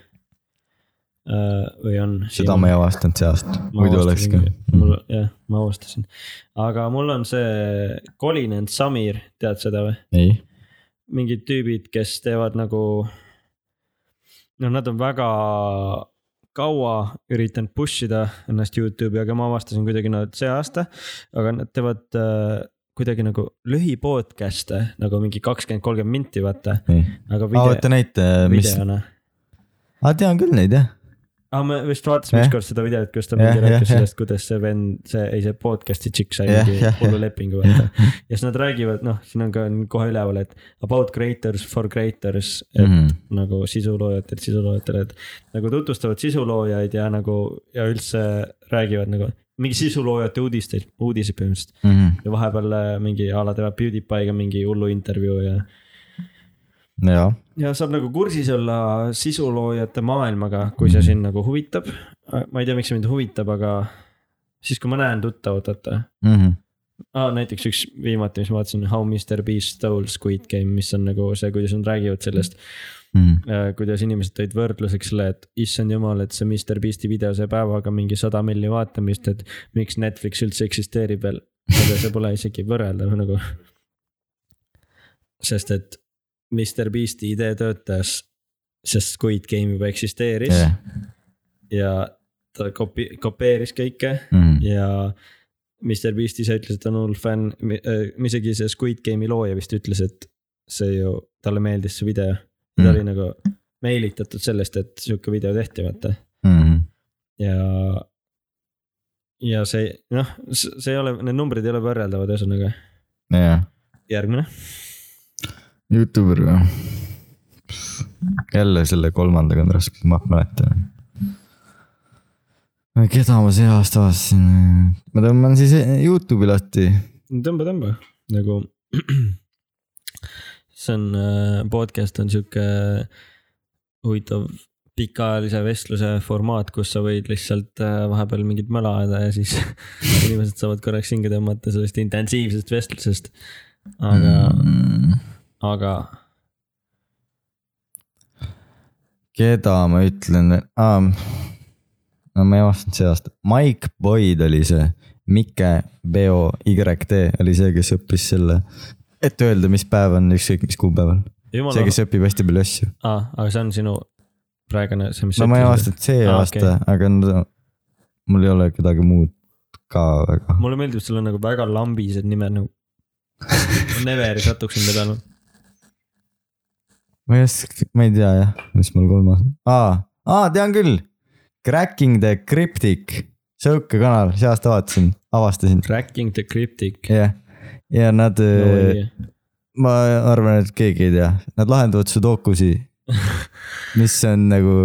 [SPEAKER 2] või on .
[SPEAKER 1] seda ma ei avastanud see aasta , muidu oleks ka . Mm. Mhm.
[SPEAKER 2] mul jah , ma avastasin , aga mul on see Colin and Samir , tead seda või ?
[SPEAKER 1] ei ,
[SPEAKER 2] mingid tüübid , kes teevad nagu . noh , nad on väga kaua üritanud push ida ennast Youtube'i , aga ma avastasin kuidagi nad see aasta , aga nad teevad äh, kuidagi nagu lühipodcast'e nagu mingi kakskümmend , kolmkümmend minti , vaata ,
[SPEAKER 1] ei .
[SPEAKER 2] aga
[SPEAKER 1] aa , oota
[SPEAKER 2] video ,
[SPEAKER 1] näita , mis ,
[SPEAKER 2] videona .
[SPEAKER 1] aa tean küll neid jah .
[SPEAKER 2] aga me vist vaatasime
[SPEAKER 1] Jah.
[SPEAKER 2] ükskord seda videot , kus ta
[SPEAKER 1] Jah,
[SPEAKER 2] mingi
[SPEAKER 1] jah,
[SPEAKER 2] rääkis
[SPEAKER 1] jah.
[SPEAKER 2] sellest , kuidas see vend , see , ei see podcast'i tšikk sai
[SPEAKER 1] Jah,
[SPEAKER 2] mingi
[SPEAKER 1] jah, jah.
[SPEAKER 2] hullu lepingu , vaata . ja siis nad räägivad , noh , siin on ka on kohe üleval , et about creators for creators , et mm
[SPEAKER 1] Mhm.
[SPEAKER 2] -hmm. nagu sisuloojatelt sisuloojatele , et nagu tutvustavad sisuloojaid ja nagu ja üldse räägivad nagu mingi sisuloojate uudisteid , uudiseid põhimõtteliselt .
[SPEAKER 1] mhm.
[SPEAKER 2] ja vahepeal äh, mingi a la teevad PewDiePie'ga mingi hullu intervjuu ja ,
[SPEAKER 1] jaa ,
[SPEAKER 2] ja saab nagu kursis olla sisuloojate maailmaga , kui see
[SPEAKER 1] Mhm.
[SPEAKER 2] sind nagu huvitab . ma ei tea , miks see mind huvitab , aga siis , kui ma näen tuttavat , vaata
[SPEAKER 1] Mhm,
[SPEAKER 2] ah, . näiteks üks viimati , mis ma vaatasin , How Mr Beast Stole Squid Game , mis on nagu see , kuidas nad räägivad sellest ,
[SPEAKER 1] mhm.
[SPEAKER 2] äh, kuidas inimesed tõid võrdluseks selle , et issand jumal , et see Mr Beast'i video sai päevaga mingi sada milli vaatamist , et miks Netflix üldse eksisteerib veel . aga see pole isegi võrreldav nagu . sest et Mr Beast'i idee töötas , sest Squid Game juba eksisteeris yeah. ja ta kopi- , kopeeris kõike
[SPEAKER 1] mhm,
[SPEAKER 2] ja Mr Beast ise ütles , et ta on hull fänn , isegi see Squid Game'i looja vist ütles , et see ju , talle meeldis see video . ta
[SPEAKER 1] Mm.
[SPEAKER 2] oli nagu meelitatud sellest , et sihuke video tehti , vaata
[SPEAKER 1] mhm.
[SPEAKER 2] ja . ja see noh , see ei ole , need numbrid ei ole võrreldavad , ühesõnaga .
[SPEAKER 1] jaa ,
[SPEAKER 2] järgmine ,
[SPEAKER 1] Youtuber või ? jälle selle kolmandaga on raske , ma mäletan . keda ma see aasta avastasin ? ma tõmban siis Youtube'i lahti .
[SPEAKER 2] tõmba , tõmba nagu . see on äh, podcast on sihuke huvitav pikaajalise vestluse formaat , kus sa võid lihtsalt äh, vahepeal mingit möla ajada ja siis inimesed saavad korraks hinge tõmmata sellest intensiivsest vestlusest . aga ,
[SPEAKER 1] Mm.
[SPEAKER 2] aga
[SPEAKER 1] keda ma ütlen ah, ? no ma ei avastanud see aasta , Mike Boyd oli see , Mike B-O-Y-T oli see , kes õppis selle , et öelda , mis päev on ükskõik mis kuupäeval .
[SPEAKER 2] jumal
[SPEAKER 1] see ,, kes õpib hästi palju asju .
[SPEAKER 2] ah, aga see on sinu praegune see , mis
[SPEAKER 1] no ma ei avastanud see
[SPEAKER 2] Aa,
[SPEAKER 1] ah,
[SPEAKER 2] okei.
[SPEAKER 1] aasta okay. , aga no, mul ei ole kedagi muud ka väga .
[SPEAKER 2] mulle meeldib , sul on nagu väga lambised nimed nagu . Neveri satuksin pidanud .
[SPEAKER 1] ma ei oska , ma ei tea jah , mis mul kolmas ah, , aa , tean küll . Cracking the Cryptic , sihuke kanal , see aasta vaatasin , avastasin ,
[SPEAKER 2] Cracking the cryptic .
[SPEAKER 1] jah . ja nad äh, no, , ma arvan , et keegi ei tea , nad lahendavad sudokusi , mis on nagu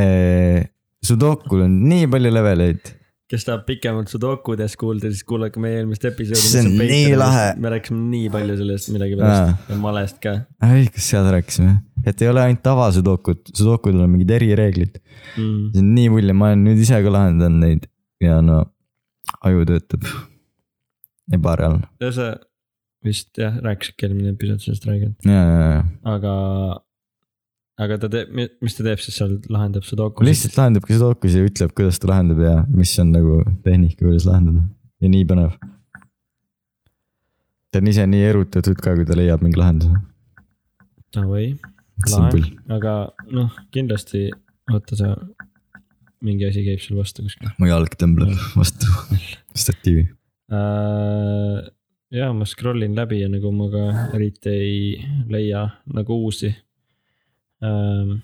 [SPEAKER 1] eh, . Sudokul on nii palju leveleid ,
[SPEAKER 2] kes tahab pikemalt sudokudes kuulda , siis kuulake meie eelmist episoodi .
[SPEAKER 1] See on nii lahe.
[SPEAKER 2] me rääkisime nii palju sellest millegipärast ja malest ka
[SPEAKER 1] kas seal rääkisime , et ei ole ainult tavasudokut , sudokudel on mingid erireeglid .
[SPEAKER 2] mm. .
[SPEAKER 1] see on nii pull ja ma olen nüüd ise ka lahendanud neid ja no aju töötab . ebareaalne ,
[SPEAKER 2] ja sa vist jah , rääkisidki eelmine episood sellest räägid ,
[SPEAKER 1] ja , ja , ja
[SPEAKER 2] aga , aga ta teeb , mis ta teeb siis seal , lahendab
[SPEAKER 1] Kui
[SPEAKER 2] sudokusid
[SPEAKER 1] lihtsalt lahendabki sudokus ja ütleb , kuidas ta lahendab ja mis on nagu tehnika , kuidas lahendada ja nii põnev . ta on ise nii erutatud ka , kui ta leiab mingi lahenduse .
[SPEAKER 2] või ?
[SPEAKER 1] see on
[SPEAKER 2] lahe
[SPEAKER 1] pull ,,
[SPEAKER 2] aga noh , kindlasti vaata sa , mingi asi käib sul vastu kuskil .
[SPEAKER 1] mu jalg tõmbleb vastu statiivi .
[SPEAKER 2] Äh, ja ma scroll in läbi ja nagu ma ka eriti ei leia nagu uusi ähm, .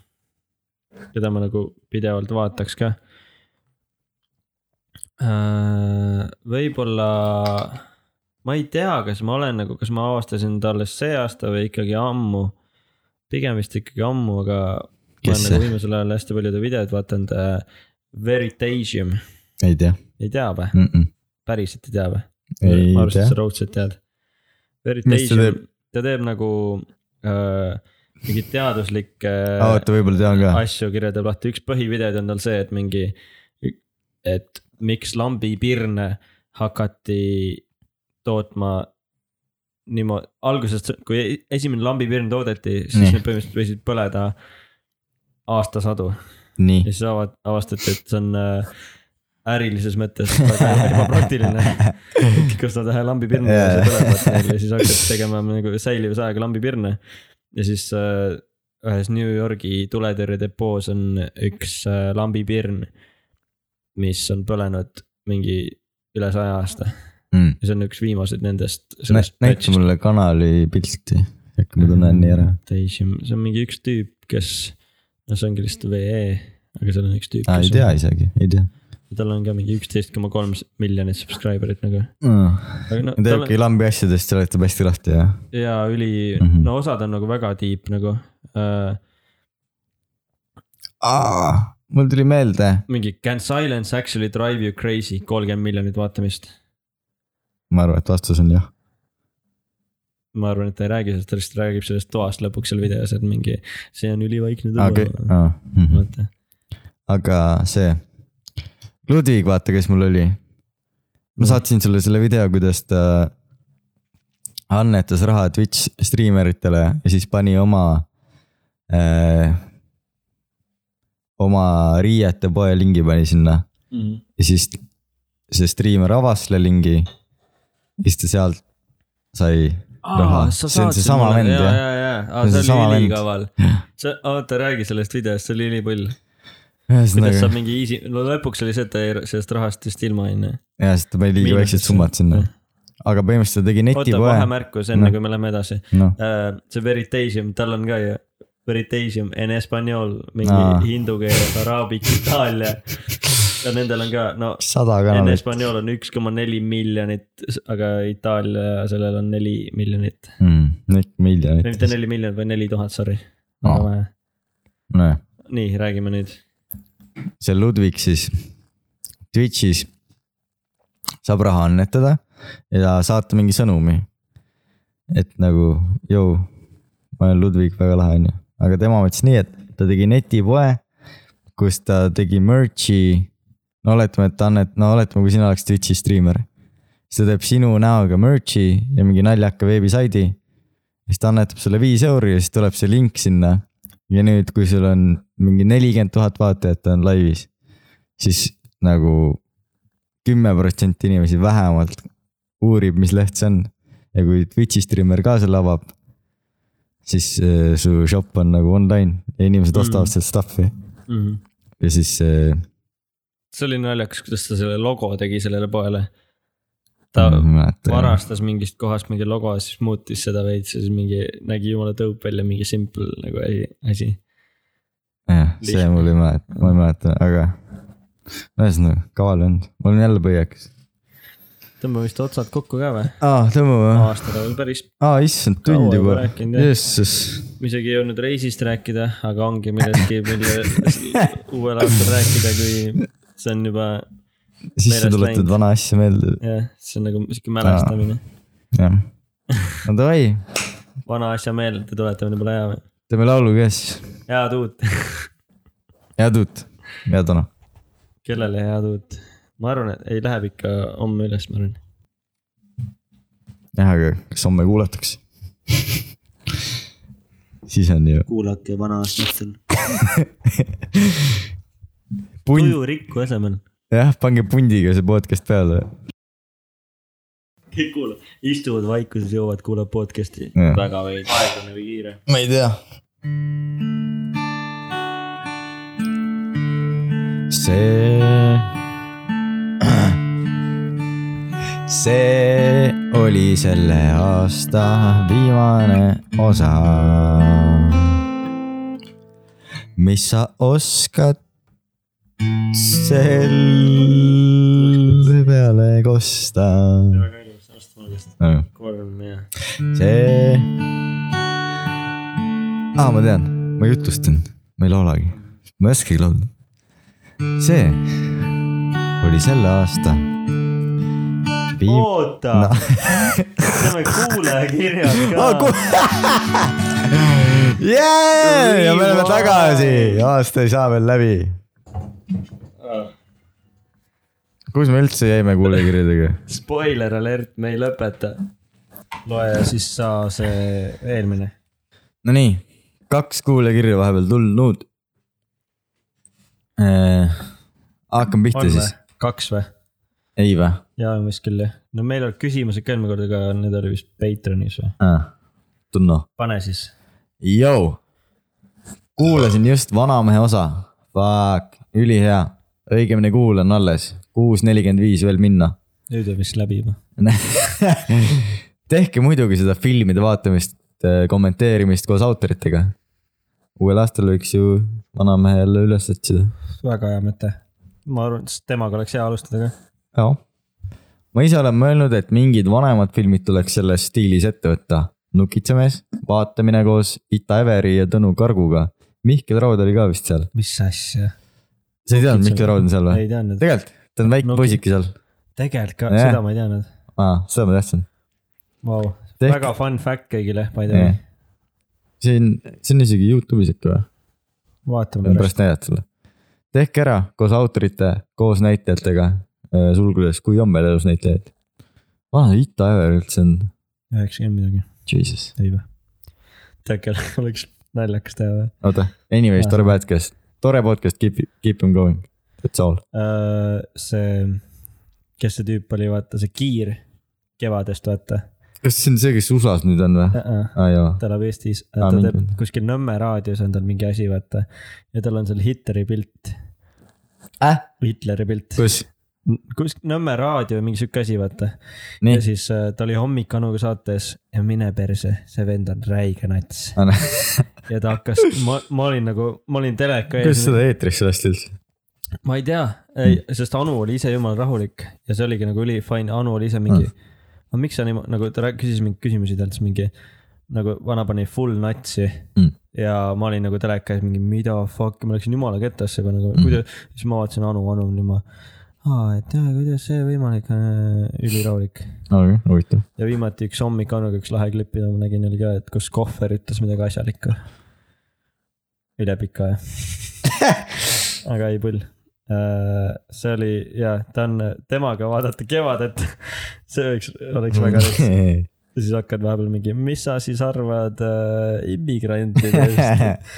[SPEAKER 2] keda ma nagu pidevalt vaataks ka äh, . võib-olla , ma ei tea , kas ma olen nagu , kas ma avastasin ta alles see aasta või ikkagi ammu . pigem vist ikkagi ammu , aga ma
[SPEAKER 1] Kes
[SPEAKER 2] olen
[SPEAKER 1] see?
[SPEAKER 2] nagu viimasel ajal hästi palju ta videoid vaadanud äh, . Veritasium ,
[SPEAKER 1] ei tea
[SPEAKER 2] ei tea või ?
[SPEAKER 1] mm . -mm.
[SPEAKER 2] päriselt ei tea või ?
[SPEAKER 1] ei
[SPEAKER 2] ma arvasin ,
[SPEAKER 1] tea
[SPEAKER 2] et sa , raudselt tead .
[SPEAKER 1] Mis ta
[SPEAKER 2] Veritasium
[SPEAKER 1] teeb? ,
[SPEAKER 2] ta teeb nagu äh, mingit teaduslikke äh,
[SPEAKER 1] oota , võib-olla tean ka .
[SPEAKER 2] asju kirjeldab lahti , üks põhivideod on tal see , et mingi , et miks lambipirne hakati tootma niimoodi , algusest , kui e- esimene lambipirn toodeti , siis
[SPEAKER 1] Nii.
[SPEAKER 2] need põhimõtteliselt võisid põleda aastasadu ja
[SPEAKER 1] nii .
[SPEAKER 2] siis ava- , avastati , et see on äh, ärilises mõttes väga ebapraktiline . kus nad ühe lambipirni
[SPEAKER 1] Jaa.
[SPEAKER 2] yeah. põlevad neil ja siis hakkasid tegema nagu säilivusaega lambipirne . ja siis äh, ühes New Yorgi tuletõrjedepoos on üks äh, lambipirn , mis on põlenud mingi üle saja aasta ja see on üks viimaseid nendest .
[SPEAKER 1] Mm. näita mulle kanali pilti , äkki ma tunnen nii ära .
[SPEAKER 2] Dacium , see on mingi üks tüüp , kes , no see ongi lihtsalt VE , aga seal on üks tüüp .
[SPEAKER 1] aa , ei tea isegi , ei tea .
[SPEAKER 2] ja tal on ka mingi üksteist koma kolm miljonit subscriber'it nagu .
[SPEAKER 1] Mm.
[SPEAKER 2] aga no tal on
[SPEAKER 1] Teebki lambi asjadest seletab hästi lahti ja .
[SPEAKER 2] ja üli mm ,
[SPEAKER 1] Mhm.
[SPEAKER 2] -hmm. no osad on nagu väga deep nagu uh, .
[SPEAKER 1] mul tuli meelde ,
[SPEAKER 2] mingi can silence actually drive you crazy , kolmkümmend miljonit vaatamist .
[SPEAKER 1] ma arvan , et vastus on jah .
[SPEAKER 2] ma arvan , et ta ei räägi sellest , ta lihtsalt räägib sellest toast lõpuks seal videos , et mingi , see on ülivaikne tuba okay. .
[SPEAKER 1] aga ,
[SPEAKER 2] vaata ,
[SPEAKER 1] aga see , Ludvig , vaata , kes mul oli . ma saatsin sulle selle video , kuidas ta annetas raha Twitch streamer itele ja siis pani oma äh, , oma riiete poe lingi pani sinna
[SPEAKER 2] Mhm.
[SPEAKER 1] ja siis see streamer avas selle lingi . siis ta sealt sai raha , see on seesama vend
[SPEAKER 2] ja ,
[SPEAKER 1] jah
[SPEAKER 2] ja , ja ,
[SPEAKER 1] See on
[SPEAKER 2] see
[SPEAKER 1] seesama
[SPEAKER 2] oli
[SPEAKER 1] vend.
[SPEAKER 2] ülikaval . sa , oota , räägi sellest videost , see oli ülipull . kuidas
[SPEAKER 1] ühesõnaga
[SPEAKER 2] saab mingi easy , no lõpuks oli see , et ta jäi sellest rahast vist ilma , onju .
[SPEAKER 1] ja siis ta pani liiga väiksed summad sinna , aga põhimõtteliselt ta tegi
[SPEAKER 2] oota ,
[SPEAKER 1] netipoe ,
[SPEAKER 2] vahemärkus enne
[SPEAKER 1] Noh.
[SPEAKER 2] kui me läheme edasi .
[SPEAKER 1] noh
[SPEAKER 2] Äh, see Veritasium , tal on ka ju Veritasium en espanol , mingi
[SPEAKER 1] Aa.
[SPEAKER 2] hindu keel , araabik , itaalia . ja nendel on ka , no
[SPEAKER 1] sada
[SPEAKER 2] en
[SPEAKER 1] kanalit
[SPEAKER 2] espanol on üks koma neli miljonit , aga Itaalia sellel on neli miljonit .
[SPEAKER 1] mm, , nüüd miljonit
[SPEAKER 2] mitte , neli miljonit , vaid neli tuhat , sorry .
[SPEAKER 1] Aa. nojah ,
[SPEAKER 2] nii , räägime nüüd .
[SPEAKER 1] see Ludvig siis Twitch'is saab raha annetada ja saata mingi sõnumi . et nagu , jõu , ma olen Ludvig , väga lahe onju , aga tema mõtles nii , et ta tegi netipoe , kus ta tegi merch'i . no oletame , et ta annet- , no oletame , kui sina oleks Twitch'i striimer , siis ta teeb sinu näoga merch'i ja mingi naljaka veebisaidi siis ta annetab sulle viis euri ja siis tuleb see link sinna . ja nüüd , kui sul on mingi nelikümmend tuhat vaatajat on laivis , siis nagu kümme protsenti inimesi vähemalt uurib , mis leht see on . ja kui Twitch'i streamer ka selle avab , siis äh, su shop on nagu online ja inimesed
[SPEAKER 2] Mm.
[SPEAKER 1] ostavad sealt stuff'i
[SPEAKER 2] Mm -hmm.
[SPEAKER 1] ja siis äh,
[SPEAKER 2] see oli naljakas , kuidas ta selle logo tegi sellele poele . ta
[SPEAKER 1] ma ei mäleta, jah.
[SPEAKER 2] varastas mingist kohast mingi logo , siis muutis seda veits ja siis mingi nägi jumala tõup välja , mingi simple nagu asi, asi. .
[SPEAKER 1] jah , see
[SPEAKER 2] Lihtne.
[SPEAKER 1] mul ei mäleta , ma ei mäleta , aga ühesõnaga kaval vend , mul on jälle põiekas .
[SPEAKER 2] tõmbame vist otsad kokku ka või ?
[SPEAKER 1] aa , tõmbame või ?
[SPEAKER 2] aastaga veel päris ,
[SPEAKER 1] aa , issand ,
[SPEAKER 2] Kaua
[SPEAKER 1] tund
[SPEAKER 2] ei
[SPEAKER 1] juba
[SPEAKER 2] ole , rääkinud, jah.
[SPEAKER 1] jesses
[SPEAKER 2] me isegi ei jõudnud reisist rääkida , aga ongi millestki , mille uuel aastal rääkida , kui see on juba
[SPEAKER 1] siis sa
[SPEAKER 2] meelest
[SPEAKER 1] tuletad
[SPEAKER 2] läinud.
[SPEAKER 1] vana asja meelde ,
[SPEAKER 2] jah , see on nagu sihuke mälestamine ,
[SPEAKER 1] jah . no davai ,
[SPEAKER 2] vana asja meelde tuletamine pole hea või ?
[SPEAKER 1] teeme laulu ka siis .
[SPEAKER 2] head uut ,
[SPEAKER 1] head uut , head vana .
[SPEAKER 2] kellele head uut ? ma arvan , et ei läheb ikka homme üles , ma arvan .
[SPEAKER 1] jah , aga kas homme kuulatakse ? siis on ju
[SPEAKER 2] kuulake vana aasta õhtul .
[SPEAKER 1] pund ,
[SPEAKER 2] tujurikku asemel .
[SPEAKER 1] jah , pange pundiga see podcast peale .
[SPEAKER 2] kõik kuulavad , istuvad vaikuses , joovad , kuulavad podcast'i .
[SPEAKER 1] Jah.
[SPEAKER 2] väga veidi , aeglane või nagu kiire .
[SPEAKER 1] ma ei tea . see . see oli selle aasta viimane osa . mis sa oskad selle peale kosta ?
[SPEAKER 2] väga ilus astmelist , kolm ja .
[SPEAKER 1] see . aa , ma tean , ma jutustan , ma ei laulagi , ma ei oskagi laulda . see oli selle aasta viim- .
[SPEAKER 2] oota no. , teeme kuulajakirjad ka
[SPEAKER 1] Oh, . jee , ja me oleme
[SPEAKER 2] Rewind.
[SPEAKER 1] Ah. tagasi , aasta ei saa veel läbi . kus me üldse jäime kuulajakirjadega ?
[SPEAKER 2] Spoiler alert , me ei lõpeta . loe siis sa see eelmine .
[SPEAKER 1] Nonii , kaks kuulajakirja vahepeal tulnud äh, . hakkame pihta
[SPEAKER 2] on või
[SPEAKER 1] siis ??
[SPEAKER 2] kaks või ?
[SPEAKER 1] ei vä
[SPEAKER 2] jaa , vist küll jah . no meil olid küsimused ka eelmine kord , aga need olid vist Patreonis või ?
[SPEAKER 1] äh, ? tunno .
[SPEAKER 2] pane siis .
[SPEAKER 1] Jou , kuulasin just Vanamehe osa . Fuck , ülihea , õigemini kuulan alles , kuus nelikümmend viis veel minna
[SPEAKER 2] nüüd on vist läbi juba .
[SPEAKER 1] tehke muidugi seda filmide vaatamist , kommenteerimist koos autoritega . uuel aastal võiks ju vanamehe jälle üles otsida .
[SPEAKER 2] väga hea mõte . ma arvan , et temaga oleks hea alustada ka .
[SPEAKER 1] jah . ma ise olen mõelnud , et mingid vanemad filmid tuleks selles stiilis ette võtta . nukitsamees , vaatamine koos Ita Everi ja Tõnu Karguga . Mihkel Raud oli ka vist seal .
[SPEAKER 2] mis asja ?
[SPEAKER 1] sa ei teadnud , Mihkel Raud on seal või
[SPEAKER 2] ei ? teadnud .
[SPEAKER 1] tegelikult , ta on väike
[SPEAKER 2] Nuki-
[SPEAKER 1] poisike seal .
[SPEAKER 2] tegelikult ka ,
[SPEAKER 1] Jah.
[SPEAKER 2] seda ma ei teadnud .
[SPEAKER 1] aa , seda ma tahtsin .
[SPEAKER 2] Vau ,
[SPEAKER 1] Tehke-
[SPEAKER 2] väga fun fact kõigile , by the way
[SPEAKER 1] Jah. . see on , see on isegi Youtube'is ikka või ?
[SPEAKER 2] vaatame
[SPEAKER 1] ma
[SPEAKER 2] pärast .
[SPEAKER 1] pärast näidata sulle . tehke ära koos autorite , koos näitlejatega , sulgudes , kui on meil elus näitlejaid . vana Ita Ever üldse on ,
[SPEAKER 2] üheksakümmend midagi ,
[SPEAKER 1] jesus .
[SPEAKER 2] ei vä ? tegelikult oleks naljakas teha või ?
[SPEAKER 1] oota , anyways , tore podcast , tore podcast , keep , keep them going , that's all .
[SPEAKER 2] Äh, see , kes see tüüp oli , vaata see Kiir kevadest , vaata
[SPEAKER 1] kas see on see , kes USA-s nüüd on või ?
[SPEAKER 2] uh . -uh.
[SPEAKER 1] aa Ah, jaa ,
[SPEAKER 2] ta elab Eestis ,
[SPEAKER 1] Aa,
[SPEAKER 2] ta teeb
[SPEAKER 1] mingi-
[SPEAKER 2] kuskil Nõmme raadios on tal mingi asi , vaata . ja tal on seal Hitleri pilt
[SPEAKER 1] Äh? .
[SPEAKER 2] Hitleri pilt .
[SPEAKER 1] kus ,
[SPEAKER 2] kus Nõmme raadio või mingi sihuke asi , vaata . ja
[SPEAKER 1] nii ,
[SPEAKER 2] siis äh, ta oli hommik Anuga saates ja mine perse , see vend on räige nats .
[SPEAKER 1] anna ,
[SPEAKER 2] ja ta hakkas , ma , ma olin nagu , ma olin teleka
[SPEAKER 1] kuidas
[SPEAKER 2] ees .
[SPEAKER 1] seda eetrisse lasti üldse ?
[SPEAKER 2] ma ei tea , ei , sest Anu oli ise jumala rahulik ja see oligi nagu ülifine , Anu oli ise
[SPEAKER 1] Ah.
[SPEAKER 2] mingi mm. . aga miks sa niimoodi , nagu ta rää- küsis mingeid küsimusi , ta ütles mingi nagu vana pani full natsi
[SPEAKER 1] Mm.
[SPEAKER 2] ja ma olin nagu teleka ees mingi mida fuck , ma läksin jumala ketasse juba nagu mm. , kuidas , siis ma vaatasin Anu , Anu oli ma . aa , et jaa , kuidas see võimalik on , ülirahulik .
[SPEAKER 1] Ah, okei , huvitav .
[SPEAKER 2] ja viimati üks hommik Anuga üks lahe klipp , mida ma nägin , oli ka , et kus kohver ütles midagi asjalikku . üle pika aja . aga ei pull . see oli ja ta on , temaga vaadata Kevadet , see võiks , oleks väga
[SPEAKER 1] Mm.
[SPEAKER 2] lõbus . ja siis hakkad vahepeal mingi , mis sa siis arvad äh, immigrantidest ?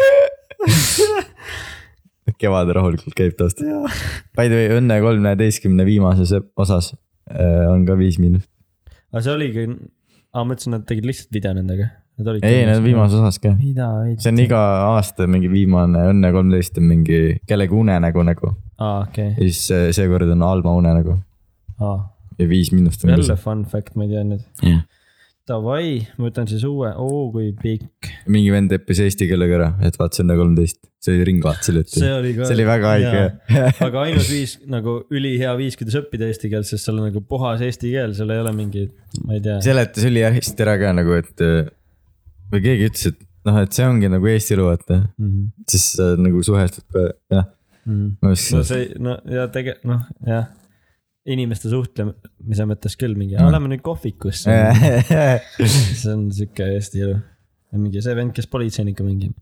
[SPEAKER 1] kevad rahulikult käib taustal . By the way , Õnne kolmeteistkümne viimases osas äh, on ka viis miinust .
[SPEAKER 2] aga see oligi , aa ma mõtlesin , nad tegid lihtsalt video nendega .
[SPEAKER 1] ei , need on . viimases osas ka .
[SPEAKER 2] mida ?
[SPEAKER 1] see on iga aasta mingi viimane Õnne kolmteist on mingi kellegi unenägu nagu
[SPEAKER 2] aa okei
[SPEAKER 1] ja siis äh, seekord on nagu. Alma unenägu
[SPEAKER 2] aa
[SPEAKER 1] ja viis miinust on
[SPEAKER 2] jälle
[SPEAKER 1] ka
[SPEAKER 2] fun fact , ma ei tea nüüd
[SPEAKER 1] Jah. .
[SPEAKER 2] Davai , ma võtan siis uue , oo kui pikk .
[SPEAKER 1] see . mingi vend õppis eesti keelega ära , et vaata see Õnne kolmteist , see oli Ringvaat selle ütlus .
[SPEAKER 2] oli
[SPEAKER 1] see oli väga haige .
[SPEAKER 2] aga ainus viis nagu ülihea viis , kuidas õppida eesti keelt , sest seal on nagu puhas eesti keel , seal ei ole mingit , ma ei tea .
[SPEAKER 1] seletas ülihästi ära ka nagu , et äh, või keegi ütles , et noh , et see ongi nagu Eesti elu , vaata .
[SPEAKER 2] Mhm,
[SPEAKER 1] siis sa nagu suhestud ka , jah ,
[SPEAKER 2] no
[SPEAKER 1] ma ei oska
[SPEAKER 2] see , no ja tege- , noh jah , inimeste suhtlemise mõttes küll mingi , aga lähme nüüd kohvikusse . see on sihuke Eesti elu . mingi see vend , kes politseinikku mängib .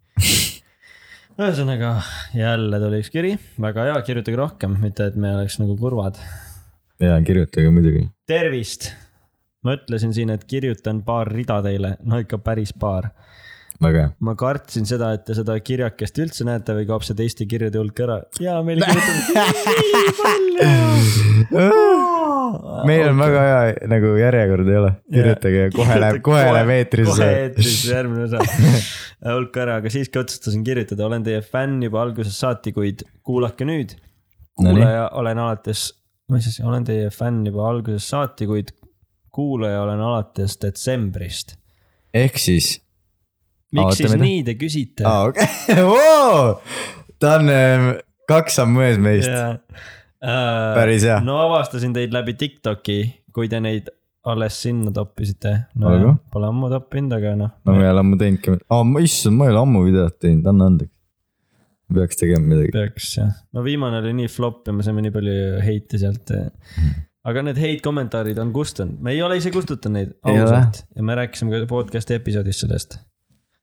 [SPEAKER 2] ühesõnaga jälle tuli üks kiri , väga hea , kirjutage rohkem , mitte et me oleks nagu kurvad .
[SPEAKER 1] ja kirjutage muidugi .
[SPEAKER 2] tervist . ma ütlesin siin , et kirjutan paar rida teile , no ikka päris paar .
[SPEAKER 1] väga hea .
[SPEAKER 2] ma kartsin seda , et te seda kirjakest üldse näete või kaob see teiste kirjade hulk ära . ja meil kirjutab .
[SPEAKER 1] meil on väga hea nagu järjekord ei ole , kirjutage kohe läheb , kohe läheb
[SPEAKER 2] kohe
[SPEAKER 1] eetrisse .
[SPEAKER 2] eetrisse , järgmine osa hulk ära , aga siiski otsustasin kirjutada , olen teie fänn juba algusest saati , kuid kuulake nüüd .
[SPEAKER 1] Nonii.
[SPEAKER 2] kuulaja olen alates , mis asi , olen teie fänn juba algusest saati , kuid kuulaja olen alates detsembrist .
[SPEAKER 1] ehk siis ,
[SPEAKER 2] miks
[SPEAKER 1] Oota,
[SPEAKER 2] Aate, siis
[SPEAKER 1] mida?
[SPEAKER 2] mida? nii te küsite ?
[SPEAKER 1] aa okei okay. , ta on ähm, kaks sammu ees meist yeah. . Päris hea.
[SPEAKER 2] Äh, no avastasin teid läbi Tiktoki , kui te neid alles sinna toppisite .
[SPEAKER 1] Olgu.
[SPEAKER 2] no pole ammu toppinud , aga noh
[SPEAKER 1] no ma ei ole ammu teinudki , aa ma- issand , ma ei ole ammu videot teinud , anna andeks . peaks tegema midagi ,
[SPEAKER 2] peaks jah , no viimane oli nii flop ja me saime nii palju heite sealt . aga need hate kommentaarid on kustunud , me ei ole ise kustutanud neid
[SPEAKER 1] Ei
[SPEAKER 2] ausalt ja me rääkisime ka podcast'i episoodis sellest .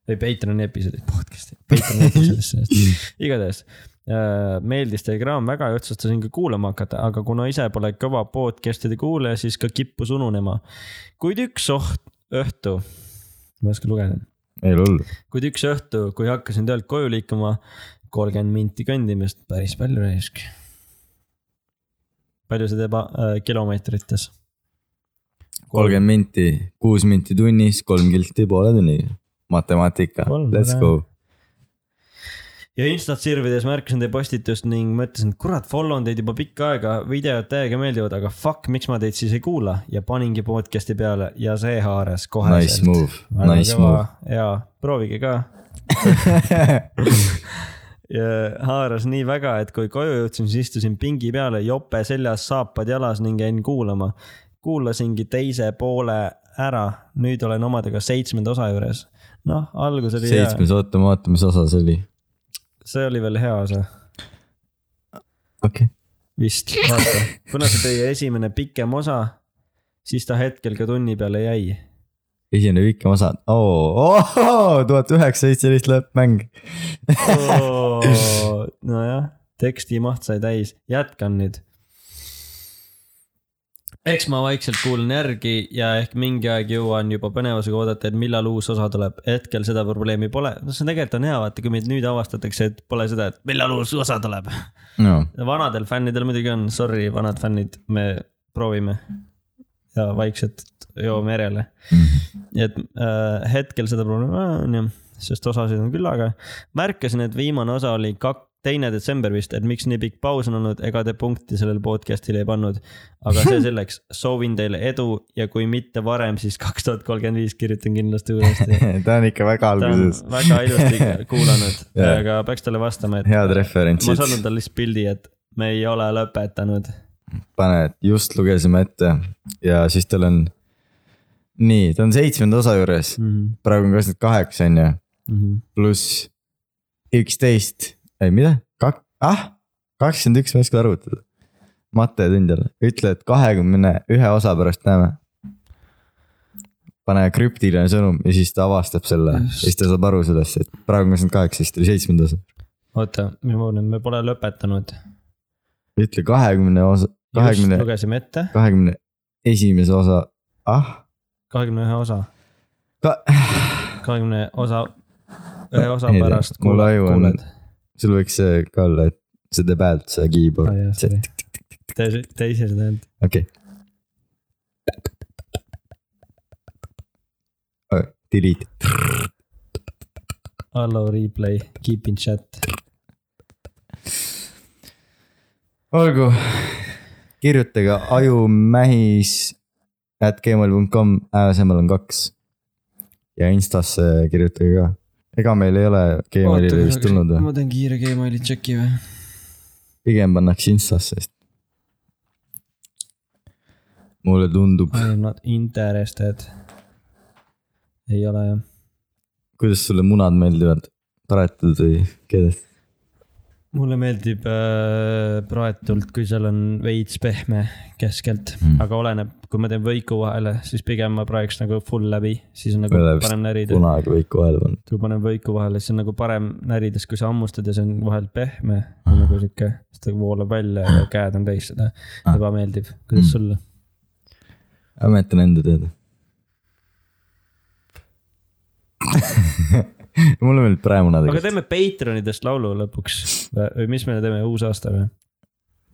[SPEAKER 2] või Patreon'i episoodis , podcast'i , Patreon'i episoodis sellest , igatahes äh, meeldis teie kraam väga ja otsustasin ka kuulama hakata , aga kuna ise pole kõva podcast'ide kuulaja , siis ka kippus ununema . kuid üks oht , õhtu , ma ei oska lugeda ,
[SPEAKER 1] ei ole hullu .
[SPEAKER 2] kuid üks õhtu , kui hakkasin töölt koju liikuma , kolmkümmend minti kõndimist , päris palju raisk . palju see teeb äh, kilomeetrites ?
[SPEAKER 1] kolmkümmend minti , kuus minti tunnis , kolm kilti poole tunniga . matemaatika
[SPEAKER 2] Kolm, ,
[SPEAKER 1] let's
[SPEAKER 2] väga
[SPEAKER 1] go .
[SPEAKER 2] ja instat sirvides märkasin teie postitust ning mõtlesin , et kurat , follow on teid juba pikka aega , videod täiega meeldivad , aga fuck , miks ma teid siis ei kuula ja paningi podcast'i peale ja see haaras
[SPEAKER 1] Nice
[SPEAKER 2] koheselt .
[SPEAKER 1] move , nice move .
[SPEAKER 2] ja proovige ka ja haaras nii väga , et kui koju jõudsin , siis istusin pingi peale , jope seljas , saapad jalas ning jäin kuulama . kuulasingi teise poole ära , nüüd olen omadega seitsmenda osa juures . noh , algus oli hea ,
[SPEAKER 1] seitsmes , ootame , vaatame , mis osa see oli .
[SPEAKER 2] see oli veel hea osa
[SPEAKER 1] okei okay. .
[SPEAKER 2] vist , vaata , kuna see teie esimene pikem osa , siis ta hetkel ka tunni peale jäi .
[SPEAKER 1] esimene pikem osa , oo , tuhat üheksa seitseteist lõppmäng .
[SPEAKER 2] nojah , tekstimaht sai täis , jätkan nüüd . eks ma vaikselt kuulan järgi ja ehk mingi aeg jõuan juba põnevusega oodata , et millal uus osa tuleb , hetkel seda probleemi pole , no see tegelikult on hea , vaata kui meid nüüd avastatakse , et pole seda , et millal uus osa tuleb .
[SPEAKER 1] no ,
[SPEAKER 2] Noh. vanadel fännidel muidugi on , sorry , vanad fännid , me proovime ja vaikselt joome järele .
[SPEAKER 1] Mhm.
[SPEAKER 2] nii et äh, hetkel seda probleemi on jah , sest osasid on küll , aga märkasin , et viimane osa oli kak- , teine detsember vist , et miks nii pikk paus on olnud , ega te punkti sellel podcast'il ei pannud . aga see selleks , soovin teile edu ja kui mitte varem , siis kaks tuhat kolmkümmend viis kirjutan kindlasti uuesti .
[SPEAKER 1] ta on ikka väga
[SPEAKER 2] ta on
[SPEAKER 1] alguses .
[SPEAKER 2] väga ilusti kuulanud ,
[SPEAKER 1] Jaa.
[SPEAKER 2] aga peaks talle vastama , et .
[SPEAKER 1] head
[SPEAKER 2] ma
[SPEAKER 1] referentsid
[SPEAKER 2] saadan , talle lihtsalt pildi , et me ei ole lõpetanud .
[SPEAKER 1] pane , et just lugesime ette ja siis tal on . nii , ta on seitsmenda osa juures , praegu on kakskümmend kaheksa on ju , mhm. pluss üksteist , ei mida , kak- , ah , kakskümmend üks ma ei oska arvutada . matetund jälle , ütle , et kahekümne ühe osa pärast näeme . pane krüptiline sõnum ja siis ta avastab selle ja siis ta saab aru sellest , et praegu on kakskümmend kaheksa , siis tuli seitsmenda osa .
[SPEAKER 2] oota , ma mõtlen , me pole lõpetanud .
[SPEAKER 1] ütle kahekümne osa ,
[SPEAKER 2] just
[SPEAKER 1] kahekümne ,
[SPEAKER 2] lugesime ette ,
[SPEAKER 1] kahekümne esimese osa , ah ,
[SPEAKER 2] kahekümne ühe osa ,
[SPEAKER 1] ka- ,
[SPEAKER 2] kahekümne osa , ühe osa
[SPEAKER 1] Ei tea,
[SPEAKER 2] pärast
[SPEAKER 1] mul
[SPEAKER 2] kuuled ,
[SPEAKER 1] aju on-
[SPEAKER 2] kuuled .
[SPEAKER 1] sul võiks see ka olla , et see teeb häält , see
[SPEAKER 2] Ah, jah,
[SPEAKER 1] keyboard
[SPEAKER 2] sorry. , Te , te ise seda ei olnud .
[SPEAKER 1] okei . Delete ,
[SPEAKER 2] Allo replay , keep in chat .
[SPEAKER 1] olgu , kirjutage ajumähis at gmail.com , ääresemel on kaks . ja Instasse kirjutage ka , ega meil ei ole Gmailile vist tulnud või ,
[SPEAKER 2] ma teen kiire Gmaili checki või ?
[SPEAKER 1] pigem pannakse Instasse , sest . mulle tundub ,
[SPEAKER 2] I am not interested . ei ole jah .
[SPEAKER 1] kuidas sulle munad meeldivad , taretud või keedet ?
[SPEAKER 2] mulle meeldib äh, praetult , kui seal on veits pehme keskelt mm.
[SPEAKER 1] Mm. ,
[SPEAKER 2] aga oleneb , kui ma teen võiku vahele , siis pigem ma praeks nagu full läbi , siis on nagu
[SPEAKER 1] Ei ole vist
[SPEAKER 2] parem närida .
[SPEAKER 1] kunagi võiku vahele pannud ,
[SPEAKER 2] kui panen võiku vahele , siis on nagu parem närides , kui sa hammustad ja see on vahel pehme , nagu sihuke , siis ta voolab välja ja käed on täis seda . ebameeldiv , kuidas sul ?
[SPEAKER 1] ma jätan enda teada mulle meeldib praemunad .
[SPEAKER 2] aga teeme Patreonidest laulu lõpuks või või mis me teeme , uusaasta või ?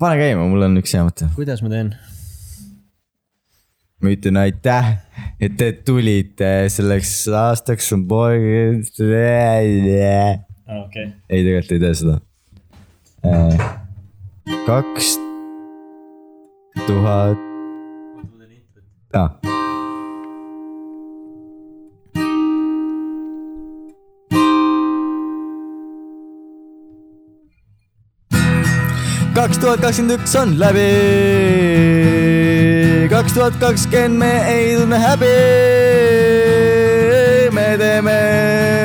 [SPEAKER 1] pane käima , mul on üks hea mõte .
[SPEAKER 2] kuidas ma teen ?
[SPEAKER 1] ma ütlen aitäh , et te tulite selleks aastaks on poeg . ei ,
[SPEAKER 2] okei .
[SPEAKER 1] tegelikult ei tee seda . kaks tuhat . aa , kaks tuhat kakskümmend üks on läbi . kaks tuhat kakskümmend me ei tunne häbi . me teeme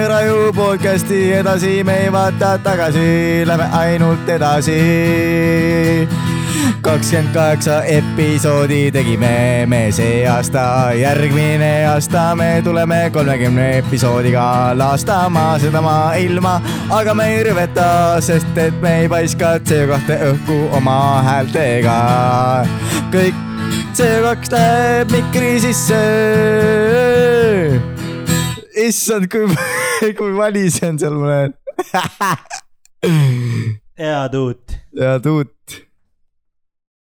[SPEAKER 1] Raju podcast'i edasi , me ei vaata tagasi , lähme ainult edasi . kakskümmend kaheksa episoodi tegime me see aasta , järgmine aasta me tuleme kolmekümne episoodiga laastama seda maailma , aga me ei rüveta , sest et me ei paiska CO2 õhku oma häältega . kõik CO2 läheb mikri sisse . issand , kui , kui vali see on seal mul on
[SPEAKER 2] hea tuut .
[SPEAKER 1] ja tuut ,